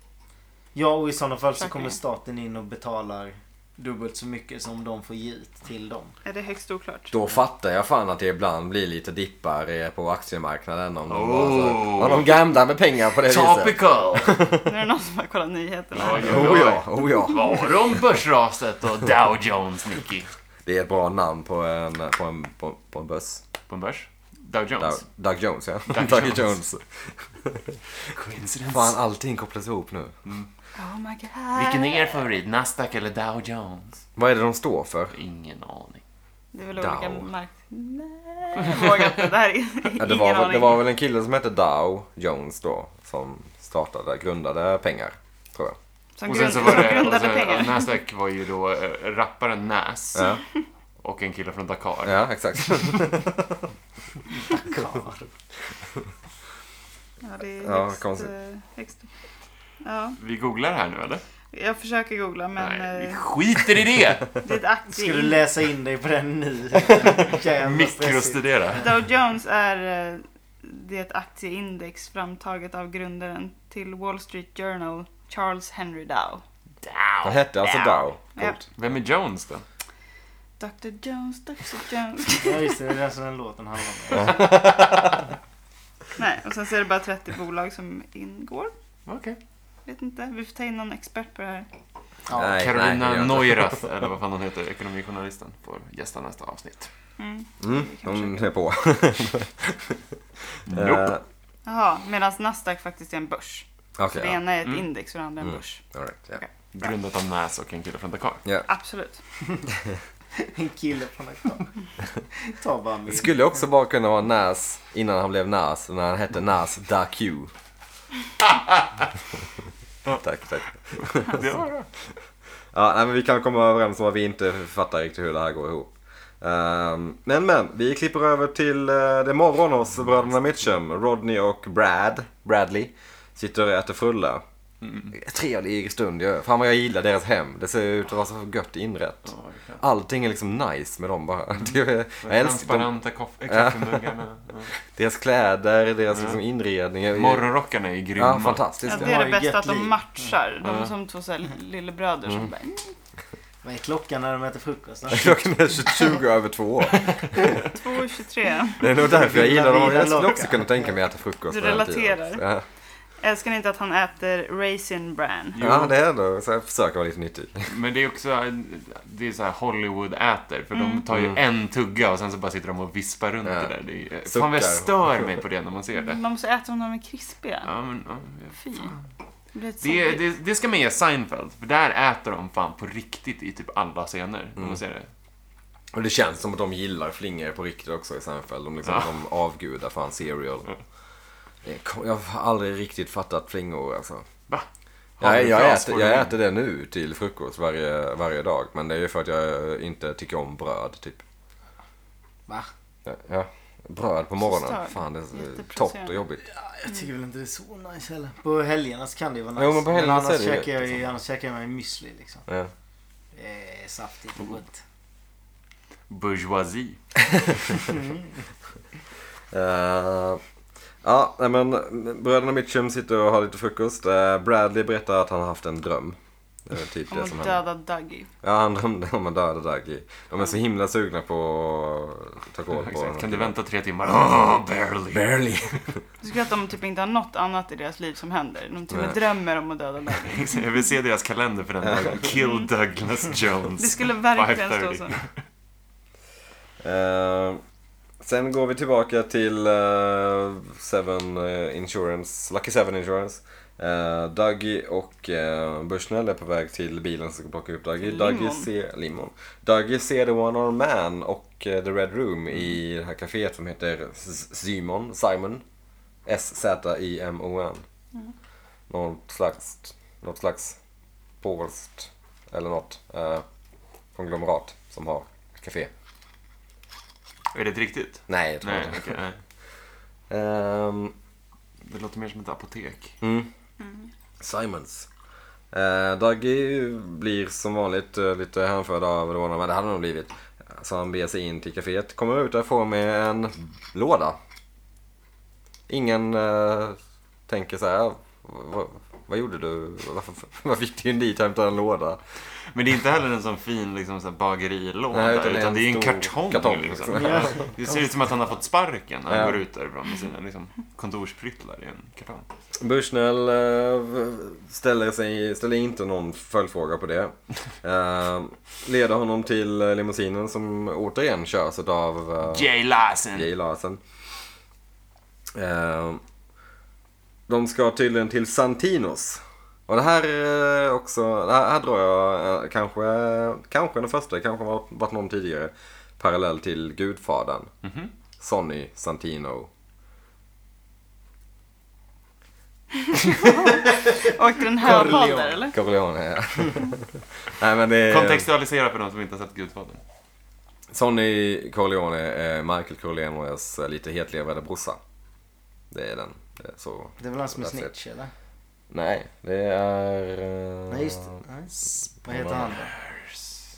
Speaker 4: Ja, och i sådana fall så
Speaker 1: Försäkringar.
Speaker 4: kommer staten in och betalar dubbelt så mycket som de får ge ut till dem.
Speaker 1: Är det högst oklart?
Speaker 3: Då fattar jag fan att det ibland blir lite dippar eh, på aktiemarknaden om de,
Speaker 2: Oh.
Speaker 3: bara så, om de gamblar med pengar på det viset.
Speaker 2: Topical!
Speaker 1: Nu är det någon som har kollat nyheterna.
Speaker 2: Oj, oj,
Speaker 3: Oh ja,
Speaker 2: oj.
Speaker 3: oh ja.
Speaker 2: Var om börsraset och Dow Jones, Nicky?
Speaker 3: Det är ett bra namn på en, på en, på, på en börs.
Speaker 2: På en börs? Dow
Speaker 3: Doug,
Speaker 2: Jones?
Speaker 3: Doug Jones ja.
Speaker 2: Doug
Speaker 3: Doug
Speaker 2: Jones.
Speaker 3: Jones.
Speaker 2: Coincidence?
Speaker 3: Fan allting kopplas ihop nu.
Speaker 1: Oh my god.
Speaker 2: Vilken är er favorit? Nasdaq eller Dow Jones?
Speaker 3: Vad är det de står för?
Speaker 2: Ingen aning.
Speaker 1: Det är väl
Speaker 3: Dow.
Speaker 1: olika mark... Nej, jag vågar inte. Det här är
Speaker 3: Ja,
Speaker 1: ingen
Speaker 3: det, var, väl-
Speaker 1: aning.
Speaker 3: det var väl en kille som hette Dow Jones då som startade, grundade pengar. Tror jag.
Speaker 1: Som,
Speaker 2: Och
Speaker 1: grund,
Speaker 2: sen så var
Speaker 1: som
Speaker 2: det, och
Speaker 1: grundade
Speaker 2: sen,
Speaker 1: pengar.
Speaker 2: och Nasdaq var ju då eh, rapparen Nas
Speaker 3: Ja,
Speaker 2: och en kille från Dakar.
Speaker 3: ja exakt.
Speaker 4: Karl.
Speaker 1: Ja, det är
Speaker 3: Ja,
Speaker 1: högst,
Speaker 3: konstigt.
Speaker 1: eh, högst. Ja,
Speaker 2: Vi googlar här nu eller?
Speaker 1: jag försöker googla men
Speaker 2: Nej, vi
Speaker 1: eh,
Speaker 2: skiter i det!
Speaker 1: det är ett aktie.
Speaker 4: Ska du läsa in dig på den nu? Jävla stressigt.
Speaker 2: Mikrostudera.
Speaker 1: Dow Jones är eh, det är ett aktieindex framtaget av grundaren till Wall Street Journal, Charles Henry Dow.
Speaker 3: Han hette alltså Dow. Coolt.
Speaker 2: Vem är Jones då?
Speaker 1: Dr Jones, Dr Jones.
Speaker 4: Ja just det, det är det som den låten handlar om.
Speaker 1: Nej, och sen så är det bara 30 bolag som ingår.
Speaker 2: Okej.
Speaker 1: Vet inte, vi får ta in någon expert på det här.
Speaker 3: Nej,
Speaker 4: Ja.
Speaker 3: nej, det gör
Speaker 2: Carolina
Speaker 3: jag inte.
Speaker 2: Neurath, eller vad fan hon heter, ekonomijournalisten, får gästa nästa avsnitt.
Speaker 1: Mm.
Speaker 3: Mm,
Speaker 1: Vi kan
Speaker 3: hon
Speaker 1: försöka.
Speaker 3: är på.
Speaker 2: Nope.
Speaker 3: Eh,
Speaker 1: Jaha, medan Nasdaq faktiskt är en börs. Så
Speaker 3: Okej,
Speaker 1: det
Speaker 3: ja.
Speaker 1: ena är ett
Speaker 2: Mm.
Speaker 1: index och det andra är en
Speaker 3: Mm.
Speaker 1: börs.
Speaker 3: All right, ja.
Speaker 2: Grundat av Nas och en kille från Dakar.
Speaker 1: Absolut.
Speaker 4: En kille från Akta. Ta bara min.
Speaker 3: Det skulle också bara kunna vara Nas innan han blev Nas, när han hette Nas Da Q. tack, tack.
Speaker 2: Det var bra.
Speaker 3: Ja, nej, men vi kan komma överens om att vi inte fattar riktigt hur det här går ihop. Ehm, men men, vi klipper över till eh, det morgon hos bröderna Mitchum. Rodney och Brad, Bradley, sitter och äter frulle. Trevlig stund ju. Fan vad jag gillar deras hem. Det ser ut att vara så gött inrett.
Speaker 2: Ja, verkligen.
Speaker 3: Allting är liksom nice med dem bara. Det är, jag älskar dem.
Speaker 2: Transparenta koff- äh, kaffemuggarna.
Speaker 3: Deras kläder, deras liksom inredning. är-
Speaker 2: Ja. Morgonrockarna är grymma.
Speaker 3: Ja,
Speaker 1: Ja,
Speaker 3: fantastiska.
Speaker 1: det är det
Speaker 4: har ju
Speaker 1: bästa, att de
Speaker 4: gett
Speaker 1: matchar. De är
Speaker 2: Ja.
Speaker 1: som två så här lillebröder som bara... mm,
Speaker 4: Vad är klockan när de äter frukost?
Speaker 3: Klockan är 20 över två.
Speaker 1: Två och 23.
Speaker 3: Det är nog därför jag gillar dem. Jag skulle
Speaker 4: Locka.
Speaker 3: också kunna tänka mig att äta frukost
Speaker 1: Du
Speaker 3: på den tiden.
Speaker 1: relaterar. Älskar ni inte att han äter raisin bran?
Speaker 3: Ja, ja det är det. Så jag försöker vara lite nyttig.
Speaker 2: Men det är också det är så här Hollywood äter för de tar ju en tugga och sen så bara sitter de och vispar runt
Speaker 3: Mm. Ja.
Speaker 2: det där. Det är,
Speaker 3: Suckar.
Speaker 2: fan vad jag stör mig på det när man ser det.
Speaker 1: Man måste äta dem när de är krispiga.
Speaker 2: Ja, men, ja, jag-
Speaker 1: Fy. Det blir ett
Speaker 2: det,
Speaker 1: zombie.
Speaker 2: det, det ska man ge Seinfeld, för där äter de fan på riktigt i typ alla scener. När
Speaker 3: Mm.
Speaker 2: man ser det.
Speaker 3: Och det känns som att de gillar flingor på riktigt också i Seinfeld. De, liksom,
Speaker 2: Ja. Mm.
Speaker 3: de avgudar fan cereal. Det kom- Jag har aldrig riktigt fattat flingor alltså.
Speaker 2: Va? Har
Speaker 3: Jag,
Speaker 2: du
Speaker 3: jag,
Speaker 2: fras
Speaker 3: äter,
Speaker 2: på
Speaker 3: jag
Speaker 2: dig?
Speaker 3: äter det nu till frukost varje, varje dag. Men det är ju för att jag inte tycker om bröd typ.
Speaker 4: Va?
Speaker 3: Ja, Ja, bröd på morgonen.
Speaker 1: störd.
Speaker 3: Fan det är så torrt
Speaker 1: Jätteprovocerande.
Speaker 3: och jobbigt.
Speaker 4: Jag tycker väl inte det är så nice heller. På helgerna så kan det ju vara nice.
Speaker 3: Jo, men på helgerna
Speaker 4: annars,
Speaker 3: så är det ju
Speaker 4: käkar jag,
Speaker 3: gött,
Speaker 4: ju- annars käkar jag med müsli liksom.
Speaker 3: Ja.
Speaker 4: Eh, saftigt och gott.
Speaker 2: Bourgeoisie.
Speaker 3: Eh, ja, nej, men bröderna Mitchum sitter och har lite frukost. Eh, Bradley berättar att han har haft en dröm. Det är typ
Speaker 1: Om
Speaker 3: det
Speaker 1: att
Speaker 3: som hände.
Speaker 1: döda Dougie.
Speaker 3: Ja, han drömde om att döda Dougie. De är så himla sugna på att ta koll på honom.
Speaker 2: Exakt. Kan du vänta tre timmar? Oh, barely.
Speaker 3: Barely.
Speaker 1: Jag tycker att de typ inte har något annat i deras liv som händer. De till och med
Speaker 3: Nej.
Speaker 1: drömmer om att döda Dougie.
Speaker 2: Jag vill se deras kalender för den dagen. Kill Douglas
Speaker 1: Det
Speaker 2: Jones.
Speaker 1: skulle verkligen stå
Speaker 2: 5:30.
Speaker 1: så.
Speaker 3: Eh, sen går vi tillbaka till eh, Seven eh, Insurance, Lucky Seven Insurance. Uh, Dougie och uh, Bushnell är på väg till bilen som ska plocka upp Dougie.
Speaker 1: Till
Speaker 3: Dougie
Speaker 1: Limon.
Speaker 3: ser, Limon. Dougie ser The One Arm Man och eh, The Red Room
Speaker 1: Mm.
Speaker 3: i det här kaféet som heter S- Simon. Simon. S-Z-I-M-O-N.
Speaker 1: Mm.
Speaker 3: Något slags, något slags polskt eller något eh, konglomerat som har kafé.
Speaker 2: Är det riktigt?
Speaker 3: Nej, jag tror
Speaker 2: Nej,
Speaker 3: inte
Speaker 2: okej. nej.
Speaker 3: Ehm,
Speaker 2: Det låter mer som ett apotek.
Speaker 3: Simons. Uh, Dougie blir som vanligt eh, lite hänförd av det var- men det hade han nog blivit. Så han beger sig in till kaféet, kommer ut därifrån med en låda. Ingen eh, tänker så här. "Vad- Vad gjorde du? Varför, varför gick du in dit och hämtade en låda?
Speaker 2: Men det är inte heller en sån fin liksom, så här bagerilåda,
Speaker 3: Nej, utan
Speaker 2: utan,
Speaker 3: det är en
Speaker 2: det är en
Speaker 3: stor
Speaker 2: kartong.
Speaker 3: kartong,
Speaker 2: liksom.
Speaker 3: liksom.
Speaker 4: Ja.
Speaker 2: Det ser ut som att han har fått sparken när han
Speaker 3: Ja.
Speaker 2: går ut därifrån med sina liksom, kontorspryttlar i en kartong.
Speaker 3: Bushnell eh, ställer, sig, ställer inte någon följdfråga på det. Eh, leder honom till eh, limousinen som återigen körs av eh,
Speaker 2: Jay Larsen!
Speaker 3: Jay Larsen. Eh, de ska tydligen till Santinos. Och det här är också, det här, här drar jag eh, kanske, kanske den första, kanske varit, varit någon tidigare parallell till Gudfadern. Sonny Santino.
Speaker 1: Åkte den höghalter
Speaker 4: Corleone.
Speaker 1: eller?
Speaker 3: Corleone, ja. Nej men det är...
Speaker 2: Kontextualisera för de som inte har sett Gudfadern.
Speaker 3: Sonny Corleone är Michael Corleones eh, lite hetlevrade brorsa. Det är den. Det är så.
Speaker 4: Det är väl han som är
Speaker 3: That's it.
Speaker 4: snitch eller?
Speaker 3: Nej, det är... eh,
Speaker 4: Nej just det. Nej. Vad heter han då?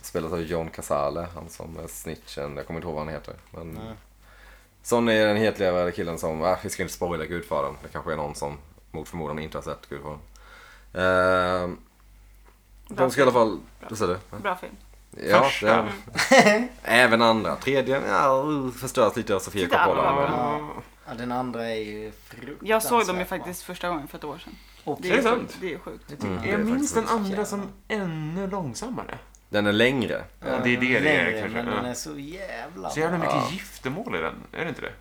Speaker 3: Spelat av John Casale, han som är snitchen. Jag kommer inte ihåg vad han heter. Men...
Speaker 4: Nej.
Speaker 3: Sonny är den hetlevrade killen som, ah, vi ska inte spoila Gudfadern. Det kanske är någon som mot förmodan inte har sett Gudfadern. Eh, de ska i alla fall... Vad sa du?
Speaker 1: Bra film.
Speaker 3: Ja,
Speaker 2: Första.
Speaker 3: det- Även andra. Tredje ja, förstörs lite av Sofia
Speaker 1: Titta, vad
Speaker 3: Coppola.
Speaker 1: bra.
Speaker 3: men-
Speaker 2: Mm.
Speaker 4: Ja, den andra är ju fruktansvärt
Speaker 1: Jag såg dem ju
Speaker 4: bra.
Speaker 1: faktiskt första gången för ett år sedan.
Speaker 4: Och
Speaker 2: Är
Speaker 1: ju
Speaker 2: det typ-
Speaker 1: sjukt.
Speaker 2: sant?
Speaker 1: Det är sjukt.
Speaker 3: Mm.
Speaker 2: Jag
Speaker 3: Det är
Speaker 2: minns den
Speaker 3: faktiskt-
Speaker 2: andra som ännu långsammare.
Speaker 3: Den är längre.
Speaker 2: Ja, det är det det är
Speaker 4: längre,
Speaker 2: kanske.
Speaker 4: Men den
Speaker 2: Ja.
Speaker 4: är så jävla
Speaker 2: Så jävla
Speaker 4: bra.
Speaker 2: mycket
Speaker 3: Ja.
Speaker 2: giftermål i den, är det inte det?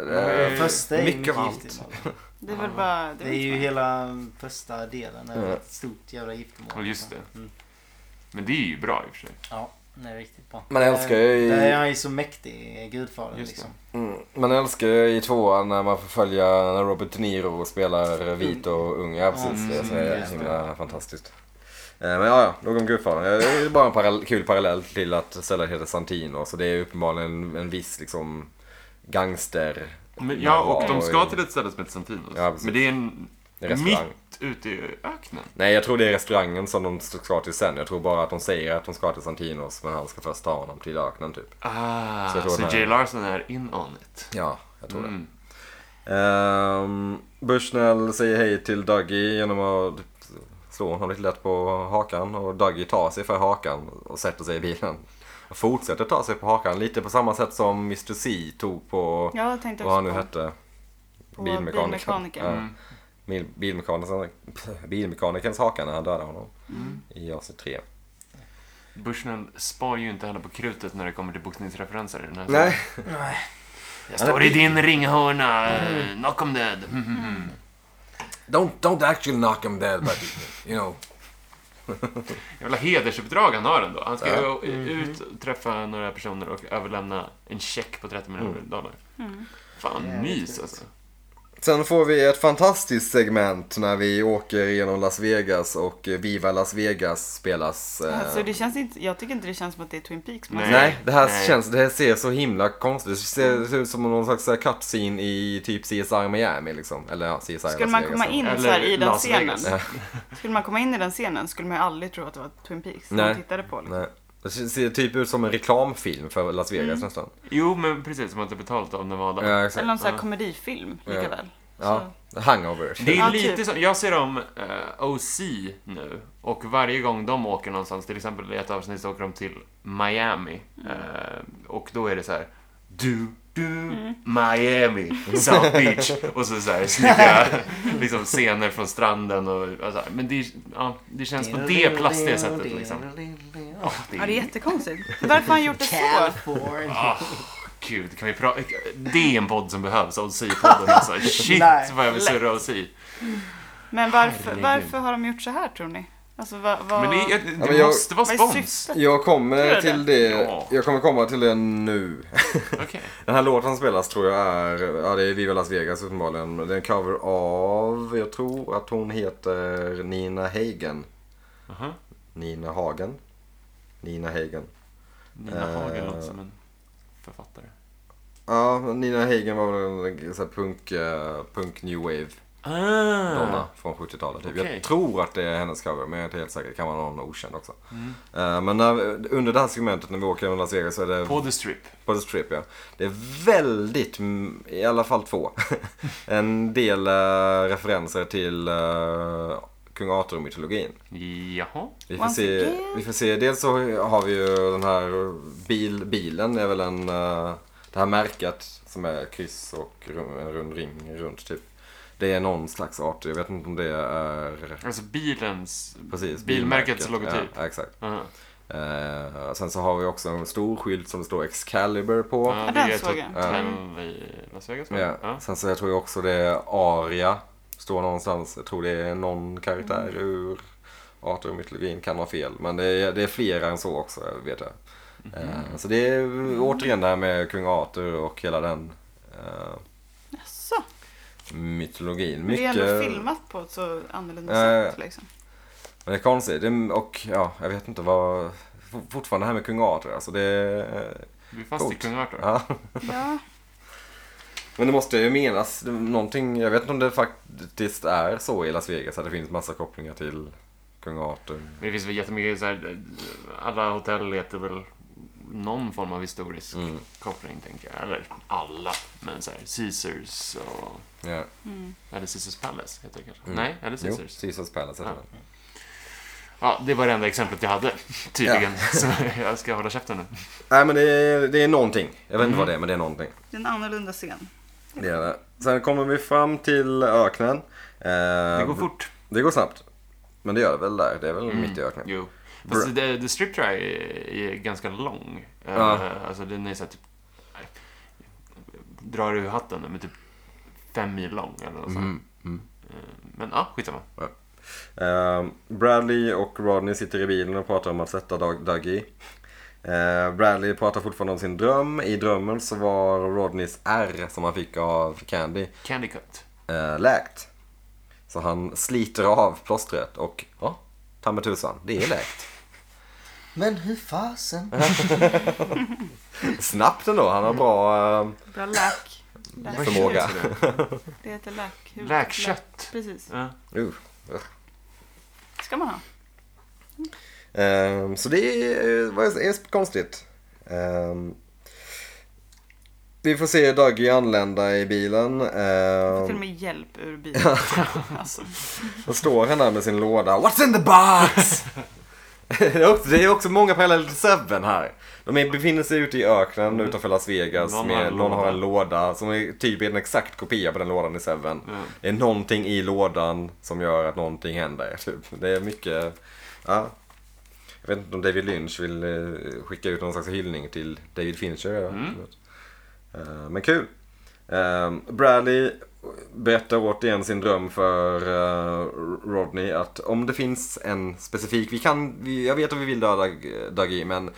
Speaker 3: Eh,
Speaker 2: mycket-
Speaker 4: Första är ju
Speaker 3: mycket
Speaker 4: mycket
Speaker 3: av allt.
Speaker 4: giftermål.
Speaker 1: Det är väl bara...
Speaker 4: Det är ju hela första delen. Är
Speaker 3: Ja.
Speaker 4: ett stort jävla giftermål.
Speaker 2: Ja, just det.
Speaker 4: Mm.
Speaker 2: Men det är ju bra i och för sig.
Speaker 4: Ja, den är riktigt bra.
Speaker 3: Man älskar ju-
Speaker 4: Där är han ju så mäktig, gudfadern
Speaker 2: Just det.
Speaker 4: liksom.
Speaker 3: Mm. Man älskar ju i tvåan när man får följa när Robert De Niro spelar vit och ung. Ja, precis.
Speaker 4: Mm,
Speaker 3: det är så här
Speaker 4: just det.
Speaker 3: himla fantastiskt. Eh, Men ja, ja, nog om Gudfadern. Eh, Det är bara en parallell, kul parallell till att stället heter Santino. Så det är uppenbarligen en viss liksom gangster...
Speaker 2: Men, ja, och de
Speaker 3: närvaro
Speaker 2: ska
Speaker 3: i-
Speaker 2: till ett ställe som heter Santinos.
Speaker 3: Ja, precis.
Speaker 2: men det är en...
Speaker 3: Det är restaurang.
Speaker 2: Mitt ute i öknen.
Speaker 3: Nej, jag tror det är restaurangen som de ska till sen. Jag tror bara att de säger att de ska till Santinos, men han ska först ta honom till öknen typ.
Speaker 2: Ah,
Speaker 3: Så jag
Speaker 2: så,
Speaker 3: tror den här-
Speaker 2: Jay Larson är in on it.
Speaker 3: Ja, jag tror det.
Speaker 2: Mm.
Speaker 3: Ehm, Bushnell säger hej till Dougie genom att slå honom lite lätt på hakan och Dougie tar sig för hakan och sätter sig i bilen. Och fortsätter ta sig på hakan lite på samma sätt som Mr C tog på
Speaker 1: Ja, jag tänkte
Speaker 3: vad han nu
Speaker 1: också på.
Speaker 3: hette.
Speaker 1: På bilmekanikern.
Speaker 3: Ja. Bil- bilmekanikerns, bilmekanikerns haka när han dödade honom i AC3.
Speaker 2: Bushnell spar ju inte heller på krutet när det kommer till boxningsreferenser i den här
Speaker 3: Nej.
Speaker 2: serien. Jag står i din ringhörna, eh, knock 'em dead. Mhm, mhm.
Speaker 3: Don't, don't actually knock him dead, but you know.
Speaker 2: Jävla hedersuppdrag han har ändå. Han ska ju ut och träffa några personer och överlämna en check på 30 miljoner
Speaker 3: Mm.
Speaker 2: dollar. Fan, mys alltså.
Speaker 3: Sen får vi ett fantastiskt segment när vi åker genom Las Vegas och eh, Viva Las Vegas spelas. eh,
Speaker 1: Alltså, det känns inte, jag tycker inte det känns som att det är Twin Peaks. men-
Speaker 2: Nej.
Speaker 3: Nej, det här
Speaker 2: nej.
Speaker 3: känns, det här ser så himla konstigt ut. Det ser ser ut som någon slags så här cutscene i typ CSI Miami liksom. Eller ja, CSI
Speaker 1: Skulle
Speaker 3: Las
Speaker 1: man
Speaker 3: Vegas.
Speaker 1: komma in
Speaker 2: Eller
Speaker 1: så här, i den
Speaker 2: Las
Speaker 1: scenen.
Speaker 2: Vegas.
Speaker 1: Skulle man komma in i den scenen skulle man ju aldrig tro att det var Twin Peaks
Speaker 3: Nej.
Speaker 1: man tittade på. Liksom.
Speaker 3: Nej. Det ser- ser typ ut som en reklamfilm för Las Vegas nästan.
Speaker 2: Jo, men precis som att det är betalt av Nevada.
Speaker 3: Ja,
Speaker 1: Mm. Eller
Speaker 3: exakt.
Speaker 1: någon sån här komedifilm lika
Speaker 3: Ja.
Speaker 1: väl.
Speaker 3: Ja, hangover.
Speaker 2: Det
Speaker 1: Ja,
Speaker 2: är
Speaker 1: typ.
Speaker 2: lite som, jag ser om eh, OC nu och varje gång de åker någonstans, till exempel i ett avsnitt så åker de till Miami
Speaker 1: Mm.
Speaker 2: eh, och då är det så här du, du,
Speaker 1: Mm.
Speaker 2: Miami, South Beach och så, så här snygga liksom, scener från stranden och alltså, men det, ja, det känns på det plastiga sättet liksom.
Speaker 4: Åh,
Speaker 1: Ja, det är jättekonstigt. Varför har han gjort det så?
Speaker 4: California.
Speaker 2: Ah, gud, kan vi pra- det är en podd som behövs, OC-podden alltså. Shit
Speaker 4: Nej,
Speaker 2: vad jag vill surra OC.
Speaker 1: Men varför,
Speaker 2: Herregud.
Speaker 1: varför har de gjort så här tror ni? Alltså vad... vad...
Speaker 2: Men det, är- det
Speaker 3: men jag-
Speaker 2: måste vara
Speaker 1: vad är
Speaker 2: spons.
Speaker 1: syftet?
Speaker 3: Jag
Speaker 1: Tror
Speaker 3: kommer
Speaker 1: du
Speaker 3: till
Speaker 1: till
Speaker 3: det,
Speaker 2: Ja.
Speaker 3: jag kommer komma till det nu.
Speaker 2: Okej.
Speaker 3: Den här låten som spelas tror jag är, ja det är Viva Las Vegas uppenbarligen. Det är en cover av, jag tror att hon heter Nina Hagen.
Speaker 2: Aha.
Speaker 3: Nina Hagen? Nina Hagen.
Speaker 2: Nina
Speaker 3: Eh.
Speaker 2: Hagen låter som en författare.
Speaker 3: Ja, Nina Hagen var väl en sån här punk, eh, punk new wave donna
Speaker 2: Ah.
Speaker 3: från 70-talet. Typ.
Speaker 2: Okej.
Speaker 3: Jag tror att det är hennes cover, men jag är inte helt säker. Det kan vara någon okänd också.
Speaker 2: Mm.
Speaker 3: Eh, men när, under det här segmentet när vi åker genom Las Vegas så är det...
Speaker 2: På The Strip.
Speaker 3: På The Strip ja. Det är väldigt, mm, i alla fall två, en del eh, referenser till eh, Kung Arthur-mytologin.
Speaker 2: Jaha.
Speaker 3: Vi får,
Speaker 1: Once
Speaker 3: se,
Speaker 1: again.
Speaker 3: vi får se, dels så har vi ju den här bil, bilen är väl en, eh, det här märket som är kryss och ru- en rund ring runt typ. Det är någon slags Arthur, jag vet inte om det är
Speaker 2: Alltså bilens...
Speaker 3: precis
Speaker 2: Bilmärkets logotyp. Ah.
Speaker 3: Ja, exakt.
Speaker 2: Aha.
Speaker 3: Eh, sen så har vi också en stor skylt som det står Excalibur på.
Speaker 2: Ja,
Speaker 1: den
Speaker 2: Ah, är ett
Speaker 1: såg jag.
Speaker 2: hotell i Las Vegas va?
Speaker 3: Ja.
Speaker 2: Ja.
Speaker 3: Sen så jag tror jag också det är Aria. Står någonstans. Jag tror det är någon karaktär
Speaker 1: Mm.
Speaker 3: ur Arthur och mytologin. Kan ha fel. Men det är, det är flera än så också vet jag.
Speaker 1: Mm.
Speaker 3: Eh, Så det är återigen det här med kung Arthur och hela den. eh,
Speaker 1: Jaså?
Speaker 3: mytologin.
Speaker 1: Men det är ändå
Speaker 3: Mycket...
Speaker 1: filmat på ett så annorlunda
Speaker 3: Ja, ja, ja.
Speaker 1: sätt. Liksom.
Speaker 3: Men det är konstigt. Det, och ja, jag vet inte vad... for- Fortfarande det här med kung Arthur. Alltså det...
Speaker 2: Vi är fast i
Speaker 3: Coolt.
Speaker 2: kung Arthur.
Speaker 3: Ja.
Speaker 1: Ja.
Speaker 3: Men det måste ju menas någonting. Jag vet inte om det faktiskt är så i Las Vegas. Att det finns massa kopplingar till kung Arthur.
Speaker 2: Men det finns väl jättemycket så här, alla hotell heter väl någon form av historisk
Speaker 3: Mm.
Speaker 2: koppling, tänker jag. Eller alla, men så här, Caesars och...
Speaker 3: Ja.
Speaker 1: Mm.
Speaker 2: Eller Caesars Palace heter det kanske?
Speaker 3: Mm.
Speaker 2: Nej, eller
Speaker 3: Jo,
Speaker 2: Caesars?
Speaker 3: Caesars Palace heter
Speaker 2: Ja.
Speaker 3: det.
Speaker 2: Ja, det var det enda exemplet jag hade, tydligen. Så jag ska hålla käften nu.
Speaker 3: Nej men det är, det är någonting. Jag vet inte
Speaker 2: Mm.
Speaker 3: vad det är men det är någonting.
Speaker 1: Det är en annorlunda scen.
Speaker 3: Det är det. Sen kommer vi fram till öknen. Eh,
Speaker 2: Det går fort. Mm.
Speaker 3: Det går snabbt. Men det gör det väl där. Det är väl mitt i öknen.
Speaker 2: Jo.
Speaker 3: Bra.
Speaker 2: Fast the, the Strip Try är, är ganska lång.
Speaker 3: Ja.
Speaker 2: Eh, Alltså den är så här, typ... nej, Drar ur hatten, men typ fem mil lång eller något sånt.
Speaker 3: Mm, mm.
Speaker 2: Eh, Men ja, skitsamma.
Speaker 3: Eh, Bradley och Rodney sitter i bilen och pratar om att sätta Doug- Dougie. Eh, Bradley pratar fortfarande om sin dröm. I drömmen så var Rodneys R som han fick av Candy
Speaker 2: Candy Cut.
Speaker 3: eh, läkt. Så han sliter av plåstret och ja, ta med tusan, det är läkt.
Speaker 4: Men hur fasen?
Speaker 3: Snabbt ändå, han har bra... Eh,
Speaker 1: Bra lack. Lack.
Speaker 3: Förmåga.
Speaker 1: Det heter lack. Hur-
Speaker 2: Läkkött.
Speaker 1: Precis.
Speaker 2: Ja.
Speaker 3: uh.
Speaker 1: ska man ha.
Speaker 3: Ehm, så det är, vad är, är konstigt. Ehm, vi får se Dougie anlända i bilen.
Speaker 1: Jag
Speaker 3: Ehm,
Speaker 1: får till och med hjälp ur bilen. alltså.
Speaker 3: Då står han där med sin låda. What's in the box? det, är också, det är också många paralleller till Seven här. De är, befinner sig ute i öknen utanför Las Vegas.
Speaker 2: Någon har
Speaker 3: med,
Speaker 2: en
Speaker 3: någon Mm. har
Speaker 2: låda.
Speaker 3: en låda som är typ en exakt kopia på den lådan i Seven.
Speaker 2: Ja.
Speaker 3: Det är någonting i lådan som gör att någonting händer. Typ. Det är mycket... Ja. Jag vet inte om David Lynch vill eh, skicka ut någon slags hyllning till David Fincher. ja. Eh, men kul. Eh, Bradley berättar återigen sin dröm för eh, Rodney att om det finns en specifik, vi kan, vi, jag vet att vi vill döda eh, Dougie men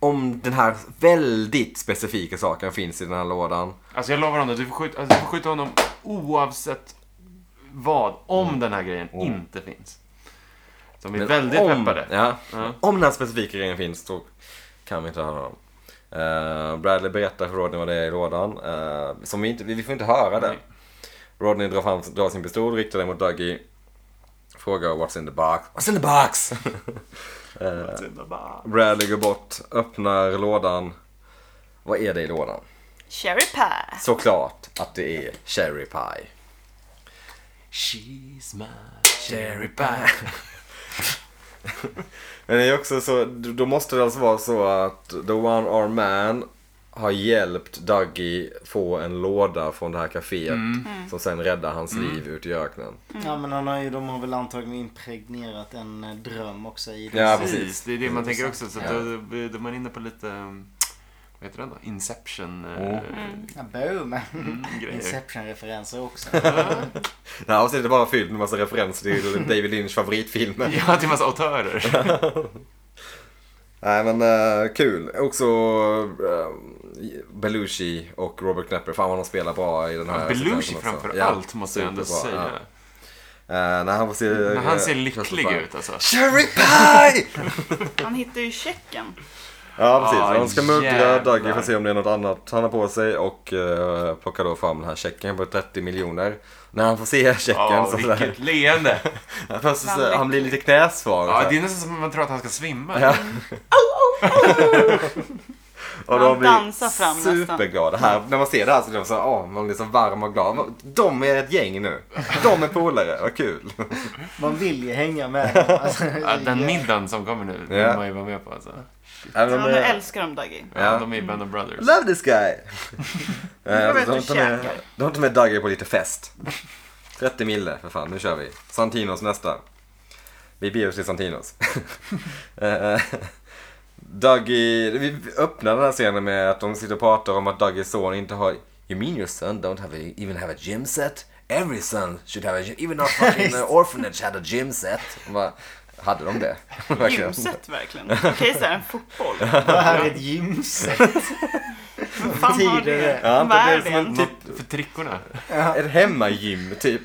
Speaker 3: om den här väldigt specifika saken finns i den här lådan.
Speaker 2: Alltså jag lovar honom, du får skjuta, alltså, du får skjuta honom oavsett vad. Om den här grejen inte finns. Så De är
Speaker 3: Mm. Men
Speaker 2: väldigt
Speaker 3: om,
Speaker 2: peppade.
Speaker 3: Ja,
Speaker 2: Ja.
Speaker 3: Om den här specifika grejen finns då kan vi inte höra dem. Eh, Bradley berättar för Rodney vad det är i lådan. eh, som vi, inte, vi får inte höra det.
Speaker 2: Nej.
Speaker 3: Rodney drar, fram, drar sin pistol, riktar den mot Dougie. Frågar what's in the box. What's in the box? Bradley går bort, öppnar lådan. Vad är det i lådan?
Speaker 1: Cherry pie.
Speaker 3: Såklart att det är Cherry Pie.
Speaker 2: She's my cherry pie.
Speaker 3: Men det är också så, då måste det alltså vara så att The One Arm Man har hjälpt Dougie få en låda från det här kaféet som sen räddar hans liv ut i öknen.
Speaker 4: Ja men han har ju, de har väl antagligen impregnerat en eh, dröm också i det.
Speaker 3: Ja, precis.
Speaker 2: Precis, det är det man tänker också. Så
Speaker 3: Ja.
Speaker 2: då, då, då är man inne på lite, um, vad heter den då? Inception eh,
Speaker 4: Ja, boom!
Speaker 2: mm, grejer.
Speaker 4: Inception-referenser också.
Speaker 3: Det här avsnittet är bara fyllt med massa referenser till David Lynchs favoritfilmer.
Speaker 2: Ja, till massa autörer.
Speaker 3: Nej men eh, kul. Också eh, Belushi och Robert Knapper. Fan vad de spelar bra i den här.
Speaker 2: Belushi
Speaker 3: sekvensen också.
Speaker 2: framför
Speaker 3: Ja,
Speaker 2: allt, måste jag ändå
Speaker 3: superbra,
Speaker 2: säga.
Speaker 3: ja. Eh, när han får se...
Speaker 2: Men han ser
Speaker 3: eh,
Speaker 2: lycklig
Speaker 3: Christopher.
Speaker 2: ut alltså.
Speaker 3: Cherry Pie!
Speaker 1: Han hittar ju checken.
Speaker 3: Ja precis,
Speaker 2: Ah,
Speaker 3: de ska muddra
Speaker 2: jävlar.
Speaker 3: Dougie för att se om det är något annat han har på sig och uh, plockar då fram den här checken på 30 miljoner. När han får se checken
Speaker 2: Ja,
Speaker 3: så sådär.
Speaker 2: vilket leende!
Speaker 3: Först så, så, han blir lite knäsvag.
Speaker 2: Ja,
Speaker 3: såhär.
Speaker 2: det är nästan som att man tror att han ska svimma.
Speaker 3: Ja. och de
Speaker 1: Han dansar
Speaker 3: blir
Speaker 1: fram nästan.
Speaker 3: superglada. Här, när man ser det här så blir man så här, åh, man blir så varm och glad. De är ett gäng nu. De är polare, vad kul.
Speaker 4: Man vill ju hänga med. Alltså,
Speaker 2: Ja, den middagen som kommer nu,
Speaker 3: Ja.
Speaker 2: den vill man ju vara med på alltså.
Speaker 3: Ja,
Speaker 1: Ja,
Speaker 3: de
Speaker 1: nu
Speaker 3: är,
Speaker 1: älskar de Dougie.
Speaker 2: Ja,
Speaker 3: Ja. Mm.
Speaker 2: De är ju Band of Brothers.
Speaker 3: Love this guy!
Speaker 1: Jag
Speaker 3: Eh,
Speaker 1: vet
Speaker 3: de,
Speaker 1: inte,
Speaker 3: tar med,
Speaker 1: käkar.
Speaker 3: de tar med Dougie på lite fest. 30 mille för fan, nu kör vi. Santinos nästa. Vi beger oss till Santinos. Eh, Dougie, vi öppnar den här scenen med att de sitter och pratar om att Dougies son inte har... You mean your son don't have a, even have a gym set? Every son should have a gym, even our fucking uh, orphanage had a gym set. Och Bara, hade de det? Verkligen.
Speaker 1: Ljuset verkligen. Okej, så här en fotboll.
Speaker 4: Det här är ett gymset.
Speaker 1: Fan har
Speaker 4: Tider.
Speaker 1: det?
Speaker 3: Ja,
Speaker 1: Vad
Speaker 3: men det är
Speaker 1: är
Speaker 3: som
Speaker 1: det? Typ
Speaker 3: en-
Speaker 2: Något för trickorna.
Speaker 3: Ett hemmagym typ.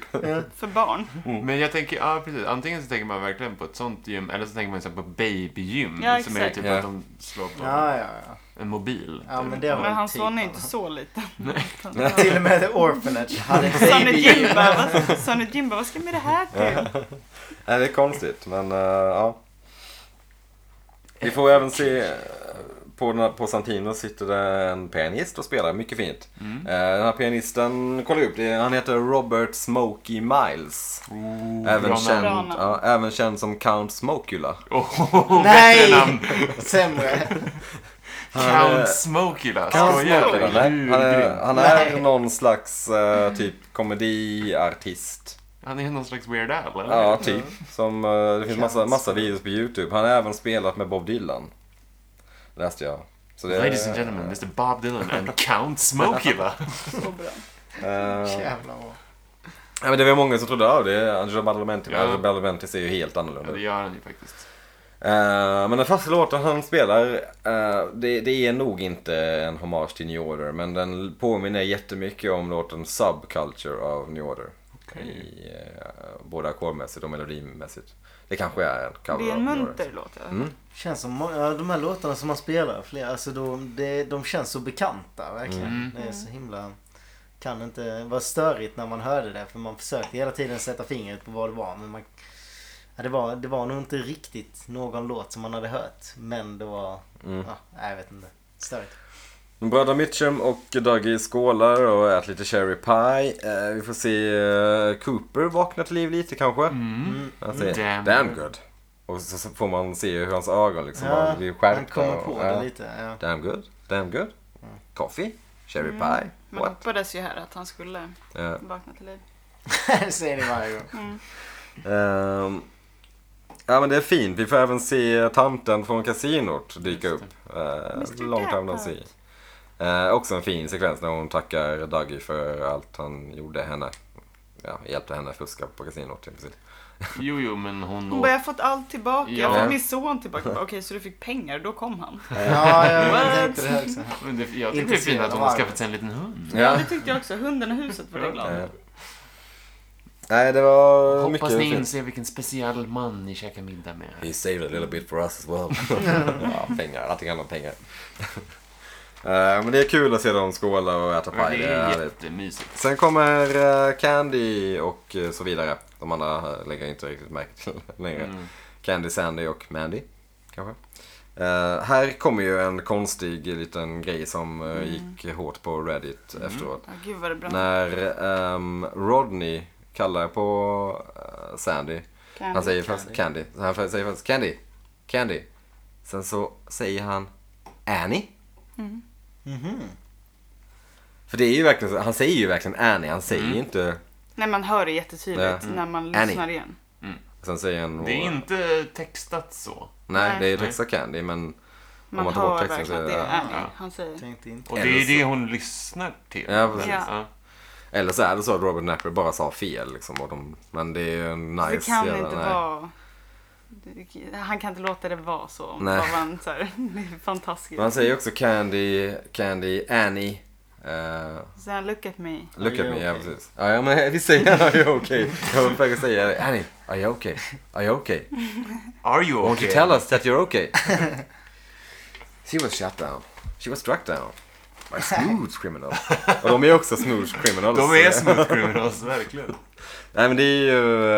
Speaker 1: För barn?
Speaker 2: Men jag tänker, ja precis. Antingen så tänker man verkligen på ett sånt gym, eller så tänker man så här på babygym.
Speaker 1: Ja,
Speaker 2: som är
Speaker 1: exakt.
Speaker 2: typ
Speaker 3: Ja.
Speaker 2: att de slår på
Speaker 4: Ja, ja, ja.
Speaker 2: en mobil.
Speaker 4: Ja, men det var-
Speaker 1: Men hans
Speaker 4: typ
Speaker 1: son är
Speaker 4: av-
Speaker 1: inte så liten.
Speaker 4: Till och med The Orphanage hade ett
Speaker 1: Sonny
Speaker 4: babygym.
Speaker 1: Jim bara, vad- Sonny Jim bara, vad ska med det här till?
Speaker 3: Nej, det är konstigt, men eh, ja. Vi får även se, eh, på, den här- på Santino sitter det en pianist och spelar, mycket fint. Eh, Den här pianisten, kolla upp, det, är- han heter Robert Smokey Miles. även,
Speaker 2: bra
Speaker 3: känd,
Speaker 1: namn.
Speaker 3: ja, även känd som Count Smokula.
Speaker 2: Oh,
Speaker 4: Nej!
Speaker 2: bättre namn!
Speaker 4: Sämre.
Speaker 3: Han är-
Speaker 2: Count Smokila.
Speaker 3: Count
Speaker 2: Skojar du?
Speaker 3: Smokula, nej. Han är,
Speaker 2: Hur grym.
Speaker 3: han är
Speaker 4: Nej.
Speaker 3: någon slags eh, typ komediartist.
Speaker 2: Han är någon slags weird al, eller?
Speaker 3: Ja, typ. Som, eh, det finns massa, massa videos på YouTube. Han har även spelat med Bob Dylan. Läste jag. Så det,
Speaker 2: Ladies and gentlemen, Mr Bob Dylan and Count Smokila.
Speaker 1: Så bra.
Speaker 3: eh,
Speaker 4: Jävlar vad.
Speaker 3: ja, men det var många som trodde att det är Angelo Badalamenti.
Speaker 2: Ja.
Speaker 3: Men Angelo Badalamenti ser ju helt annorlunda
Speaker 2: Ja, det
Speaker 3: ut.
Speaker 2: gör han ju faktiskt.
Speaker 3: Eh, men den första låten han spelar, eh, det, det är nog inte en hommage till New Order. Men den påminner jättemycket om låten Subculture av New Order. I, eh, både ackordmässigt och melodimässigt. Det kanske är en cover
Speaker 1: Det är
Speaker 3: av
Speaker 1: en
Speaker 3: New Order.
Speaker 1: munter låt. ja.
Speaker 4: Känns som må- ja, de här låtarna som man spelar, flera, alltså de, det, de känns så bekanta verkligen. Det är så
Speaker 1: Mm.
Speaker 4: himla... Kan inte vara störigt när man hörde det för man försökte hela tiden sätta fingret på vad det var. Men man, ja, det, var det var nog inte riktigt någon låt som man hade hört. Men det var... Ja, nej, jag vet inte. Störigt.
Speaker 3: Bröderna Mitchum och Dougie skålar och äter lite cherry pie. Eh, vi får se eh, Cooper vakna till liv lite kanske. Han säger
Speaker 2: Damn
Speaker 3: Mm. damn,
Speaker 2: good."
Speaker 3: good. Och så, så får man se hur hans ögon liksom
Speaker 4: Ja,
Speaker 3: ja, blir
Speaker 4: man
Speaker 3: skärpta.
Speaker 4: kommer
Speaker 3: och- ja.
Speaker 4: på det lite. Mm. Ja.
Speaker 3: Damn good, damn good. Coffee, cherry
Speaker 4: Mm.
Speaker 3: pie,
Speaker 1: Man
Speaker 3: what?
Speaker 1: hoppades ju här att han skulle
Speaker 3: Ja.
Speaker 1: vakna till liv.
Speaker 4: Det säger ni varje gång.
Speaker 3: Ehm, ja men det är fint. Vi får även se tanten från kasinot dyka upp.
Speaker 1: Mr.
Speaker 3: Uh, long time no see.
Speaker 1: Gephardt.
Speaker 3: Eh, också en fin sekvens när hon tackar Dougie för allt han gjorde henne. Ja, hjälpte henne fuska på kasinot i princip.
Speaker 2: Jo, jo, men hon...
Speaker 1: Hon bara, jag har fått allt tillbaka. Jag
Speaker 2: Ja.
Speaker 1: fick min son tillbaka. Bara, Okej, så du fick pengar, då kom han.
Speaker 4: Ja, jag
Speaker 1: What?
Speaker 4: tänkte det också.
Speaker 2: Men det, jag tycker det är
Speaker 4: Intresserad
Speaker 2: fint att hon
Speaker 4: av
Speaker 2: har
Speaker 4: arvet.
Speaker 2: skaffat sig en liten hund.
Speaker 1: Ja, det tyckte jag också. Hunden och huset var det glada.
Speaker 3: Eh, nej, det var mycket
Speaker 2: Hoppas ni
Speaker 3: fint.
Speaker 2: inser vilken speciell man ni käkar middag med.
Speaker 3: He saved a little bit for us as well. ja, pengar. Allting handlar om pengar. Eh, men det är kul att se dem skåla och äta
Speaker 2: Ja,
Speaker 3: paj.
Speaker 2: Det
Speaker 3: Det är
Speaker 2: är
Speaker 3: härligt.
Speaker 2: jättemysigt.
Speaker 3: Sen kommer eh, Candy och eh, så vidare. De andra eh, lägger jag inte riktigt märke till längre. Candy, Sandy och Mandy. Kanske. Eh, här kommer ju en konstig liten grej som eh, gick hårt på Reddit efteråt.
Speaker 1: Ja, gud vad det är bra.
Speaker 3: När ehm, Rodney kallar på eh, Sandy.
Speaker 1: Candy.
Speaker 3: Han säger först Candy. Så han säger först Candy. Candy. Sen så säger han Annie.
Speaker 1: Mm.
Speaker 2: Mhm.
Speaker 3: För det är ju verkligen så- han säger ju verkligen Annie, han säger ju
Speaker 2: Mm.
Speaker 3: inte...
Speaker 1: Nej, man hör det jättetydligt
Speaker 3: Ja. Mm.
Speaker 1: när man
Speaker 3: Annie.
Speaker 1: lyssnar igen.
Speaker 3: Sen säger han...
Speaker 2: Det är inte textat så.
Speaker 3: Nej,
Speaker 1: Nej.
Speaker 3: det är Texas Candy, men...
Speaker 1: Man,
Speaker 3: man tar bort
Speaker 1: hör
Speaker 3: texten
Speaker 1: verkligen att
Speaker 3: så-
Speaker 1: det är
Speaker 3: ja.
Speaker 1: Annie.
Speaker 2: Ja.
Speaker 1: Han säger.
Speaker 4: Tänkte inte.
Speaker 2: Och det
Speaker 3: Eller
Speaker 2: är
Speaker 3: så-
Speaker 2: det hon lyssnar till.
Speaker 3: Ja, precis.
Speaker 1: Ja.
Speaker 3: Eller så är det så att Robert Napper bara sa fel liksom. Och de, men det är ju en nice
Speaker 1: Det kan
Speaker 3: jävla-
Speaker 1: inte
Speaker 3: nej.
Speaker 1: vara... det- Han kan inte låta det vara så.
Speaker 3: Nej.
Speaker 1: Nej. Han, så här, det är fantastiskt.
Speaker 3: Men han säger också Candy, Candy, Annie. eh,
Speaker 1: Så han look at me.
Speaker 3: Look
Speaker 4: Are
Speaker 3: at me,
Speaker 4: you
Speaker 3: ja
Speaker 4: okay?
Speaker 3: precis. Ja, ja men vi säger han, are you okay? Jag var på väg att säga Annie, are you okay? Are you okay?
Speaker 2: Are you
Speaker 3: Won't
Speaker 2: okay?
Speaker 3: you tell us that you're okay? She was shut down. She was struck down. By smooth criminal. Och de är också smooth criminals.
Speaker 2: De är smooth criminals, verkligen.
Speaker 3: Nej men det är ju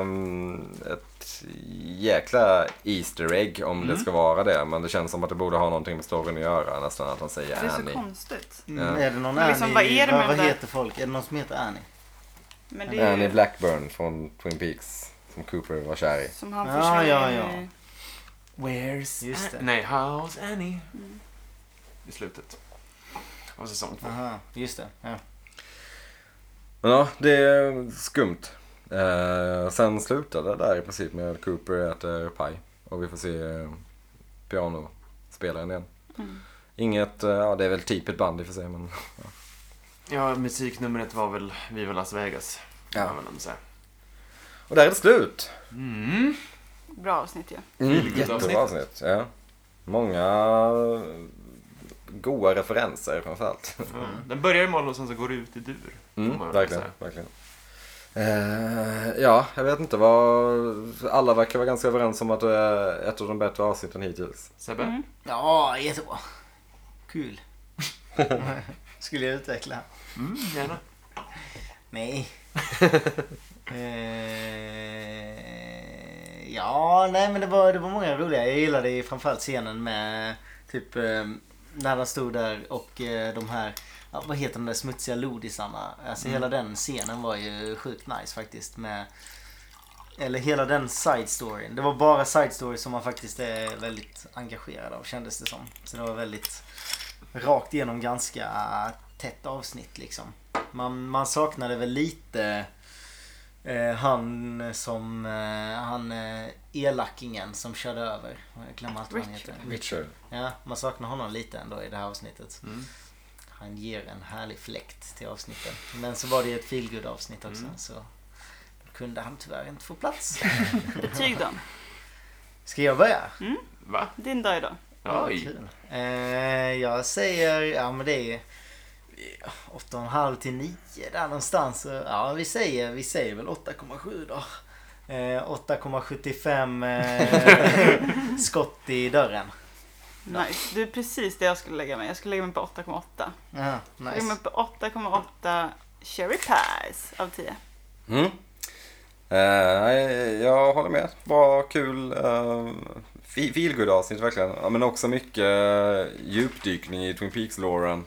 Speaker 3: ehm, ett jäkla Easter egg om det ska vara det. Men det känns som att det borde ha någonting med storyn att göra nästan att han säger
Speaker 1: Det är så
Speaker 3: Annie.
Speaker 1: konstigt.
Speaker 4: Mm, Är det någon
Speaker 1: Men
Speaker 4: Annie?
Speaker 1: liksom, vad är det med
Speaker 4: vad
Speaker 1: den där-
Speaker 4: heter folk? Är det någon som heter Annie?
Speaker 1: Men det är
Speaker 3: Annie
Speaker 1: ju
Speaker 3: Blackburn från Twin Peaks. Som Cooper var kär i.
Speaker 1: som han
Speaker 4: Ja,
Speaker 1: försvinner
Speaker 4: ja, ja.
Speaker 1: i.
Speaker 2: Where's
Speaker 4: Just det.
Speaker 2: An- Nej, how's Annie? I slutet av säsong två.
Speaker 4: Aha, just det. Ja.
Speaker 3: Men ja, det är skumt. Eh, sen slutade det där i princip med att Cooper äter paj. Och vi får se eh, pianospelaren igen. Inget, eh, ja det är väl typ ett band i och för sig men.
Speaker 2: Ja, musiknumret var väl Viva Las Vegas.
Speaker 3: Ja.
Speaker 2: kan man ändå säga.
Speaker 3: Och där är det slut.
Speaker 2: Mm.
Speaker 1: Bra avsnitt ju.
Speaker 3: Mm,
Speaker 2: Vilket
Speaker 3: jättebra avsnitt. Ja. Många goa referenser framförallt.
Speaker 2: Mm. Den börjar i moll och sen så går det ut i dur. får man
Speaker 3: Mm,
Speaker 2: väl
Speaker 3: verkligen,
Speaker 2: säga.
Speaker 3: verkligen. Eh, ja, jag vet inte vad... Alla verkar vara ganska överens om att det är ett av de bättre avsnitten hittills.
Speaker 2: Sebbe?
Speaker 4: Ja, jättebra. Kul. Skulle jag utveckla?
Speaker 2: Mm, gärna.
Speaker 4: Nej. eh, ja, nej men det var, det var många roliga. Jag gillade ju framförallt scenen med typ eh, när han stod där och eh, de här, ja, vad heter de där smutsiga lodisarna? Alltså hela den scenen var ju sjukt nice faktiskt med eller hela den side storyn. Det var bara side story som man faktiskt är väldigt engagerad av kändes det som. Så det var väldigt rakt igenom ganska tätt avsnitt liksom. Man, man saknade väl lite eh, han som, eh, han eh, elakingen som körde över. Jag glömmer allt vad han heter.
Speaker 3: Richard.
Speaker 4: Ja, man saknar honom lite ändå i det här avsnittet.
Speaker 2: Mm.
Speaker 4: Han ger en härlig fläkt till avsnitten. Men så var det ju ett feelgood avsnitt också. Så då kunde han tyvärr inte få plats.
Speaker 1: Betyg då?
Speaker 4: Ska jag börja?
Speaker 3: Mm.
Speaker 2: Va?
Speaker 1: Din dag idag?
Speaker 2: Oj.
Speaker 4: Kul. Eh, jag säger, ja men det är 8,5 till 9 där någonstans. Så, Ja, vi säger, vi säger väl 8,7 då. Eh, 8,75 eh, skott i dörren.
Speaker 1: Nice. Du är precis det jag skulle lägga mig. Jag skulle lägga mig på 8,8.
Speaker 4: Ja,
Speaker 1: Jag lägger
Speaker 4: nice.
Speaker 1: mig på 8,8 cherry pies av 10.
Speaker 3: Mm. Eh, nej, jag håller med. Bra, kul. Uh, Feelgood avsnitt verkligen. Ja, men också mycket eh, djupdykning i Twin Peaks-loren.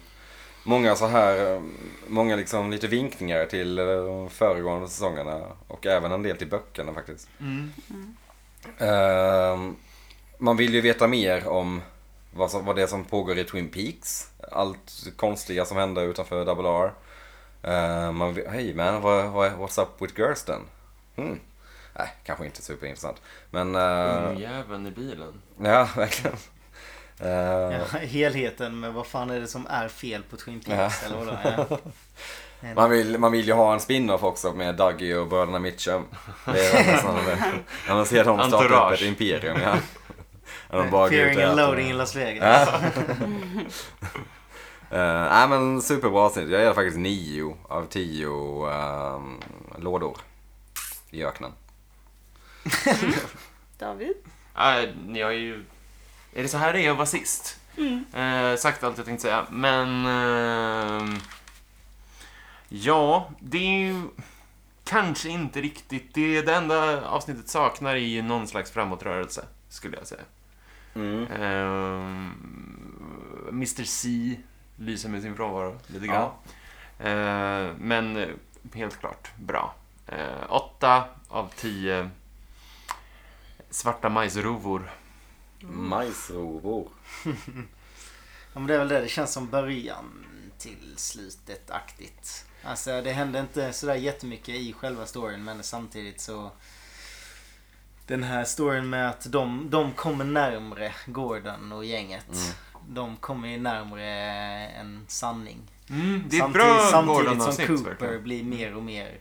Speaker 3: Många så här, eh, många liksom lite vinkningar till eh, de föregående säsongerna. Och även en del till böckerna faktiskt. Ehm, man vill ju veta mer om vad, som, vad det är som pågår i Twin Peaks. Allt konstiga som händer utanför Double R. Eh, man vill, hey man, what, what, what's up with Gersten? Hmm. Nej, kanske inte superintressant. Men, eh,
Speaker 2: Mm. Ungjäveln i bilen.
Speaker 3: ja verkligen. Eh,
Speaker 4: Ja, helheten med vad fan är det som är fel på Twin Peaks eller vad det är.
Speaker 3: man, vill, man vill ju ha en spin-off också med Dougie och bröderna Mitchum. Det är väl nästan det. När man ser dem starta upp
Speaker 2: Entourage.
Speaker 3: ett imperium. Ja. När de bara går ut och
Speaker 4: Fearing and
Speaker 3: äter.
Speaker 4: loading i Las Vegas.
Speaker 3: Ja. Eh, Nej men superbra avsnitt. Jag ger faktiskt nio av tio ehm, lådor i öknen.
Speaker 1: David?
Speaker 2: Nej, jag är ju... Är det så här det är att vara sist? Eh, sagt allt jag tänkte säga, men... ehm, ja, det är ju... Kanske inte riktigt. Det, det enda avsnittet saknar är ju någon slags framåtrörelse, skulle jag säga. Ehm, Mr C lyser med sin frånvaro lite grann. Ehm, men eh, helt klart bra. Ehm, åtta av tio svarta majsrovor.
Speaker 3: Majsrovor.
Speaker 4: Ja, men det är väl det. Det känns som början till slutet-aktigt. Alltså det hände inte sådär jättemycket i själva storyn men samtidigt så... Den här storyn med att de, de kommer närmre Gordon och gänget. De kommer ju närmre en sanning.
Speaker 2: Mm, det är
Speaker 4: samtidigt
Speaker 2: ett bra
Speaker 4: samtidigt som
Speaker 2: Gordon-avsnitt.
Speaker 4: Cooper
Speaker 2: verkligen.
Speaker 4: blir mer och mer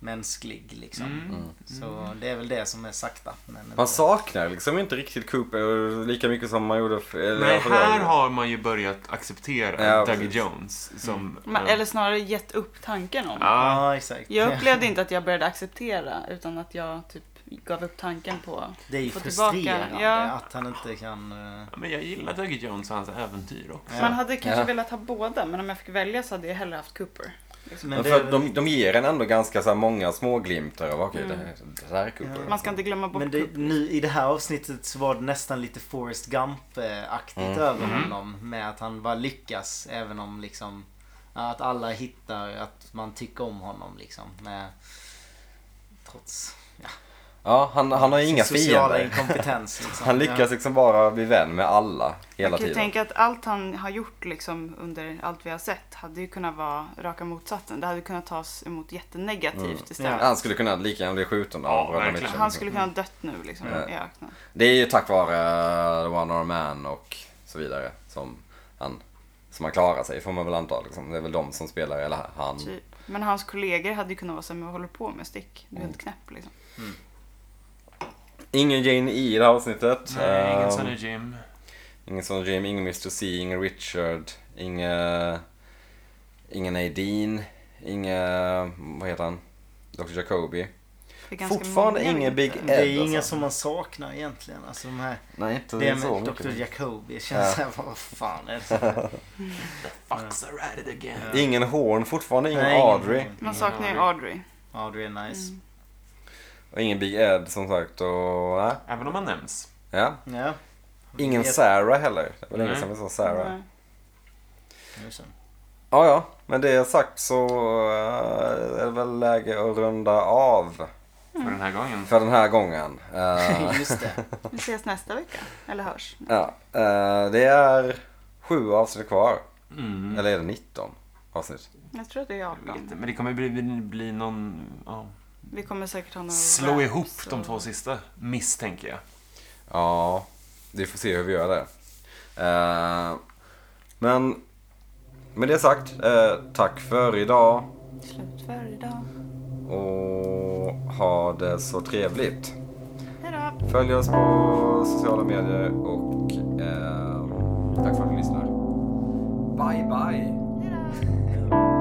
Speaker 4: mänsklig liksom.
Speaker 2: Mm.
Speaker 4: Så det är väl det som är sakta. Men
Speaker 3: Man saknar liksom inte riktigt Cooper eh, lika mycket som man gjorde för, eller i
Speaker 2: Nej,
Speaker 3: alla fall jag
Speaker 2: här
Speaker 3: gjorde.
Speaker 2: har man ju börjat acceptera
Speaker 3: Ja,
Speaker 2: Dougie
Speaker 3: precis.
Speaker 2: Jones som...
Speaker 4: Mm.
Speaker 2: eh,
Speaker 1: Man, eller snarare gett upp tanken om.
Speaker 2: Ja,
Speaker 4: Ja, exakt.
Speaker 1: Jag upplevde inte att jag började acceptera utan att jag typ gav upp tanken på...
Speaker 4: Det är ju
Speaker 1: Få tillbaka,
Speaker 4: frustrerande
Speaker 1: ja.
Speaker 4: att han inte kan... eh,
Speaker 2: men jag gillar Dougie Jones och hans äventyr också.
Speaker 1: Man hade kanske
Speaker 3: Ja.
Speaker 1: velat ha båda men om jag fick välja så hade jag hellre haft Cooper.
Speaker 3: Men
Speaker 4: Men det
Speaker 3: för
Speaker 4: är,
Speaker 3: att de, de ger en ändå ganska så här många små glimtar av okej det, här- det där är Cooper.
Speaker 1: Man ska inte glömma bort
Speaker 4: men det,
Speaker 1: Cooper.
Speaker 4: nu, i det här avsnittet så var det nästan lite Forrest Gump-aktigt
Speaker 3: Mm.
Speaker 4: över honom. Med att han bara lyckas även om liksom... Att alla hittar att man tycker om honom liksom. Med, trots
Speaker 3: Ja, han, han har ju inga
Speaker 4: sociala
Speaker 3: fiender.
Speaker 4: inkompetens. Liksom.
Speaker 3: Han lyckas liksom bara bli vän med alla hela
Speaker 1: Man kan ju
Speaker 3: tiden.
Speaker 1: tänka att allt han har gjort liksom, under allt vi har sett hade ju kunnat vara raka motsatsen. Det hade kunnat tas emot jättenegativt
Speaker 3: Mm.
Speaker 1: istället.
Speaker 3: Han skulle kunna lika gärna bli skjuten
Speaker 2: Ja,
Speaker 3: av Bröderna
Speaker 2: verkligen.
Speaker 3: Mitchum.
Speaker 1: Han skulle kunna ha dött nu liksom,
Speaker 3: liksom- Ja.
Speaker 1: i öknen.
Speaker 3: Det är ju tack vare eh, The One Arm Man och så vidare som han, som han klarar sig får man väl anta. Liksom. Det är väl de som spelar, eller han.
Speaker 1: Typ. Men hans kollegor hade ju kunnat vara så här, men vad håller du på med? Stick, du är
Speaker 3: Mm.
Speaker 1: helt knäpp liksom.
Speaker 3: Ingen Jane E i det här avsnittet.
Speaker 2: Nej,
Speaker 3: Eh,
Speaker 2: ingen Sonny Jim.
Speaker 3: Ingen sån Jim, ingen Mr C, ingen Richard, inga... Ingen Nadine, inga... Vad heter han? Dr. Jacobi.
Speaker 1: Det är ganska
Speaker 3: Fortfarande
Speaker 1: många
Speaker 3: ingen
Speaker 1: lite.
Speaker 3: Big Ed
Speaker 4: Det är inga
Speaker 3: alltså.
Speaker 4: som man saknar egentligen. Alltså de här,
Speaker 3: Nej, inte
Speaker 4: det
Speaker 3: så
Speaker 4: med
Speaker 3: mycket.
Speaker 4: Dr. Jacobi känns
Speaker 3: Ja.
Speaker 4: såhär, vad fan är det?
Speaker 2: Fucks are at it again.
Speaker 3: Ingen Horn, fortfarande ingen
Speaker 4: Nej, ingen-
Speaker 3: Audrey.
Speaker 1: Man saknar ju Audrey.
Speaker 4: Audrey är nice.
Speaker 3: Och ingen Big Ed som sagt och... nej.
Speaker 2: Även om man nämns.
Speaker 3: Ja.
Speaker 4: Ja.
Speaker 3: Ingen
Speaker 4: Vet-
Speaker 3: Sarah heller. Det var länge
Speaker 2: Nej.
Speaker 3: sedan vi sa Sarah.
Speaker 1: Nej.
Speaker 4: Nu så.
Speaker 3: Ja, ja. Men det sagt så eh, är det väl läge att runda av
Speaker 2: För den här gången.
Speaker 3: för den här gången. Eh,
Speaker 4: Just det.
Speaker 1: Vi ses nästa vecka. Eller hörs.
Speaker 3: ja, eh, det är sju avsnitt kvar.
Speaker 2: Mm.
Speaker 3: Eller är det 19 avsnitt?
Speaker 1: Jag tror att det är 18.
Speaker 2: Lite. Men det kommer bli, bli, bli någon... Ja.
Speaker 1: Vi kommer säkert ha några
Speaker 2: Slå
Speaker 1: rap,
Speaker 2: ihop
Speaker 1: så-
Speaker 2: de två sista, misstänker jag.
Speaker 3: Ja, vi får se hur vi gör det. Eh, men med det sagt, eh, tack för idag
Speaker 1: Slut för idag.
Speaker 3: och ha det så trevligt.
Speaker 1: Hejdå.
Speaker 3: Följ oss på sociala medier och eh, tack för att ni lyssnar. Bye bye!
Speaker 1: Hejdå.